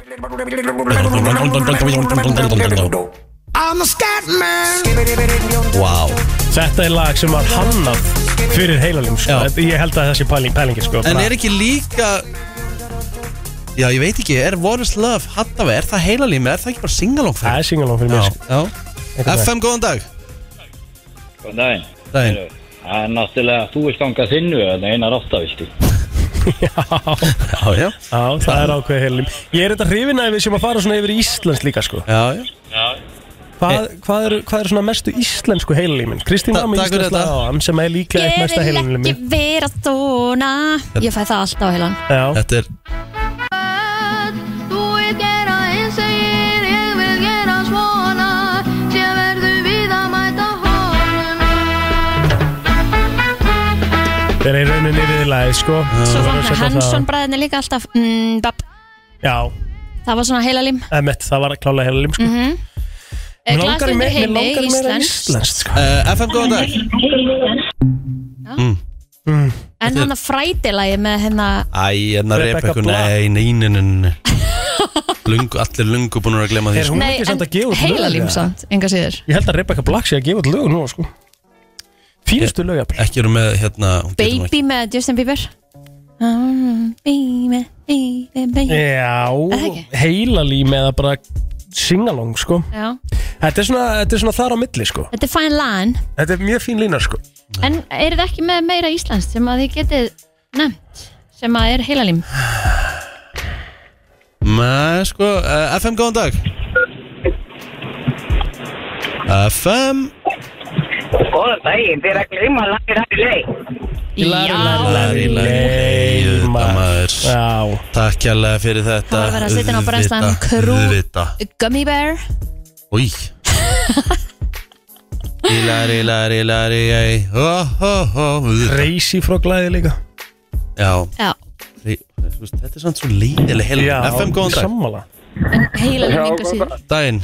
Speaker 8: I'm a scat man
Speaker 4: Vá
Speaker 5: Þetta er lag sem var hannað fyrir heilalím sko. Þetta- Ég held að það sé pæling, pælingi sko.
Speaker 4: En er ekki líka Já, ég veit ekki, er What is Love Hattafi, er það heilalími, er það ekki bara singalong fyrir?
Speaker 5: Það er singalong fyrir
Speaker 4: mér já.
Speaker 5: Einhvern
Speaker 4: FM,
Speaker 5: veginn.
Speaker 4: góðan dag
Speaker 14: Góðan daginn.
Speaker 4: Daginn.
Speaker 14: Heyrðu, Það er náttúrulega, þú veist þangað þinnu en einar áttavilti.
Speaker 4: Já, já.
Speaker 5: Já, það er ákveð heilalím Ég er þetta hrifin að við sem að fara svona yfir í Íslands líka sko.
Speaker 4: Já, já
Speaker 5: Hvað, hvað, eru, hvað eru svona mestu íslensku heilalímin? Kristín var með
Speaker 4: Eh. takk fyrir
Speaker 5: íslensku
Speaker 4: þetta.
Speaker 5: lagan sem er líklega eitt
Speaker 3: Ég
Speaker 5: mesta
Speaker 3: vil
Speaker 5: heilalímin
Speaker 3: ekki vera svona Ég fæ það alltaf á heilan
Speaker 5: Já.
Speaker 4: Þetta er
Speaker 8: Þú er gera eins og ég Ég vil gera svona Sér verður við að mæta honum
Speaker 5: Þeir eru rauninni við lagið sko.
Speaker 3: Svo
Speaker 5: Við verðum að
Speaker 3: framkvæmd
Speaker 5: setja það-
Speaker 3: Hansson bræðinni líka alltaf mm, bap,
Speaker 5: Já,
Speaker 3: Það var svona heilalím
Speaker 5: emmett, það var klálega heilalím sko.
Speaker 3: mm -hmm.
Speaker 5: Mig langar
Speaker 3: Glastundur
Speaker 5: me- mig
Speaker 3: heimi,
Speaker 5: langar meira
Speaker 3: Íslands
Speaker 5: íslenskt sko.
Speaker 4: uh, FM, góðan dag
Speaker 5: mm.
Speaker 3: En hann að frætilagi með hérna
Speaker 4: Æ, en að
Speaker 5: Rebecca
Speaker 4: reypa eitthvað,
Speaker 5: Black.
Speaker 4: nei, nei, nei, nei, nei. Lungu, Allir lungu búin að glemma því sko.
Speaker 3: Nei, en
Speaker 5: lög,
Speaker 3: heilalím
Speaker 5: eða?
Speaker 3: samt, enga síður
Speaker 5: Ég held að Rebecca Black sé að gefa út lög nú sko. Fínustu lög jafnvel.
Speaker 4: Eh, Ekki eru með, hérna hún getur nú ekki-
Speaker 3: Baby með Justin Bieber Mm, Baby, baby, baby
Speaker 5: Já,
Speaker 3: ekki?
Speaker 5: heilalím eða bara singalong sko.
Speaker 3: Já,
Speaker 5: þetta, er svona, þetta er svona þar á milli sko.
Speaker 3: þetta er fine line
Speaker 5: Þetta er mjög fín lína sko.
Speaker 3: En eru þið ekki með meira íslenskt sem að þið getið nefnt sem að er heilalím
Speaker 4: Nei, sko, uh, FM, góðan dag FM
Speaker 15: Góðan daginn, þið er að gleyma að lagir hætti leið.
Speaker 4: Lari, lari, maður
Speaker 5: Já
Speaker 4: Takk kjærlega fyrir þetta
Speaker 3: Það var verið að setja inn á brennslan Krú
Speaker 4: Krúvita
Speaker 3: Gummy bear
Speaker 4: Új Lari, lari, lari, ei
Speaker 5: Crazy frá glæði líka
Speaker 4: Já,
Speaker 3: Já,
Speaker 4: Re- þú veist, þetta er samt svo leiðileg heila
Speaker 5: Já,
Speaker 4: FM, góðan dag
Speaker 5: sammála
Speaker 3: en heilalím enga síður
Speaker 4: Daginn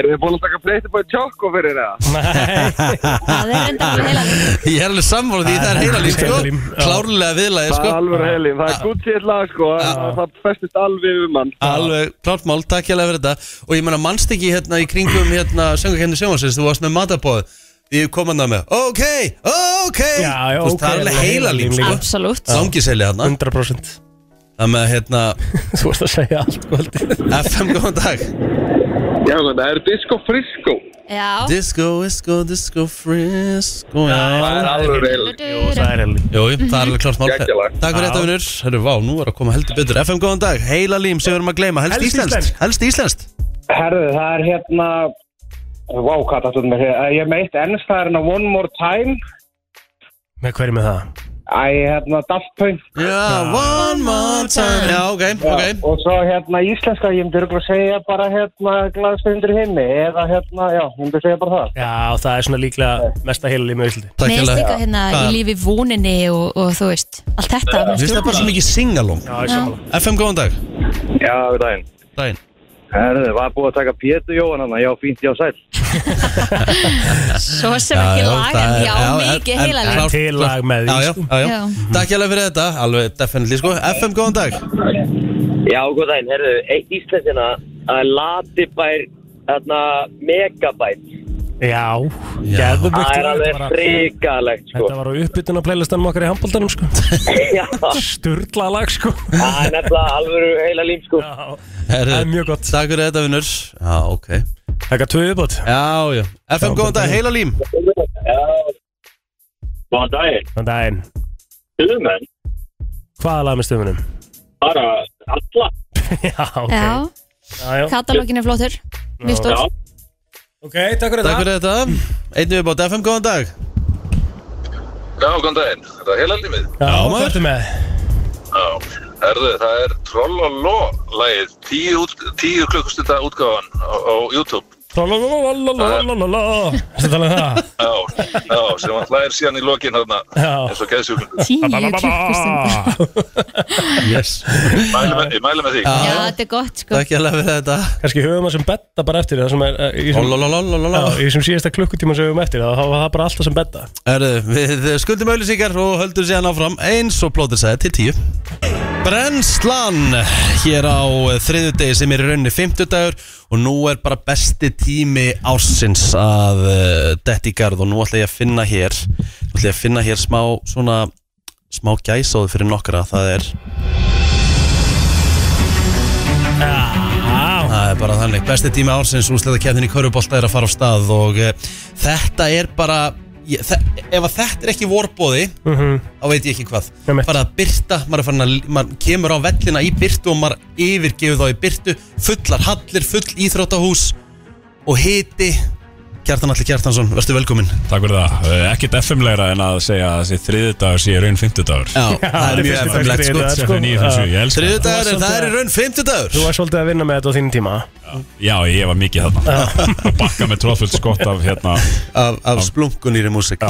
Speaker 16: Eru þið búin að taka pleytið bæði tjókko fyrir það?
Speaker 4: Það
Speaker 3: er enda alveg heila
Speaker 4: Ég er alveg sammála því, það er heila líf, sko Klárlega viðlaðið,
Speaker 16: Það
Speaker 4: sko
Speaker 16: er alveg heilin, það er gútt sétt lag sko, en það festist alveg við mann
Speaker 4: Alveg, klárt mál, takk hérlega fyrir þetta Og ég menna mannst ekki hérna í kringum hérna söngakenni sjónvarsins, þú varst með matabóð Ég kom hann með, ok, ok
Speaker 5: Já, já,
Speaker 4: Þú veist,
Speaker 5: ok,
Speaker 4: Það er alveg
Speaker 5: alveg
Speaker 4: heila
Speaker 5: heilalím
Speaker 4: líf,
Speaker 5: líka.
Speaker 4: sko
Speaker 3: Absolutt.
Speaker 4: Langiseli hérna
Speaker 5: 100%
Speaker 4: Það með hérna
Speaker 5: Þú varst að segja allt kvöldi
Speaker 4: FM, góðan dag
Speaker 16: Já, það er disco frisco
Speaker 3: Já, Já.
Speaker 4: Disco, disco, disco, frisco Já,
Speaker 3: það er alveg vel. Jú, það
Speaker 5: er helg
Speaker 4: Jú, jú, það er alveg klart mál
Speaker 5: Geggjalag.
Speaker 4: Takk
Speaker 5: Já.
Speaker 4: fyrir þetta, vinnur Herru, vá, nú var að koma heldur betur FM, góðan dag Heila lím sem við erum að gleyma Helst
Speaker 9: Helst
Speaker 4: íslenskt Helst íslenskt
Speaker 9: Herðu, það er hérna Vá, hvað það er með hérna Ég er með eitt ennst, það er hérna One More Time
Speaker 5: Með hverju með það?
Speaker 9: Æ, hérna Daft Punk
Speaker 4: Já, One More Time Já, ok, ok
Speaker 9: Og svo hérna íslenska, ég myndi örugglega að segja bara hérna Glaðstundur himni Eða hérna, já, ég myndi segja bara það
Speaker 5: Já, það er svona líklega mesta heilal í mjög Íslandi
Speaker 3: Mér finnst líka hérna í lífi voninni og, og þú veist, allt þetta
Speaker 4: Mér finnst það bara svo mikið singalong
Speaker 5: Já, ég sammála.
Speaker 4: FM, góðan dag
Speaker 17: Já, við daginn
Speaker 4: Daginn
Speaker 17: Herðu, var búið að taka Pétur Jóhann hann Já, fínt, já, sæl
Speaker 3: Svo sem ekki lagan, já, mikið heilalíf
Speaker 5: Til lag með
Speaker 4: því Já, já, já,
Speaker 3: Já.
Speaker 4: já Takk hérlega fyrir þetta Alveg, definitely, sko FM, góðan dag
Speaker 18: Já, góð daginn, herðu, eitt íslensina að latibær, þarna, megabæt.
Speaker 5: Já,
Speaker 18: Það
Speaker 5: geðvögt
Speaker 18: er alveg frikalegt, sko.
Speaker 5: Þetta var á uppbytun á playlistanum okkar í handbóltanum sko Sturla lag sko
Speaker 18: Það er nefnilega alvöru heila lím, sko.
Speaker 4: Það er mjög gott Takk fyrir þetta, vinnur Já, ok
Speaker 5: Takk að tvöðu bótt
Speaker 4: Já, já FM, góðan dag, heila lím
Speaker 19: Góðan daginn,
Speaker 5: Þann daginn
Speaker 19: stuðmenn,
Speaker 5: Hvaða lag með stöfunum?
Speaker 19: bara alla.
Speaker 5: Já, ok
Speaker 3: Já,
Speaker 5: Já, já.
Speaker 3: katalógin er flottur Mjög stór
Speaker 5: Ok, takk fyrir
Speaker 4: þetta Takk fyrir þetta Einnig við bótt FM, góðan dag
Speaker 20: Já, góðan daginn. Þetta er heila límið.
Speaker 5: Já, maður Þetta með
Speaker 20: Já. Erðu, það er Trolloló-lægið, tíu, út- tíu klukkustunda útgáfan á, á YouTube.
Speaker 5: Trolololololololololó Þetta tala um það
Speaker 20: Já, já, sem hann hlæðir síðan í lokin þarna,
Speaker 5: Já.
Speaker 20: eins og geðsjúklingur.
Speaker 5: klukkustund Yes
Speaker 20: Mæli með- Ég mæli með því.
Speaker 3: Já, þetta er gott sko
Speaker 4: Takk hérlega fyrir þetta
Speaker 5: Kanski höfum það sem betta bara eftir Það sem er eh, í sem-
Speaker 4: Lololololololó.
Speaker 5: Já, Í sem síðasta klukkutíma sem við höfum eftir Það var það bara alltaf sem betta
Speaker 4: Erðu, við skuldum auðlýsingar og höldum síðan áfram eins og plótið sæði til tíu Brennslan hér á þriðjudegi sem er í rauninni fimmtudagur og nú er bara besti tími ársins að uh, detti í garð og nú ætla ég að finna hér nú ætla ég að finna hér smá svona smá gæsóð fyrir nokkra það er
Speaker 5: Ah.
Speaker 4: Það er bara þannig, besti tími ársins úsleita kefnin í Körubólta er að fara á stað og uh, þetta er bara ég, þe ef að þetta er ekki vorbóði
Speaker 5: Mhm.
Speaker 4: þá veit ég ekki hvað bara að byrta, maður, er farinn að, maður kemur á vellina í byrtu og maður yfirgefur þá í byrtu fullar hallir, full íþróttahús og hiti Kjartan Alli Kjartansson, verður velkomin
Speaker 21: Takk fyrir það. Eh, Ekkert FM-legra en að segja að þessi þriði dagur sé í raun 50 dagur.
Speaker 4: Já, það er mjög eftirlegt sko
Speaker 21: Þetta er 9.57, ég elska
Speaker 4: Þriðjudagur,
Speaker 21: það.
Speaker 4: en það er í raun 50 dagur
Speaker 5: sko. Þú var svolítið að vinna með þetta á þín tíma
Speaker 21: Já, ég var mikið þarna. Að bakka með tróðfullt skott af hérna...
Speaker 4: Af, af splunkunýri músik.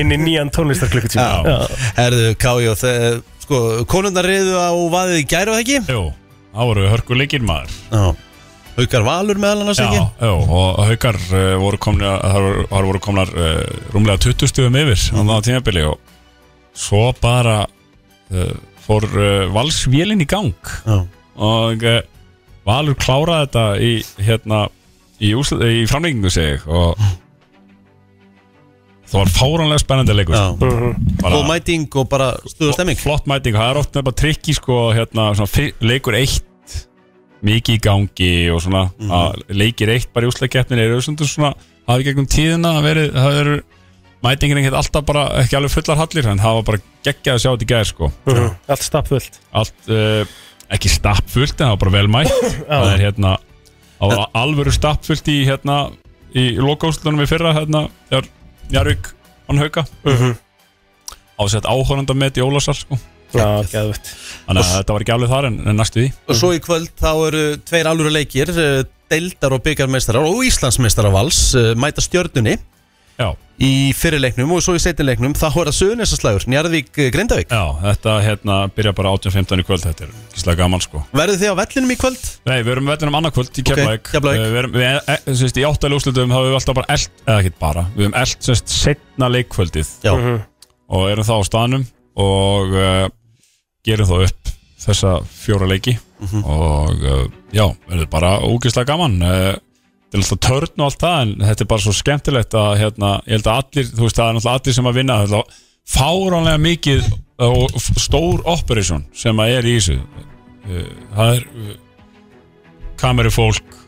Speaker 5: Inn í nýjan tónlistarklukkutíma
Speaker 4: Já. Herðu, Kájó, þe- sko, konundar reyðu á vaðið í gæru, ekki?
Speaker 21: Jú, það voru hörkuleikir maður.
Speaker 4: Já. Haukar Valur meðal annars
Speaker 21: Já,
Speaker 4: ekki?
Speaker 21: já, og haukar uh, voru komnar, þar voru- þar voru komnar uh, rúmlega 20 stugum yfir
Speaker 4: Mhm.
Speaker 21: á það tímabili og svo bara uh, fór uh, valsvélinn í gang
Speaker 4: Já.
Speaker 21: og uh, Valur kláraði þetta í, hérna, í, úsl, í framlengingu sig og það var fáránlega spennandi leikur Bara-
Speaker 4: Góð mæting og bara stuðu stemming
Speaker 21: Flott mæting, það er oft nefnilega trikki sko, hérna, svona, fi- leikur eitt mikið í gangi og svona
Speaker 5: Mhm.
Speaker 21: að leikir eitt bara í úslakeppnin eru svona, svona hafi gegnum tíðina verið, það eru mætingin ekkert alltaf bara ekki alveg fullar hallir en það var bara geggjað að sjá þetta í gæðir sko
Speaker 5: Mhm. Allt stappfullt
Speaker 21: allt uh, ekki stappfullt en það var bara vel mætt það er hérna það var alvöru stappfullt í hérna í lokaúslunum í fyrra hérna þegar Jarvík hann hauka
Speaker 5: Mhm.
Speaker 21: ásett áhóranda með í Ólasar sko
Speaker 5: Já, geðvitt
Speaker 21: þannig að þetta var ekki alveg þar en, en næstu því
Speaker 4: Og svo í kvöld þá eru tveir alvöru leikir eh, Deildar og byggarmeistarar og Íslandsmeistarar vals eh, Mæta stjörnunni
Speaker 21: Já.
Speaker 4: Í fyrirleiknum og svo í setnileiknum Þá er það sögunistaslagur, Njarðvík eh, Grindavík
Speaker 21: Já, þetta hérna byrja bara 18.15 í kvöld þetta er gíslega gaman sko
Speaker 4: Verðu þið á vellinum í kvöld?
Speaker 21: Nei, við erum vellinum annað kvöld í Keflavík
Speaker 4: Keflavík.
Speaker 21: Eh, Við erum, við, e, e, sérst, í áttælu úrslutum hafa við alltaf bara eld, eða ekkert bara Við erum eld, sérst, setna leikkvöldið
Speaker 4: Já.
Speaker 5: Mhm.
Speaker 21: Og erum þá á staðnum og uh, gerum þá upp þessa fjóra leiki Og uh, já, verður bara ógeðslega gaman uh, Þetta er alltaf törn og allt það en þetta er bara svo skemmtilegt að hérna Ég held að allir, þú veist, það er náttúrulega allir sem að vinna Það er alltaf fáránlega mikið og f- stór operation sem að er í þessu Eh, Uh, Það er uh, kamerufólk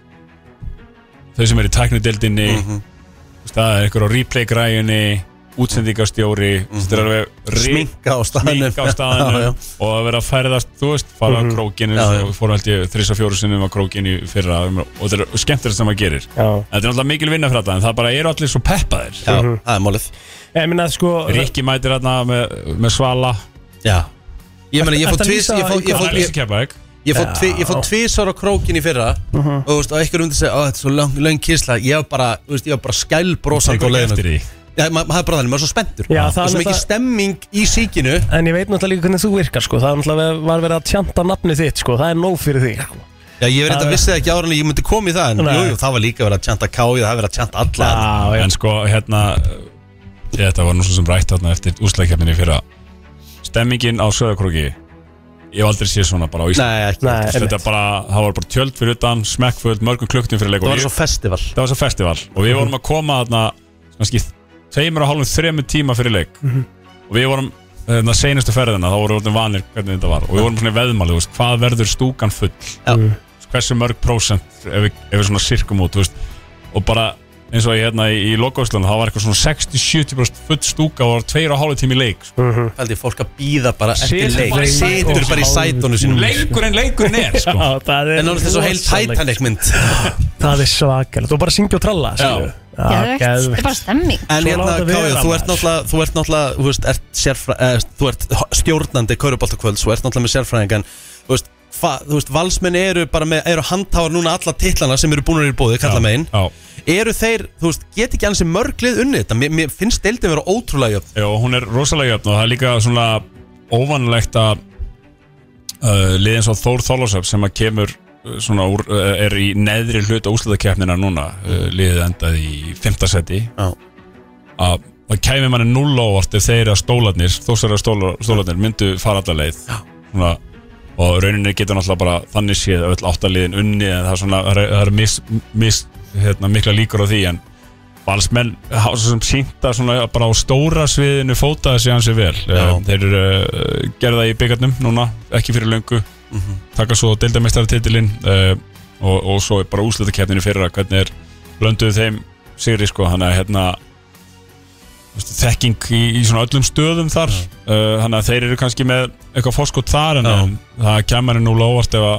Speaker 21: þau sem er í tæknudildinni
Speaker 4: Mhm.
Speaker 21: það er einhver á replay græjunni útsendingastjóri þetta er alveg ri-
Speaker 4: Sminka á staðnum.
Speaker 21: sminka á
Speaker 4: Mhm. Já, já.
Speaker 21: staðnum og að vera að færðast, þú veist, fara
Speaker 4: Mhm.
Speaker 21: á krókinu
Speaker 4: Já, já.
Speaker 21: og fór held ég þrís og fjóru sinnum á krókinu fyrra um, og þetta er skemmtilegt sem maður gerir já. þetta er náttúrulega mikil vinna fyrir þetta en það bara eru allir svo peppaðir
Speaker 4: Já, Mhm. það er málið
Speaker 5: Ég meina sko
Speaker 21: Rikki mætir hérna með, með svala
Speaker 4: Já Ég meina, ég fór
Speaker 21: Ertu að
Speaker 4: tvís
Speaker 21: lýsa
Speaker 4: Ég fór, ég fór,
Speaker 21: einhverju-
Speaker 4: ég,
Speaker 21: Keflavík?
Speaker 4: ég fór, tvi, ég fór
Speaker 21: Já.
Speaker 4: tvisar á krókin í fyrra
Speaker 21: Mhm.
Speaker 4: Og þú veist, og einhver undir segja Ó, þetta er svo lang, lang kísla Ég var bara, þú veist, ég var bara skælbrósand
Speaker 21: Tekur ekki eftir því.
Speaker 4: Já, ma- maður er bara þannig, maður er svo spenntur
Speaker 5: Já, það
Speaker 4: það er
Speaker 5: er
Speaker 4: svo mikið
Speaker 5: það-
Speaker 4: stemming í síkinu
Speaker 5: En ég veit náttúrulega líka hvernig þú virkar sko Það er náttúrulega var verið að tjanta nafnið þitt sko Það er nóg fyrir þig sko.
Speaker 4: Já, ég verið
Speaker 5: Það
Speaker 4: að
Speaker 5: er-
Speaker 4: vissi það ekki ára en ég myndi koma í það En
Speaker 5: Nei.
Speaker 4: jú, jú, það var líka verið að tjanta kái Það var verið að tjanta alla
Speaker 21: já, en sko hérna ég, þetta var nú svo sem rætt þarna eftir úsleikjafninni hérna fyrra stemmingin á Söðakróki ég hef aldrei séð svona bara á Íslandi
Speaker 4: Nei, ekki. Nei,
Speaker 21: þetta
Speaker 4: einmitt.
Speaker 21: bara, það var bara tjöld fyrir utan smekkföld, mörgum klukktum fyrir leik
Speaker 4: Það var svo festival
Speaker 21: það var svo festival og við vorum að koma þarna kannski tveimur og hálfum þremur tíma fyrir leik
Speaker 5: Mhm.
Speaker 21: og við vorum þarna seinustu ferðina þá vorum við orðin vanir hvernig þetta var og við vorum svona í veðmáli, þú veist, hvað verður stúkan full
Speaker 4: Já.
Speaker 21: hversu mörg prósent ef við, ef við svona sirkum út þú veist, og bara eins og ég hérna í, í lokauslan þá var eitthvað svona 60-70% full stúka og það var tveir og hálfum tími í leik sko.
Speaker 4: Pældi ég fólk að býða bara eftir
Speaker 21: Situr
Speaker 4: leik
Speaker 21: bara í
Speaker 4: Situr
Speaker 21: sætunum.
Speaker 4: bara í sætunum sínum
Speaker 21: Leikurinn, leikurinn er sko.
Speaker 5: Já, það er
Speaker 4: En náttúrulega þessu heil
Speaker 5: rosalegt.
Speaker 4: Titanic mynd
Speaker 5: Það er svakalegt Og bara syngja og tralla skilju. Já,
Speaker 3: Geðveikt. þetta
Speaker 5: geðveikt.
Speaker 3: er bara stemming
Speaker 4: En
Speaker 5: Svo
Speaker 4: hérna,
Speaker 5: láta vera,
Speaker 4: Kája, þú
Speaker 5: maður.
Speaker 4: ert náttúrulega Þú ert náttúrulega, þú veist, ert sérfra, eh, Þú ert stjórnandi Köruboltakvöld Þú ert náttúrulega með sérfræðingan Þú veist, fa, þú veist valsmenn eru bara með Eru handháar núna alla titlana sem eru búinur í bóði Kalla megin Eru þeir, þú veist, get ekki ansi mörglið unni þetta Mér, mér finnst deildin vera ótrúlega jöfn
Speaker 21: Já, hún er rosalega jöfn og það er líka svona óvanlegt að uh, liðin svo Þór Þólasöf sem að kemur uh, svona úr, uh, er í neðri hluta úslutakefnina núna uh, liðið endað í fymtasetti að það kæmi manni null ávart ef þeir að stólarnir, þósara stólarnir myndu fara alla leið svona, og rauninni getur náttúrulega bara þannig séð öll áttaliðin unni en það er svona, það er- það er mis, mis, hérna, mikla líkur á því en valsmenn hafa svo sem sínta svona bara á stóra sviðinu fótaði sig hansi vel Já. þeir eru uh, gerða í byggarnum núna, ekki fyrir löngu taka svo deildamestaratitilinn uh, og, og svo er bara úslutakeppninu fyrir að hvernig er blönduðu þeim sigri sko, þannig að hérna veistu, þekking í, í svona öllum stöðum þar uh, þannig að þeir eru kannski með eitthvað fórskot þar en, en það kemur nú lávart ef að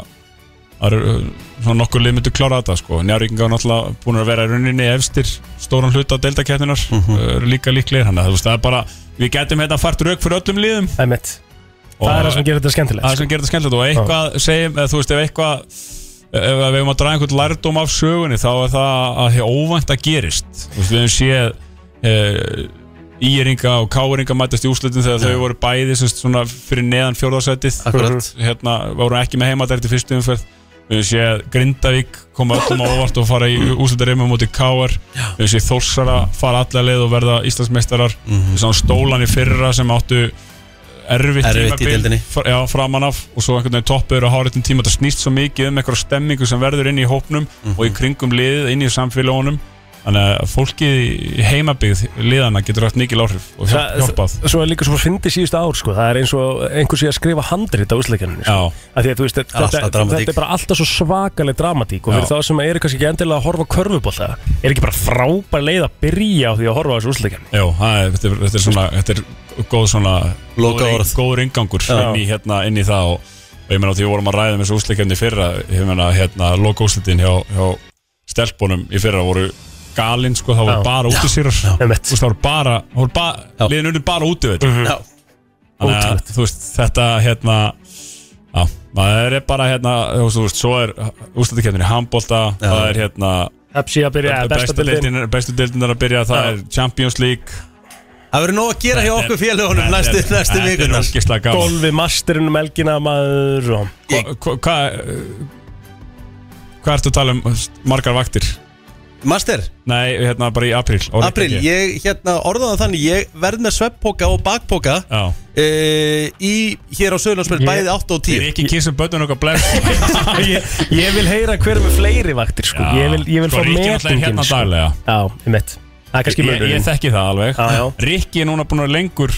Speaker 21: það eru, uh, svona nokkur lið myndu klára þetta sko. njárvíkingar náttúrulega búin að vera í rauninni efstir stóran hluta deildakettinar mm eru líka líklegir þannig að þú veist það er bara við getum hérna fært rauk fyrir öllum liðum
Speaker 5: Æmitt. Það er það sem gerir þetta skemmtilegt,
Speaker 21: það er
Speaker 5: sko.
Speaker 21: sem gerir þetta skemmtilegt og eitthvað segjum, eða, þú veist ef eitthvað ef við hefum að draga einhvern lærdóm af sögunni þá er það að því óvænt að gerist Þú veist, við hefum séð e, íringa og káringa mætast í úslutin þegar þau voru bæði sem sagt, svona, fyrir neðan fjórðarsætið
Speaker 4: Akkurat.
Speaker 21: hérna, voru ekki með heimadært í fyrstu umferð við hefum séð Grindavík koma öllum á óvart og fara í
Speaker 5: Mm.
Speaker 21: úslutarimum mútið káar við hefum séð Þórsara fara alla leið og verða Íslandsmeistarar
Speaker 5: Mhm.
Speaker 21: við sáum stólan í fyrra sem áttu erfitt,
Speaker 4: Erfitt í
Speaker 21: tímabil,
Speaker 4: deildinni.
Speaker 21: fr- já, framan af og svo einhvern veginn toppur og háréttin tíma þetta snýst svo mikið um einhverja stemmingu sem verður inn í hópnum og
Speaker 4: Mhm.
Speaker 21: í kringum liðið, inn í samfélagunum þannig að fólkið í heimabygð liðana getur haft mikil áhrif og hjálp-
Speaker 5: Það-
Speaker 21: hjálpað
Speaker 5: Svo er líka svo fyndi síðustu ár sko. Það er eins og einhvers ég að skrifa handrit á úsleikjaninu
Speaker 21: sko.
Speaker 5: Af því að, þú veist, þetta,
Speaker 21: Alltaf
Speaker 5: þetta,
Speaker 21: dramatík.
Speaker 5: þetta er bara alltaf svo svakaleg dramatík Og fyrir
Speaker 21: Já.
Speaker 5: þá sem eru kannski ekki endilega að horfa á körfubólta Er ekki bara frábær leið að byrja á því að horfa á þessu úsleikjan
Speaker 21: Já, það er, þetta, er, þetta er svona þetta er góð svona
Speaker 5: Loka
Speaker 21: góður-
Speaker 5: orð.
Speaker 21: góður ingangur
Speaker 5: Já.
Speaker 21: inn í, hérna, inn í það og, og ég meina því við vorum að ræða með þessu úsleikefni í fyrra ég meina hérna loka úsleitin hjá, hjá stelpunum í fyrra voru galinn sko, það voru
Speaker 5: Já.
Speaker 21: bara út í sér það voru bara, það voru bara liðin unni bara út í þetta
Speaker 5: Mhm.
Speaker 4: Já.
Speaker 21: þannig að þú veist þetta hérna já, maður er bara hérna þú veist, þú veist, svo er úsleitikefnin í handbólta það er hérna
Speaker 5: Pepsi að byrja, eða besta deildin
Speaker 21: deildin- hérna. bestu deildin er að byrja það er Champions League
Speaker 4: Það verður nóg að gera hjá okkur félagunum næstu, næstu
Speaker 21: Þetta
Speaker 4: vikunar
Speaker 21: er ógislega gaman
Speaker 5: Golfi, masterinn, melgina, maður og...
Speaker 21: Hva- hva- Hvað Hvað ertu að tala um margar vaktir?
Speaker 4: Master?
Speaker 21: Nei, hérna bara í apríl árið
Speaker 4: April,
Speaker 21: ekki.
Speaker 4: ég hérna orðaði þannig Ég verð með sveppoka og bakpoka e, Í hér á Söðlandsbjörn Bæði 8 og 10
Speaker 21: Ég er ekki kissum bötun okkar bless
Speaker 5: ég, ég vil heyra hver er með fleiri vaktir sko.
Speaker 21: Já.
Speaker 5: Ég vil, ég vil
Speaker 21: Sko,
Speaker 5: fá
Speaker 21: Ríkir
Speaker 5: metingin
Speaker 21: náttúrulega er hérna daglega.
Speaker 5: Já, ég mitt Það er kannski
Speaker 21: Ég, ég
Speaker 5: munurinn
Speaker 21: þekki það alveg
Speaker 5: Já, já.
Speaker 21: Rikki er núna búin að vera lengur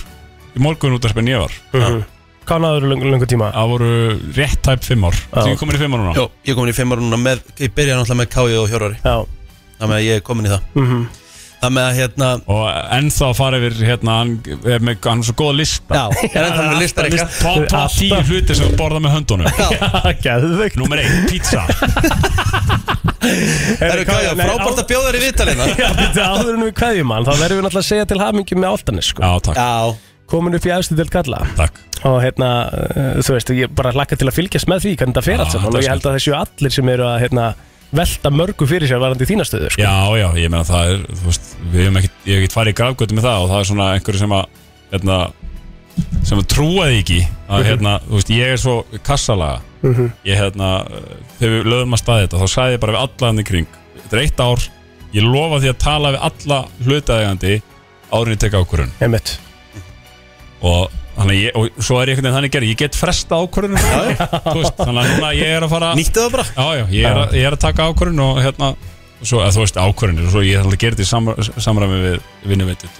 Speaker 21: í morgun útarp en ég var
Speaker 5: Mhm. Hvað náður lengur, lengur tíma?
Speaker 21: Það voru rétt tæp 5 ár Þú er komin í 5 ár núna
Speaker 4: Jó, ég er komin í 5 ára núna með, Ég byrjaði náttúrulega með Káði og Hjörari
Speaker 5: Já
Speaker 4: Það með að ég er komin í það
Speaker 5: Mhm.
Speaker 4: Það með að hérna
Speaker 21: Og ennþá fara yfir hérna Hann er með hann er svo góða lista
Speaker 4: Já, ég er ennþá með lista, Rikka.
Speaker 21: Top, top 10 hluti sem þú borða með höndunum
Speaker 5: Gæðvegt
Speaker 21: Númer 1, pizza
Speaker 4: Það eru hvað, já, frábært að bjóða þér í vitalina
Speaker 5: Já, þetta áður en við kveðjum hann Þá verðum við náttúrulega að segja til hamingjum með áltanis sko.
Speaker 21: Já, takk
Speaker 4: Já.
Speaker 5: Komin upp í aðstu til kalla
Speaker 21: Takk
Speaker 5: Og hérna, eh, þú veist, ég bara hlakka til að fylgjast með því Hvernig þetta fer allt
Speaker 21: þetta
Speaker 5: saman
Speaker 21: er
Speaker 5: Og ég held að þessu allir sem eru að hérna, velta mörgu fyrir sér varandi í þína stöðu sko.
Speaker 21: Já, já, ég meina það er þú veist, Við hefum ekkert, ég hef ekkert farið í grafgötu með það Og það er svona einhverju sem að hérna, Sem að trúa því ekki
Speaker 5: Mhm.
Speaker 21: að, hérna, Þú veist, ég er svo kassalaga
Speaker 5: Mhm.
Speaker 21: Ég hérna eh, Þegar við lögum að staði þetta Þá sagði ég bara við alla hann í kring Þetta er eitt ár Ég lofa því að tala við alla hlutaðegandi Árinni teka ákvörun
Speaker 5: Einmitt
Speaker 21: og þannig að ég, og svo er ég einhvern veginn þannig gerð ég get fresta ákvörðunum þannig að núna ég er að fara
Speaker 4: nýttu það bara
Speaker 21: já, já, ég, er að, ég er að taka ákvörðun og hérna og svo, að, þú veist ákvörðunir og svo ég ætla að gera þetta í samr samræmi við vinnuveitit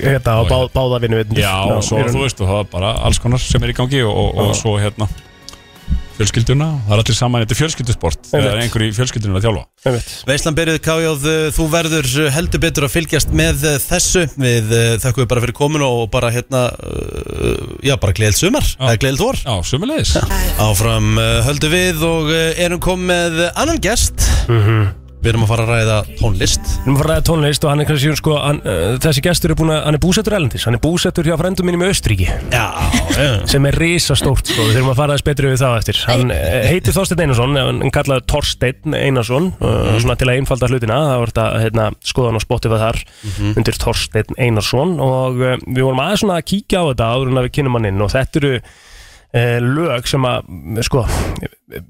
Speaker 5: Hérna, á bá, báða vinnu
Speaker 21: já, og svo þú veist og það er bara alls konar sem er í gangi og, og, og
Speaker 5: Já.
Speaker 21: svo hérna fjölskylduna, það er allir saman þetta er fjölskyldusport, það er einhver í fjölskyldunum að þjálfa
Speaker 4: Veislan byrjuð Kájóð, uh, þú verður uh, heldur betur að fylgjast með uh, þessu Við uh, þakkum við bara fyrir komin og bara hérna uh, Já, bara gleðilt sumar, eða gleðilt vor
Speaker 21: Já, sumulegis
Speaker 4: Áfram uh, höldum við og uh, erum komið með annan gest
Speaker 5: Mm.
Speaker 4: Við erum að fara að ræða tónlist
Speaker 5: Nú fara að tónlist og hann er kannski sko, hann, uh, þessi gestur er búin að, hann er búsettur elendis, hann er búsettur hjá frendum mínum í Östuríki
Speaker 4: Já, já
Speaker 5: sem er risastórt sko, við þurfum að fara þess betri við það eftir hann eh, heitir Þorsteinn Einarsson, en hann kallaði Torsteinn Einarsson,
Speaker 4: Mhm.
Speaker 5: uh, svona til að einfalda hlutina, það var þetta hérna, skoðan og spottið var þar
Speaker 1: Mhm.
Speaker 5: undir Torsteinn Einarsson og uh, við vorum aðeins svona að kíkja á þetta áður en að við kynum hann inn og þetta eru uh, lög sem að, eh, sko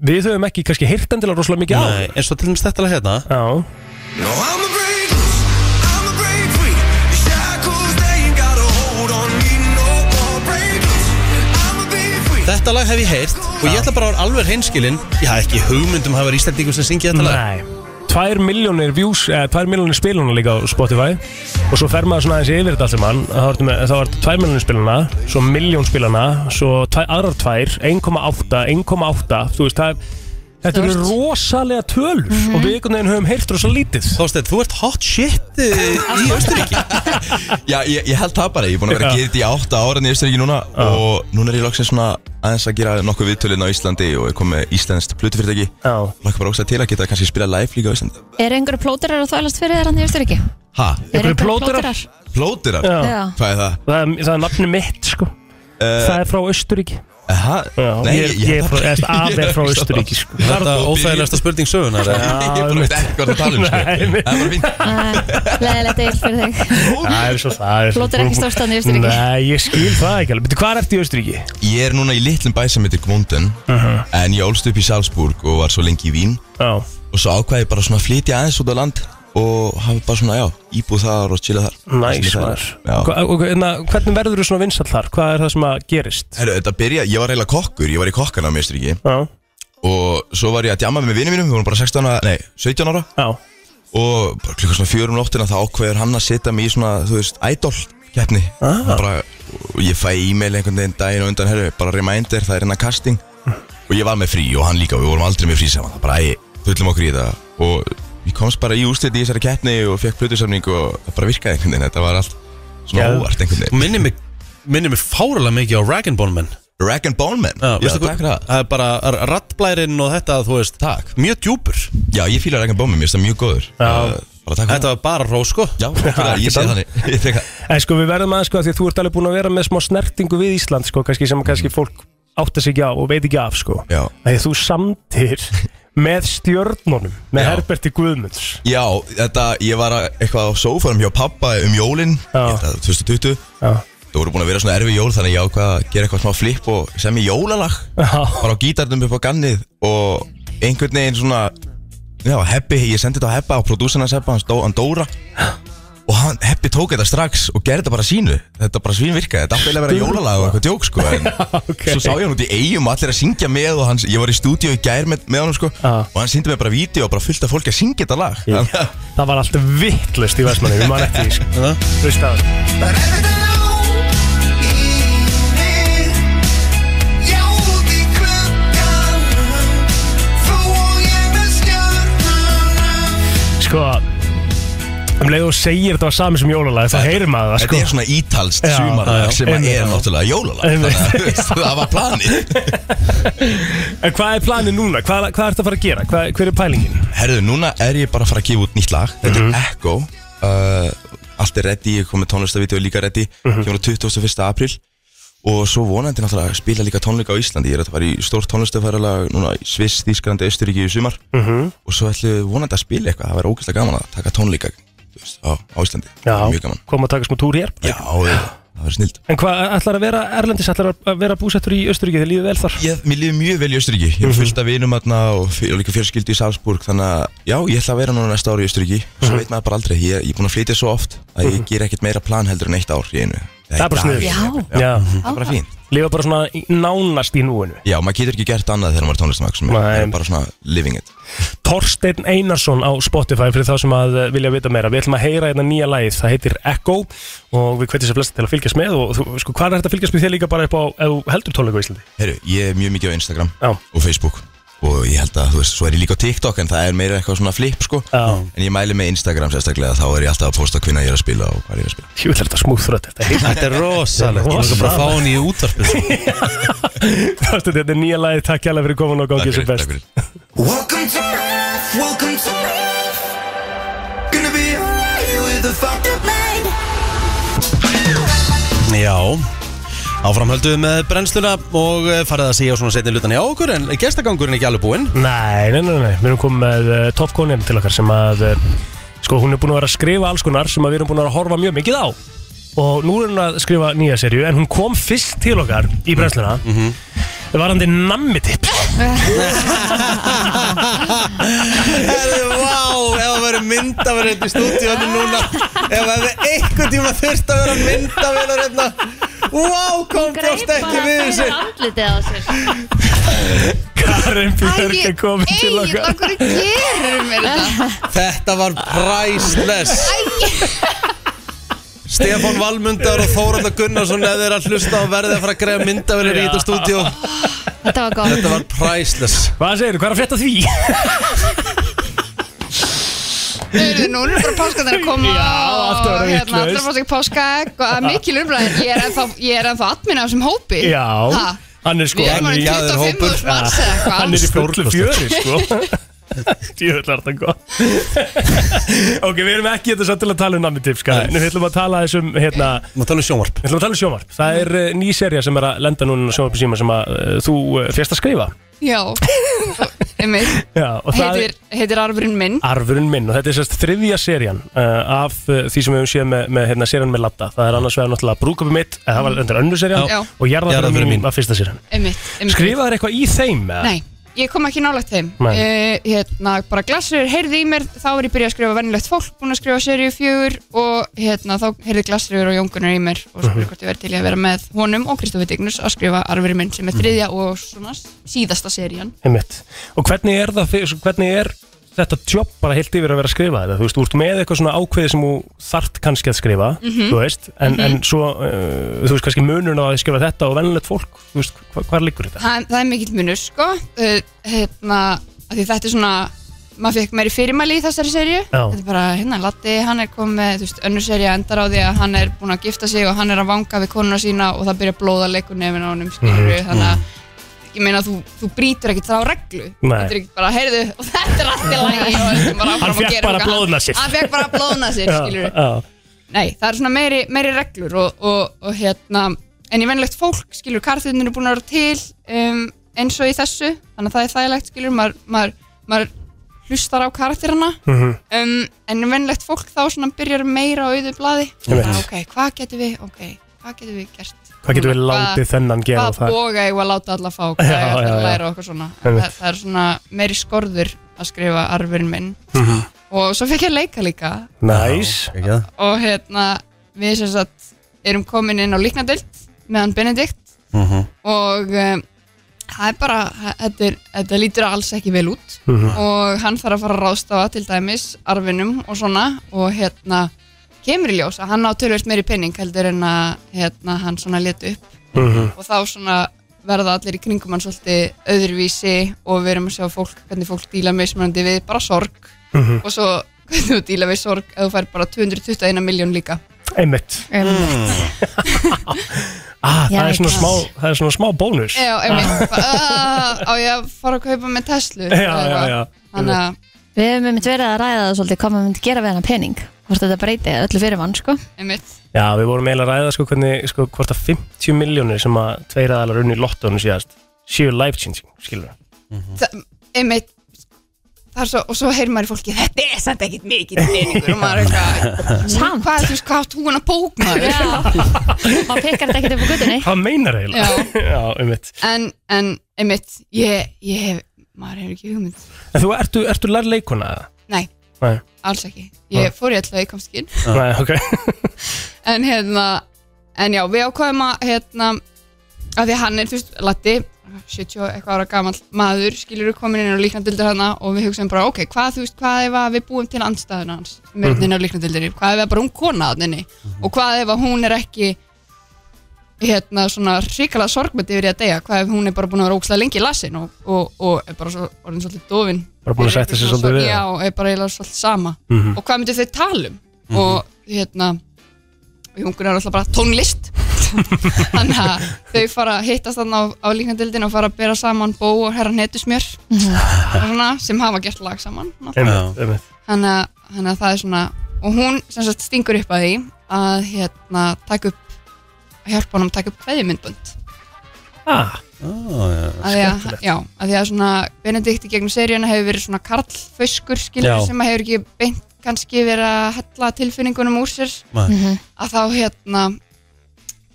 Speaker 5: við höfum ekki kannski hirtandilega rosalega mikið á
Speaker 4: Nei, eins og til dæmis þetta lag hérna
Speaker 5: Já
Speaker 2: No, I'm a break loose, I'm a break free. The shackles, they ain't got a hold on me no more. Break loose, I'm a be free.
Speaker 4: Þetta lag hef ég heyrt og ég ætla bara að vera alveg hreinskilinn Ég haf ekki hugmyndum að hafa íslendingum sem syngja þetta lag
Speaker 5: Nei, tvær miljónir views, eða tvær miljónir spiluna líka á Spotify og svo fer maður svona aðeins yfir þetta allt sem hann þá var þetta tvær miljónir spiluna svo miljón spiluna, svo tvær, aðrar tvær 1,8, 1,8 þú veist, það er Þetta eru rosalega tölur og við einhvern veginn höfum heyrt rosa lítið
Speaker 4: Þorsteinn, þú ert hot shit uh, í Östuríki
Speaker 22: Já, ég, ég held það bara, ég er búin að vera að gera þetta í átta ára en ég veist ekki núna og núna er ég loksins svona aðeins að gera nokkuð viðtölinn á Íslandi og ég kom með íslenskt plutufyrirtæki Lakka bara ógst til að geta kannski spila live líka á Íslandi
Speaker 3: Er einhverju plóterar að þvælast fyrir þér hann í Östuríki?
Speaker 22: Ha?
Speaker 3: Einhverjir plóterar? plóterar?
Speaker 22: Plóterar?
Speaker 3: Já. Já.
Speaker 22: Hvað er það?
Speaker 5: Það er, það er nafni mitt sko
Speaker 4: Eh.
Speaker 5: Það er frá Östuríki
Speaker 22: Aha,
Speaker 5: Nei, ég, ég, er frá, eða, af er frá Östuríki sko.
Speaker 4: Þetta óþægilegasta spurning sögunar eða?
Speaker 5: Ég bara veit ekki hvað það tala um, sko. Nei, nei.
Speaker 3: Leðilegt eil fyrir þig
Speaker 5: Það er svo það er svo-
Speaker 3: Plóter er ekki stórstan í Austurríki.
Speaker 5: Nei, ég skil það ekki alveg Býttu, hvað ertu í Östuríki?
Speaker 22: Ég er núna í litlum bæ sem heitir Gmunden
Speaker 5: Mhm.
Speaker 22: En ég ólst upp í Salzburg og var svo lengi í Vín
Speaker 5: Já.
Speaker 22: Og svo ákvaði ég bara svona að flytja aðeins út á land Og hafa bara svona, já, íbúð þar og chilla þar
Speaker 5: Næs
Speaker 22: Sem ég
Speaker 5: maður
Speaker 22: þarf. Já.
Speaker 5: Hva- og hérna, Hvernig verður þú svona vinsall þar? Hvað er það sem að gerist?
Speaker 22: Herru, þetta byrja, ég var eiginlega kokkur, ég var í kokkana á Mjöstriki
Speaker 5: Já
Speaker 22: Og svo var ég að djama með vinið mínum, við vorum bara 16 ára, nei, 17 ára
Speaker 5: Já
Speaker 22: Og bara klukka svona fjörum nóttina þá ákveður hann að setja mig í svona, þú veist, idol keppni ah. bara, Og ég fæ e-mail einhvern veginn daginn og undan, herru, bara reminder, það er hennar casting Og ég var með frí og hann líka, við vorum aldrei með frí saman, það bara, æ, fullum okkur í þetta Og ég komst bara í úrslit í þessari keppni og fekk plötusamning og það bara virkaði einhvern veginn, þetta var allt svona
Speaker 4: Geð-
Speaker 22: óvart einhvern veginn
Speaker 4: Minnir mig, minnir mig fáralega mikið á Rag and Bone Man
Speaker 22: Rag and Bone Man? Já,
Speaker 4: Já, veistu
Speaker 22: takk
Speaker 4: hvað,
Speaker 22: fyrir
Speaker 4: það er bara rattblærinn og þetta, þú veist
Speaker 22: Takk
Speaker 4: Mjög djúpur
Speaker 22: Já, ég fýla Rag and Bone Man, mér finnst það mjög góður Eh, Já
Speaker 4: Þetta var bara rós, sko
Speaker 22: Já, takk fyrir það, ég sé þannig Ég tek það.
Speaker 5: En sko við verðum aðeins sko að því að þú ert alveg búin að vera með smá snertingu við Ísland sko kannski sem kannski fólk átta sig ekki á og veit ekki af sko
Speaker 22: Mm. Já
Speaker 5: Þegar þú samtir með stjörnunum með Herberti Guðmunds
Speaker 22: Já, þetta, ég var að- eitthvað á sófanum hjá pappa um jólin Já Ég held að 2020
Speaker 5: Já
Speaker 22: Það voru búin að vera svona erfi jól þannig að ég ákvað að gera eitthvað smá flip og sem í jólalag
Speaker 5: Já
Speaker 22: Bara á gítarnum upp á gannið og einhvern veginn svona Já, Heppi, ég sendi þetta á Heppa og prodúsarnas Heppa, hann, Dó, hann Dóra Og hann, Heppi tók þetta strax og gerði þetta bara sínu Þetta bara svín virkaði, þetta átti eiginlega að vera jólalag og eitthvað djók sko en, Svo sá ég hann út í eigum og allir að syngja með og hans, ég var í stúdíu í gær með, með honum sko Og hann síndi mig bara vídeo og bara fullt af fólki að syngja þetta lag Þannig að-
Speaker 5: Það var alltaf vittlust í Vestmanni við maður eftir því sko Þú veist það Sko, um leið og segir þetta var sami sem jólalag þá heyrir maður það sko
Speaker 22: Þetta er svona ítalst
Speaker 5: Já, já,
Speaker 22: sumarlag sem að
Speaker 5: einmitt.
Speaker 22: er náttúrulega jólalag Þannig
Speaker 5: Einmitt.
Speaker 22: að þú veist, það var planið
Speaker 5: En hvað er planið núna? Hvað, hvað ertu að fara að gera? Hvað, hver er pælingin?
Speaker 22: Herðu, núna er ég bara að fara að gefa út nýtt lag Þetta
Speaker 5: Mhm.
Speaker 22: er Echo uh, Allt er ready, ég kom með tónlistavídeó líka ready
Speaker 5: Mhm.
Speaker 22: Kemur á 21. apríl Og svo vonandi náttúrulega að spila líka tónleika á Íslandi Ég er að fara í stór tónlistafæralag Núna í Sviss, Þísklandi, Östuríki í sumar
Speaker 5: Mhm.
Speaker 22: Og svo ætlum við vonandi að spila eitthvað Það væri ógeðslega gaman að taka tónleika þú veist, á, á Íslandi
Speaker 5: Já,
Speaker 22: Mjög gaman
Speaker 5: koma að taka smá túr hér
Speaker 22: Já, það verður snild
Speaker 5: En hvað ætlar að vera erlendis? Ætlar að vera búsettur í Östuríki? Þið líður vel þar?
Speaker 22: Ég, mér líður mjög vel í Östuríki Ég
Speaker 5: Mhm.
Speaker 22: er fullt af vinum aðna og, fyr- og líka fjölskyldi í Salzburg Þannig að já, ég ætla að vera núna næsta ári í Östuríki Svo
Speaker 5: Mhm.
Speaker 22: veit maður bara aldrei, ég, ég er búin að flytja svo oft Að ég
Speaker 5: Mhm.
Speaker 22: ger ekkert meira plan heldur en eitt ár í einu Eða
Speaker 5: Það er
Speaker 22: eitt
Speaker 5: bara
Speaker 22: dag.
Speaker 5: sniður
Speaker 22: Já.
Speaker 5: Já.
Speaker 22: Það er bara fín
Speaker 5: Lifa bara svona í- nánast í núinu
Speaker 22: Já, maður getur ekki gert annað þegar maður er tónlistamæk sem er er bara svona living it
Speaker 5: Torsteinn Einarsson á Spotify fyrir þá sem að eh, vilja vita meira. Við ætlum að heyra hérna nýja lagið, það heitir Echo og við hvetjum sér flesta til að fylgjast með og þú, sko, hvað er þetta að fylgjast með þér líka bara upp á ef þú heldur tónleika í Íslandi?
Speaker 22: Herru, ég er mjög mikið á Instagram
Speaker 5: Já.
Speaker 22: og Facebook Og ég held að, þú veist, svo er ég líka á TikTok En það er meira eitthvað svona flip, sko
Speaker 5: Já.
Speaker 22: En ég mæli með Instagram sérstaklega Þá er ég alltaf að posta hvinna ég er að spila og hvað ég er að spila
Speaker 5: Jú, þetta er smúð þrött
Speaker 4: Þetta er rosalegt Ég lóka bara að fá hann í útvarpið sko.
Speaker 5: Torsteinn, þetta er nýja lagið, takk hjálpa fyrir komin og gangið sem best.
Speaker 2: Welcome to life, welcome to life Gonna be alright with a fucked up mind Já Áframhölduðu með brennsluna og eh, farið að segja svona setni lutan í okkur en gestagangurinn er ekki alveg búinn
Speaker 5: Nei, nei, nei, nei, við erum komið með uh, topkonin til okkar sem að, uh, sko, hún er búin að vera að skrifa alls konar sem að við erum búin að vera að horfa mjög mikið á og nú er hún að skrifa nýja serju en hún kom fyrst til okkar í brennsluna mm
Speaker 4: Mhm.
Speaker 5: -hmm. varandi nammitips
Speaker 4: Herðu, vá, ef það verður myndavél hérna í stúdíónu núna Ef það hefði einhvern tíma þurft að vera myndavél hérna Vá, kom bjóst ekki við þessu
Speaker 3: andlitið á sér
Speaker 5: Karen Björk er komin til okkar
Speaker 3: Akkur gerir mér þetta
Speaker 4: Þetta var priceless Stefán Valmundar og Þóranda Gunnarsson eða þeir að hlusta og verði að fara að greiða myndavélir í
Speaker 5: Já.
Speaker 4: þetta stúdíó
Speaker 3: Þetta var góð
Speaker 4: Þetta var priceless
Speaker 5: Hvað segir þú, hvað er að frétta því?
Speaker 1: Heyrðu, Nú er bara páskandar að koma
Speaker 5: Já, allt að vera
Speaker 1: og hérna,
Speaker 5: vitlaust.
Speaker 1: allra fórst ekki páskaegg og það er mikil umræðin, ég er ennþá, ég er ennþá admin af þessum hópi
Speaker 5: Já,
Speaker 1: ha,
Speaker 5: hann er sko
Speaker 1: Við erum orðin 25 þúsund manns eða eitthvað.
Speaker 5: Hann er í fullu fjöri sko Djöðlar þetta gott Ok, við erum ekki þetta satt til að tala um nammi tips Við ætlum að tala þessum hérna,
Speaker 4: Má tala um sjónvarp
Speaker 5: Við ætlum að tala um sjónvarp Það er uh, ný serja sem er að lenda núna á sjónvarpi síma sem að uh, þú uh, férst að skrifa
Speaker 1: Já, einmitt
Speaker 5: Já, og það
Speaker 1: heitir, heitir arfurinn minn
Speaker 5: er arfurinn minn og þetta er sérst þriðja serían uh, af uh, því sem við höfum séð með, með hérna, serían með Latta Það er annars vegar náttúrulega brúkupið mitt
Speaker 1: Mm.
Speaker 5: eða það var undir önnu serjan
Speaker 1: Já.
Speaker 5: og jarðafyrir
Speaker 4: Jarðarförin
Speaker 5: mín var fyrsta serían
Speaker 1: einmitt, einmitt.
Speaker 5: Skrifaður eitthvað í þeim? eða?
Speaker 1: Nei, ég kom ekki nálægt þeim uh,
Speaker 5: Nei.
Speaker 1: hérna, bara glassur heyrði í mér þá var ég byrjað að skrifa vennilegt fólk búin að skrifa serið fjögur og hérna, þá heyrði glassur og Jóngunar í mér og spurði
Speaker 5: Mhm.
Speaker 1: hvort ég verið til í að vera með honum og Kristofi Dignus að skrifa arfurinn minn
Speaker 5: Mhm.
Speaker 1: sem er þriðja og svona síðasta serían
Speaker 5: Einmitt. Og hvernig er, það, fyrir- hvernig er þetta jobb bara heilt yfir að vera að skrifa þetta? Þú veist, þú ert með eitthvað svona ákveði sem þú þart kannski að skrifa,
Speaker 1: Mhm.
Speaker 5: þú veist, en,
Speaker 1: Mhm.
Speaker 5: en svo, uh, þú veist, kannski munurinn á að skrifa þetta og vennilegt fólk, þú veist, hva, hvar liggur þetta?
Speaker 1: það, það er mikill munur sko uh, hérna, af því þetta er svona maður fekk meiri fyrirmæli í þessari serju
Speaker 5: Já.
Speaker 1: þetta er bara hérna Latti, hann er komið með þú veist, önnur serja endar á því að hann er búin að gifta sig og hann er að vanga við konuna sína og það byrja að blóða leikur nefn á honum skilur
Speaker 5: Mhm.
Speaker 1: þannig að ég meina þú, þú brýtur ekkert þá reglu
Speaker 5: Nei.
Speaker 1: þetta er ekkert bara, heyrðu, og þetta er allt í lagi og höldum bara áfram
Speaker 5: Hann
Speaker 1: að
Speaker 5: fékk
Speaker 1: gera
Speaker 5: bara
Speaker 1: eitthvað.
Speaker 5: að blóðna sér.
Speaker 1: hann fekk bara að blóðna sér skilur
Speaker 5: Já,
Speaker 1: Nei, það er svona meiri, meiri reglur og, og, og hérna, en ég venilegt fólk skilur, karþunir eru búin að vera til um, eins og í þessu, þannig að það er þægilegt skilur, maður, maður, maður hlustar á karþirina
Speaker 5: Mhm.
Speaker 1: um, en venilegt fólk þá svona byrjar meira á auðu blaði,
Speaker 5: Ég veit.
Speaker 1: bara, ok, hvað getum við ok, hvað getum við gert
Speaker 5: Hvað getum við
Speaker 1: Hvað-
Speaker 5: látið þennan gera og
Speaker 1: hvað
Speaker 5: það?
Speaker 1: boga ég að láta alla fá, hvað
Speaker 5: Já,
Speaker 1: ég ætla
Speaker 5: já,
Speaker 1: að
Speaker 5: já.
Speaker 1: læra og eitthvað svona,
Speaker 5: Einmitt.
Speaker 1: það, það er svona meiri skorður að skrifa arfurinn minn
Speaker 5: Mhm.
Speaker 1: og svo fekk ég að leika líka
Speaker 5: Næs.
Speaker 1: og hérna við sem sagt erum komin inn á líknadelt með hann Benedikt
Speaker 5: Mhm.
Speaker 1: og um, það er bara þetta, er, þetta lítur alls ekki vel út
Speaker 5: Mhm.
Speaker 1: og hann þarf að fara að ráðstafa til dæmis arfinum og svona og hérna kemur í ljós að hann á tölvöld meiri penning heldur en að hérna, hann svona leti upp
Speaker 5: Mhm.
Speaker 1: og þá svona verða allir í kringum hann svolítið öðruvísi og við erum að sjá fólk, hvernig fólk díla mismunandi við bara sorg
Speaker 5: Mhm.
Speaker 1: og svo hvernig þú díla við sorg ef þú fær bara 221 miljón líka
Speaker 5: Einmitt
Speaker 1: Mm.
Speaker 5: ah, það,
Speaker 1: Já,
Speaker 5: er svona
Speaker 1: ekki.
Speaker 5: smá, það er svona smá bónus
Speaker 1: Já, einmitt, bara, "Ah, á ég að fara að kaupa með Tesla
Speaker 5: Já, já, já.
Speaker 1: Þannig að
Speaker 3: Við hefum einmitt verið að ræða það svolítið hvað maður myndi gera við hennar pening hvort þetta breyti öllu fyrir mann sko
Speaker 1: einmitt
Speaker 5: Já, við vorum eiginlega að ræða sko, hvernig, sko, hvort að 50 miljónir sem að tveir aðalar unni í lottónu síðast séu life changing, skilur
Speaker 1: það, einmitt það er svo, og svo heyrir maður í fólki þetta er samt ekkit mikið peningur og maður er eitthvað samt hvað, þú veist, hvað átt hún að bók maður
Speaker 3: maður pekar þetta ekkit upp á guttunni
Speaker 5: Hvað meinar eiginlega? Já, einmitt
Speaker 1: en, en einmitt ég, ég hef, maður hefur ekki hugmynd
Speaker 5: En þú ertu, ertu lær leikuna eða?
Speaker 1: nei,
Speaker 5: Nei,
Speaker 1: alls ekki ég fór í alltaf í komskin
Speaker 5: Nei ok
Speaker 1: en hérna, en já, við ákvæðum að hérna, að því að hann er, þú veist, Latti 70 og eitthvað ára gamall maður skilur við komin inn á líknadildir hana og við hugsaum bara, ok, hvað, þú veist, hvað ef að við búum til andstæðuna hans,
Speaker 5: Mhm.
Speaker 1: mörðin inn á líknadildir hvað ef að bara hún kona á þenni og hvað ef að hún er ekki hérna svona hrikalega sorgmætti yfir því að deyja, hvað ef hún er bara búin að vera ókslega lengi í lasin og, og, og er bara svo orðin svolítið dofin
Speaker 5: Bara búin að setja sig svolítið við
Speaker 1: já,
Speaker 5: það.
Speaker 1: er bara eiginlega svolítið sama
Speaker 5: Mhm.
Speaker 2: Mm.
Speaker 1: og hvað myndu þau tala um og hérna og Jóngur er alltaf bara tónlist þannig að þau fara að hittast þannig á, á líkandildin og fara að bera saman Bó og Herra Netusmjör svona, sem hafa gert lag saman
Speaker 5: Einmitt, einmitt
Speaker 1: þannig að, þannig að það er svona og hún sem sagt stingur upp að því að hérna taka upp að hjálpa honum að taka upp kveðjumyndbönd
Speaker 5: Ah,
Speaker 1: að því að, já, að því að svona Benedikt í gegnum seríuna hefur verið svona karlföskur skilur
Speaker 5: Já.
Speaker 1: sem að hefur ekki beint kannski verið að hella tilfinningunum úr sér
Speaker 4: Nei. Mhm.
Speaker 1: að þá hérna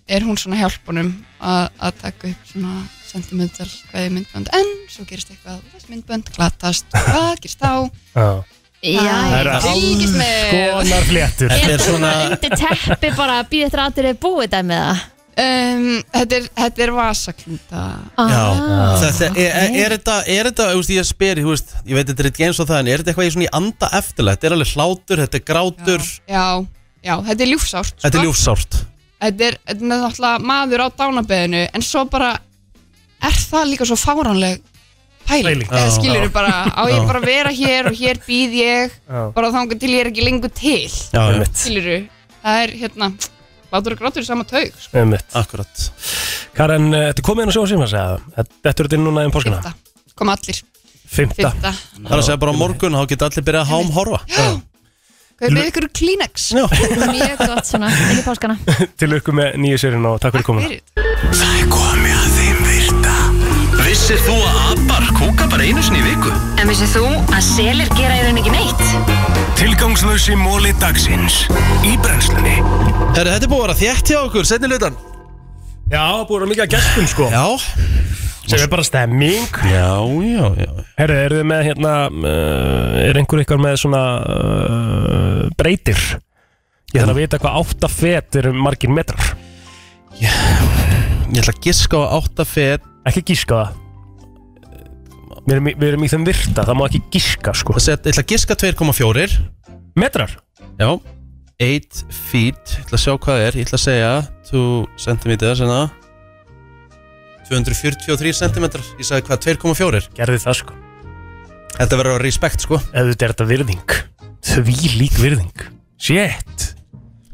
Speaker 1: er hún svona hjálpunum að, að taka upp svona sentimental hvaði myndbönd en svo gerist eitthvað þess myndbönd glatast hvað gerist þá
Speaker 5: Já Það eru
Speaker 1: fylgist með
Speaker 5: Skonar fléttur
Speaker 4: Þetta er svona
Speaker 3: Þetta er teppi bara að býða eftir að þeir eru búið það með það
Speaker 1: um, þetta, er, þetta er vasaklunda
Speaker 3: Ah,
Speaker 4: Já,
Speaker 1: Ah.
Speaker 4: þetta er, er, e- er þetta, er þetta, þú veist, ég spyr, þú veist, ég veit þetta er ekki eins og það, en er þetta eitthvað ég svona í anda eftirlega, þetta er alveg hlátur, þetta er grátur,
Speaker 1: já, já, þetta er ljúfsárt
Speaker 4: þetta
Speaker 1: sko.
Speaker 4: er ljúfsárt.
Speaker 1: þetta er, þetta er náttúrulega maður á dánabeðinu en svo bara er það líka svo fáránleg pæling,
Speaker 5: Pæling.
Speaker 1: eða
Speaker 5: Já.
Speaker 1: skilur
Speaker 5: Já.
Speaker 1: bara á ég
Speaker 5: Já.
Speaker 1: bara að vera hér og hér býð ég
Speaker 5: Já.
Speaker 1: bara þangar til ég er ekki lengur til
Speaker 5: Já, einmitt.
Speaker 1: skilur það er hérna bátur og grátur í sama taug sko.
Speaker 5: Einmitt
Speaker 4: Akkurat
Speaker 5: Karen, eh, þetta er komið inn á sjóðsýmans eða? Þetta þetta eru til núna um páskana?
Speaker 1: koma allir,
Speaker 5: Fymta
Speaker 1: Fimmta.
Speaker 4: Það er að segja bara á morgun, þá geta allir byrjað að hám horfa.
Speaker 1: kaupið ykkur Kleenex
Speaker 3: mjög gott svona, inn í páskana
Speaker 5: Til ykkur með nýju sérinu og takk fyrir komuna
Speaker 2: Það er komið að þeim virta Vissir þú að abar kúka bara einu sinni í viku?
Speaker 8: En vissið þú að selir gera í rauninni ekki neitt?
Speaker 2: Tilgangslösi móli dagsins Í brennslunni
Speaker 4: Herru, þetta er búið að vera þétt hjá okkur, setni lutan
Speaker 5: Já, búið að vera mikið að gestum sko
Speaker 4: Já
Speaker 5: Sem er bara stemming
Speaker 4: Já, já, já
Speaker 5: Herru, eru þið með hérna uh, Er einhver ykkar með svona uh, Breytir Ég þarf að vita hvað átta fet eru margir metrar
Speaker 4: Ég ætla að giska á átta fet
Speaker 5: Ekki giska á það Við erum, í- við erum í þeim virta, það má ekki giska sko
Speaker 4: Það set, Ég ætla að giska 2,4
Speaker 5: Metrar?
Speaker 4: Já 8 feet Ég ætla að sjá hvað það er Ég ætla að segja hérna. 2 cm Senna 243 cm Ég sagði hvað 2,4
Speaker 5: Gerði það sko
Speaker 4: Þetta verður að respekt sko
Speaker 5: Ef þetta er þetta virðing Því lík virðing Shit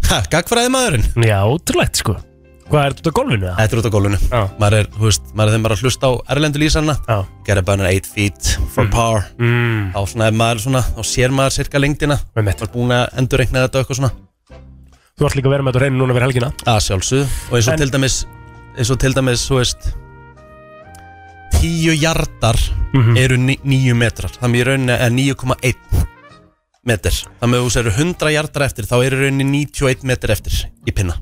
Speaker 4: Ha, gagfræði maðurinn
Speaker 5: Já, ótrúlegt sko Hvað er þetta á gólfinu það?
Speaker 4: Þetta er út á gólfinu
Speaker 5: Já
Speaker 4: Maður er, þú veist, maður er þeim bara að hlusta á erlendu lýsanna
Speaker 5: Já
Speaker 4: Gerði bara 8 feet for power
Speaker 5: mm.
Speaker 4: Þá svona er maður svona Þá sér maður cirka lengdina
Speaker 5: Með mitt
Speaker 4: Maður er búin að endurreikna þetta og eitthvað svona
Speaker 5: Þú ert líka að vera með þetta á reynu núna verið helgina
Speaker 4: að sjálfsögðu og eins og
Speaker 5: En-
Speaker 4: til dæmis eins og til dæmis, þú veist tíu jardar
Speaker 5: Mhm.
Speaker 4: eru ní, níu metrar þannig í rauninni eh, er 9,1 metr, þannig að þú sér 100 jardar eftir þá eru í rauninni 91 metr eftir í pinna,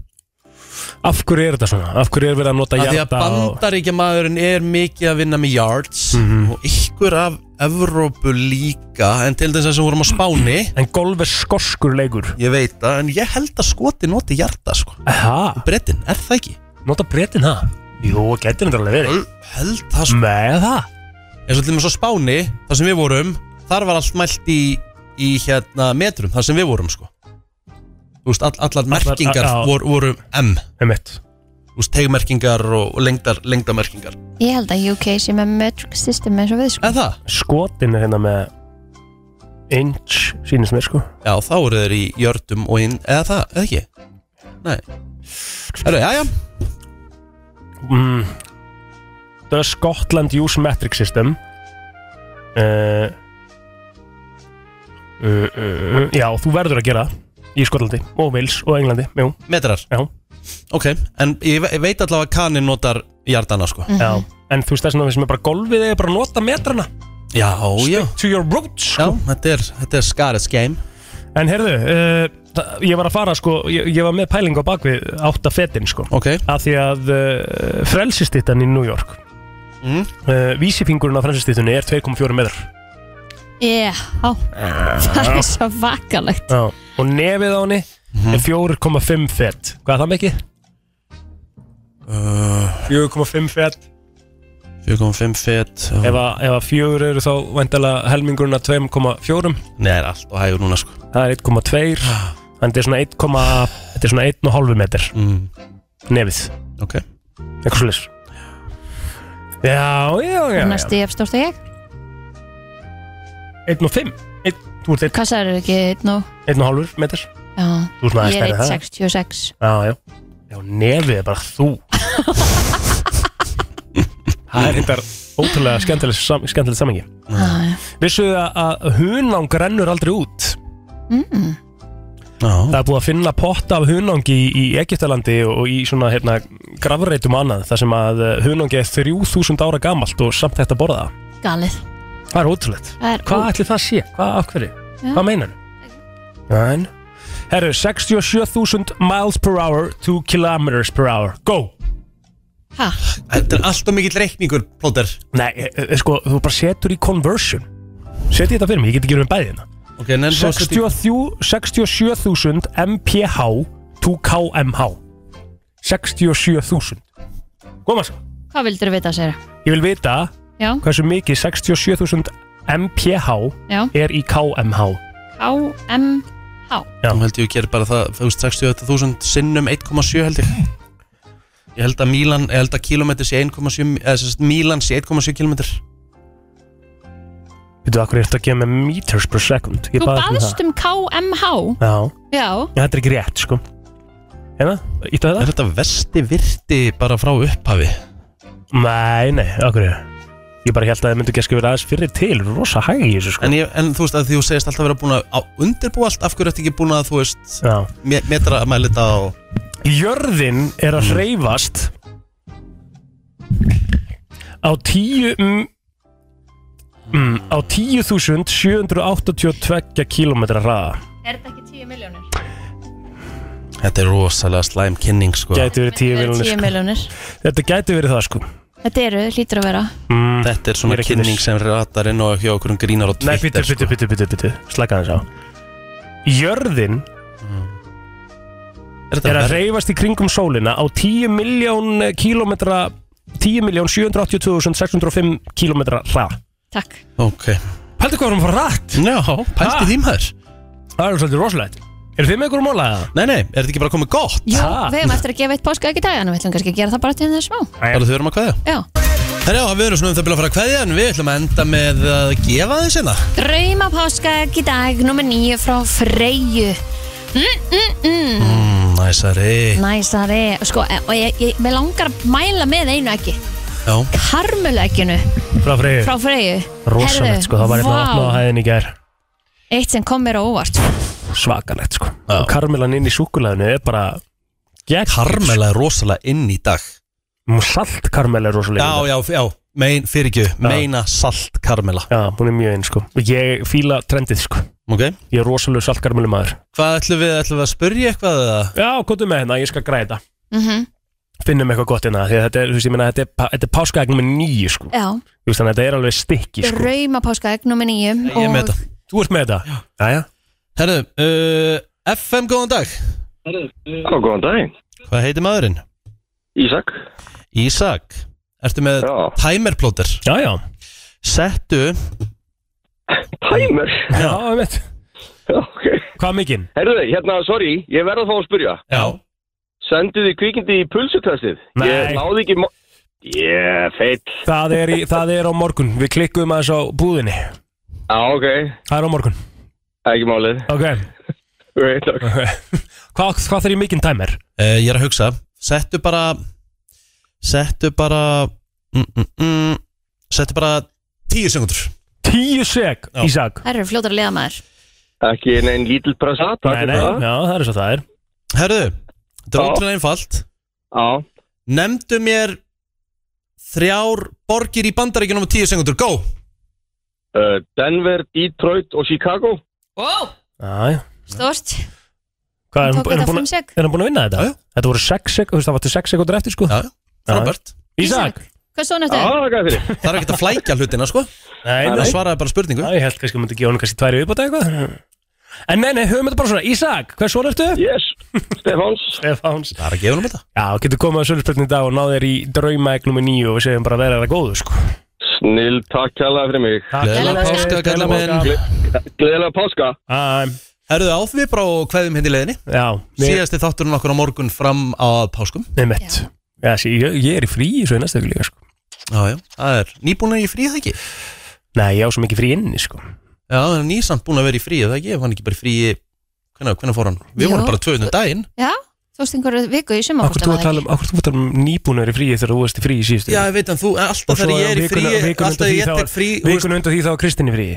Speaker 5: Af hverju er þetta svona? Af hverju er verið að nota
Speaker 4: af því að
Speaker 5: hjarta og-
Speaker 4: bandaríkja maðurinn er mikið að vinna með yards
Speaker 5: Mhm.
Speaker 4: og ykkur af Evrópu líka, en til dæmis þess að við vorum á Spáni
Speaker 5: En golf er skorskur leikur
Speaker 4: Ég veit það, en ég held að skoti noti hjarta sko
Speaker 5: Aha.
Speaker 4: Bretin, er það ekki?
Speaker 5: Nota bretin það? Jú, getur þetta alveg verið
Speaker 4: Held það sko
Speaker 5: Með það?
Speaker 4: eins og til dæmis á Spáni, þar sem við vorum þar var allt mælt í, í hérna metrum, þar sem við vorum sko þú veist, all, allar merkingar
Speaker 5: já.
Speaker 4: voru, voru M
Speaker 5: Einmitt.
Speaker 4: þú veist, tegmerkingar og, og lengdar, lengdamerkingar
Speaker 3: Ég held að UK sé með metric system eins og við sko
Speaker 4: En það?
Speaker 5: Skotin er hérna með inch sínist mér sko
Speaker 4: Já, þá eru þeir í jördum og inn Eða það, eða ekki Nei Herru, já, já
Speaker 5: mm, The Scotland Use Metric System uh, uh, uh, uh, Já, þú verður að gera það í Skotlandi og Wales og Englandi jú.
Speaker 4: Metrar?
Speaker 5: Já
Speaker 4: Ok, en ég ve- ég veit allavega að kanin notar jardana sko
Speaker 3: Mhm.
Speaker 5: Já, en þú veist þess að það sem er bara golfið er bara að nota metrana
Speaker 4: Já, já
Speaker 5: to your roots sko.
Speaker 4: Já, þetta er, þetta er skarðs game
Speaker 5: En heyrðu, uh, það- ég var að fara sko, ég, ég var með pæling á bakvið átta fetin sko
Speaker 4: okay.
Speaker 5: Af því að uh, frelsistittan í New York
Speaker 4: Mhm.
Speaker 5: mm. Vísifingurinn á frelsistittunni er 2,4 metrar
Speaker 3: Já, það er svo vakalegt
Speaker 5: Já, og nefið á henni
Speaker 4: Mhm.
Speaker 5: er 4,5 fett Hvað er það mikið?
Speaker 4: Uh,
Speaker 5: 4,5 fett
Speaker 4: 4,5 fet já.
Speaker 5: Ef að, ef að 4 eru þá væntalega helmingurinn að 2,4
Speaker 4: Nei, það er allt og hægur núna sko Ah.
Speaker 5: Það er 1,2 Þannig er svona 1, þetta er svona 1,5 metr
Speaker 4: mm.
Speaker 5: Nefið
Speaker 4: Ok
Speaker 5: Eitthvað svolítið Já, já, já, já.
Speaker 3: Næstu ég efstórt að ég
Speaker 5: 1,5 Einn- Þú ert
Speaker 3: Hvað sagður ekki einn og
Speaker 5: 1,5 metr
Speaker 3: Já,
Speaker 5: Þú ert svona aðeins
Speaker 3: ég er
Speaker 5: stærri en það.
Speaker 3: 166
Speaker 5: Já, já Já, nefið er bara þú Það er þetta ótrúlega skemmtileg, sam, skemmtileg samengi
Speaker 3: Já,
Speaker 5: Vissuðu að, að hunang rennur aldrei út
Speaker 3: mm.
Speaker 5: Það er búið að finna potta af hunangi í, í Egiptalandi og í svona hérna, grafreitum og annað þar sem að eh, hunangi er 3000 ára gamalt og samt þetta borða það.
Speaker 3: Galið
Speaker 5: Það er ótrúlegt
Speaker 3: Það er
Speaker 5: Hvað ætli það sé? Hvað af hverju?
Speaker 3: Já.
Speaker 5: Hvað meinar Nein. Herru, 67.000 miles per hour 2 kilometers per hour Go!
Speaker 3: Hæ?
Speaker 4: Þetta er alltaf mikill reikningur, plóter
Speaker 5: Nei, e, e, sko, þú bara setur í conversion Setji þetta fyrir mig, ég get ekki verið með bæði hérna
Speaker 4: Ok, en en þá setjum-
Speaker 5: 63 67.000 mph 2kmh 67.000 Góma svo
Speaker 3: Hvað vildur þú vita, segir
Speaker 5: Ég vil vita
Speaker 3: Já.
Speaker 5: hversu mikið 67.000 mph
Speaker 3: Já.
Speaker 5: er í kmh
Speaker 3: KMH
Speaker 4: Nú held ég að gera bara það, þú veist, 68.000 sinnum 1,7 held ég Ég held að Mílan, ég held að kilometri sé 1,7, eða sem sagt Mílan sé 1,7 kilometr
Speaker 5: Veitu, akkur er þetta að gefa með meters per second Ég
Speaker 3: Þú
Speaker 5: bað um
Speaker 3: baðst
Speaker 5: það.
Speaker 3: um KMH
Speaker 5: Já,
Speaker 3: Já
Speaker 5: en þetta er ekki rétt, sko Hérna, íttu að það
Speaker 4: Er þetta vesti virti bara frá upphafi?
Speaker 5: Nei, nei, akkur er Ég bara held að það myndi ekki að skrifa aðeins fyrir til Rosa hæg í þessu, sko
Speaker 4: En, ég, en þú veist að því þú segist alltaf vera búin að á- undirbúa allt af hverju ertu ekki búin að þú veist
Speaker 5: Já.
Speaker 4: me- metra að mæla þetta og
Speaker 5: Jörðin er að hreyfast á 10 mm, mm, á 10.782 km hraða
Speaker 3: Er þetta ekki 10 miljónir?
Speaker 4: Þetta er rosalega slæm kynning sko
Speaker 5: Gæti verið 10
Speaker 3: 10
Speaker 5: miljonir sko.
Speaker 3: miljónir
Speaker 5: Þetta gæti verið það sko
Speaker 3: Þetta eru, hlýtur að vera
Speaker 5: mm,
Speaker 4: Þetta er svona
Speaker 5: Ég er ekki
Speaker 4: kynning
Speaker 5: viss.
Speaker 4: sem ratar inn og hjá okkur um grínar og
Speaker 5: Nei,
Speaker 4: Twitter sko.
Speaker 5: bitu, bitu, bitu, bitu, bitu Slaka þess á Jörðin
Speaker 4: Er,
Speaker 5: er að
Speaker 4: verð-
Speaker 5: hreyfast í kringum sólina á 10 miljón eh, kilometra 10.782.605 kilometra hrað
Speaker 3: Takk
Speaker 4: Ok
Speaker 5: Pældi hvað erum að fara rætt
Speaker 4: Já, pældi því maður
Speaker 5: Það er svolítið rosalegt Er þið með ykkur málaðið?
Speaker 4: Nei, nei, er þetta ekki bara komið gott?
Speaker 3: Jú, við hefum eftir að gefa eitt páska ekki dag En við ætlum kannski að gera það bara til þess smá
Speaker 4: Það er þau erum að kveðja
Speaker 3: Já
Speaker 4: Herjá, við erum svona um það byrja að fara að kveðja en við ætlum að enda með að gefa þeim sinna
Speaker 3: Drauma páska ekki dag Númer 9 frá Freyju mm, mm, mm.
Speaker 4: mm, Næsari
Speaker 3: Næsari Sko, e- og ég, ég, ég langar að mæla með einu ekki
Speaker 4: Já
Speaker 3: Karmulegginu
Speaker 5: Frá Freyju
Speaker 3: frá Freyju Herðu,
Speaker 5: Rosalegt sko, það var eitthvað
Speaker 3: vá.
Speaker 5: að opna á hæðin í gær
Speaker 3: Eitt sem kom mér á óvart
Speaker 5: Svakalegt sko Og karmelan inn í súkulæðinu er bara gegn
Speaker 4: Karmela er rosalega inn í dag
Speaker 5: Salt karmela er rosalega
Speaker 4: Já, já, já, mein, fyrir ekki, meina salt karmela
Speaker 5: Já, hún er mjög inn sko Og ég fíla trendið sko
Speaker 4: Ok
Speaker 5: Ég er rosalega salt karmelu maður
Speaker 4: Hvað ætlum við, ætlum við að spyrja eitthvað eða?
Speaker 5: Já, komdu með hérna, ég skal græta
Speaker 3: mm -hmm.
Speaker 5: Finnum eitthvað gott hérna Því að þetta er, þú veist, ég meina Þetta er, pa- þetta er páskaegn með nýju sko
Speaker 3: Já,
Speaker 5: Þú veist, þannig að þetta er alveg stikki sko
Speaker 3: drauma páskaegg nummer 9
Speaker 4: Ég er með þetta
Speaker 5: Þú ert með þetta? Já, já
Speaker 4: Herðu, uh, FM, góðan dag
Speaker 17: Já, góðan daginn
Speaker 4: Hvað heitir maðurinn?
Speaker 17: Ísak
Speaker 4: Ísak, ertu með timerplóter?
Speaker 5: Já, já
Speaker 4: Settu
Speaker 17: Timer?
Speaker 5: Já, ég veit Hvað mikinn?
Speaker 17: Herðu, hérna, sorry, ég verð að fá að spyrja
Speaker 5: Já
Speaker 17: Sendu þið kvikindi í pulsutestið
Speaker 5: Nei.
Speaker 17: Ég náði ekki mo- Ég, feill
Speaker 5: Það er, í, það er á morgun Við klikkuðum aðeins á búðinni
Speaker 17: Já, ok
Speaker 5: Það er á morgun
Speaker 16: Það er ekki málið
Speaker 5: Ok
Speaker 16: Right, ok
Speaker 5: Hvað, hvað þarf ég mikinn tæmer?
Speaker 4: Uh, ég er að hugsa Settu bara Settu bara mm, mm, mm, Settu bara Tíu sekundur
Speaker 5: Tíu sek, Ísak
Speaker 3: Það eru fljótar að liða maður
Speaker 16: Ekki neinn lítil pressa
Speaker 5: Nei, nei, já, það er svo það er
Speaker 4: Herðu, þetta er ótrúlega einfalt
Speaker 16: Já
Speaker 4: Nemndu mér Þrjár borgir í bandaríkjunum á tíu sekundur, go
Speaker 16: uh, Denver, Detroit og Chicago
Speaker 3: wow.
Speaker 5: Æ,
Speaker 3: Stort
Speaker 5: Hvað, er
Speaker 3: Hann
Speaker 5: hann,
Speaker 3: tók
Speaker 5: er,
Speaker 3: þetta
Speaker 5: hann búin,
Speaker 3: fimm sek.
Speaker 5: er hann búin að vinna þetta? Þetta voru 6 sekúndur, þú veist það var til 6 sekúndur eftir sko Já,
Speaker 4: frábært
Speaker 5: Ísak
Speaker 3: Hvað svona þetta?
Speaker 16: er fyrir
Speaker 4: Það er ekkert að flækja hlutina, sko
Speaker 5: Nei,
Speaker 4: Það svaraði bara spurningu
Speaker 5: Já, ég held kannski að myndi gefa hann kannski tværi viðbóta eitthvað En nei, nei, höfum þetta bara svona Ísak, hvað svona ertu?
Speaker 16: Yes, Stefáns
Speaker 5: Stefáns
Speaker 4: Það er að gefa hann um þetta
Speaker 5: Já, getur komið að söluspilni í dag og náð þér í draumæk nummer 9 og við segjum bara að vera það góðu sko
Speaker 16: Snill, takk kjærlega fyrir mig
Speaker 4: Gleðilega páska, gæla
Speaker 16: minn Gleðilega páska
Speaker 4: Herðu áfum við bara og kveðum hindi leðinni
Speaker 5: Já
Speaker 4: hérna Síðasti þátturinn okkur á morgun fram að páskum
Speaker 5: Nei, mitt Já, sí, ég, ég er í frí svo í næsta ykkur líka sko
Speaker 4: Já, já, það er nýbúin að ég frí það ekki
Speaker 5: Nei, ég á svo mikið frí inni sko
Speaker 4: Já, það er nýsamt búin að vera í frí það ekki, ef hann ekki bara í frí Hvenær, hvenær fór hann? Við
Speaker 3: Jú.
Speaker 4: vorum bara tvöðnum daginn
Speaker 3: Já, þú veist einhverju viku í sumar
Speaker 5: Akkur þú að tala um, akkur þú að tala um nýbúnar í frí þegar þú varst í frí í síðustu
Speaker 4: Já, ég veit en þú, en alltaf þegar ég er í frí Alltaf þegar ég tek frí þú veist,
Speaker 5: Vikun undan því þá er Kristinn í frí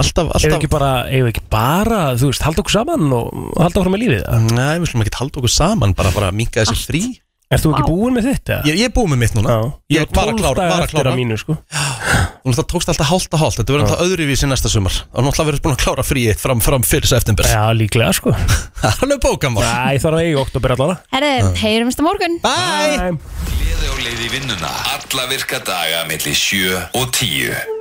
Speaker 4: Alltaf,
Speaker 5: alltaf Eða ekki bara, eða ekki bara, þú veist, halda okkur saman og halda okkur með lífið
Speaker 4: Nei, við slum ekki halda okkur saman, bara, bara minka þessi frí
Speaker 5: Er þú ekki búin með þitt? eða?
Speaker 4: Ég, ég er búin með mitt núna
Speaker 5: Ég
Speaker 4: Ég
Speaker 5: á
Speaker 4: er bara að
Speaker 5: 12
Speaker 4: klára,
Speaker 5: daga
Speaker 4: bara að
Speaker 5: eftir
Speaker 4: klára
Speaker 5: af mínu, sko.
Speaker 4: Þú náttúrulega tókst alltaf hálft að hálft Þetta verður alltaf öðruvísi næsta sumar Og náttúrulega verður búin að klára fríið fram, fram fyrir september
Speaker 5: Já, líklega sko
Speaker 4: Það er alveg bókamál
Speaker 5: Æ, það er að eiga oktober allara
Speaker 3: Herri, heyrumst á morgun
Speaker 4: Bye
Speaker 5: um- Bye.
Speaker 2: Gleði á leið í vinnuna Alla virka daga melli 7 og 10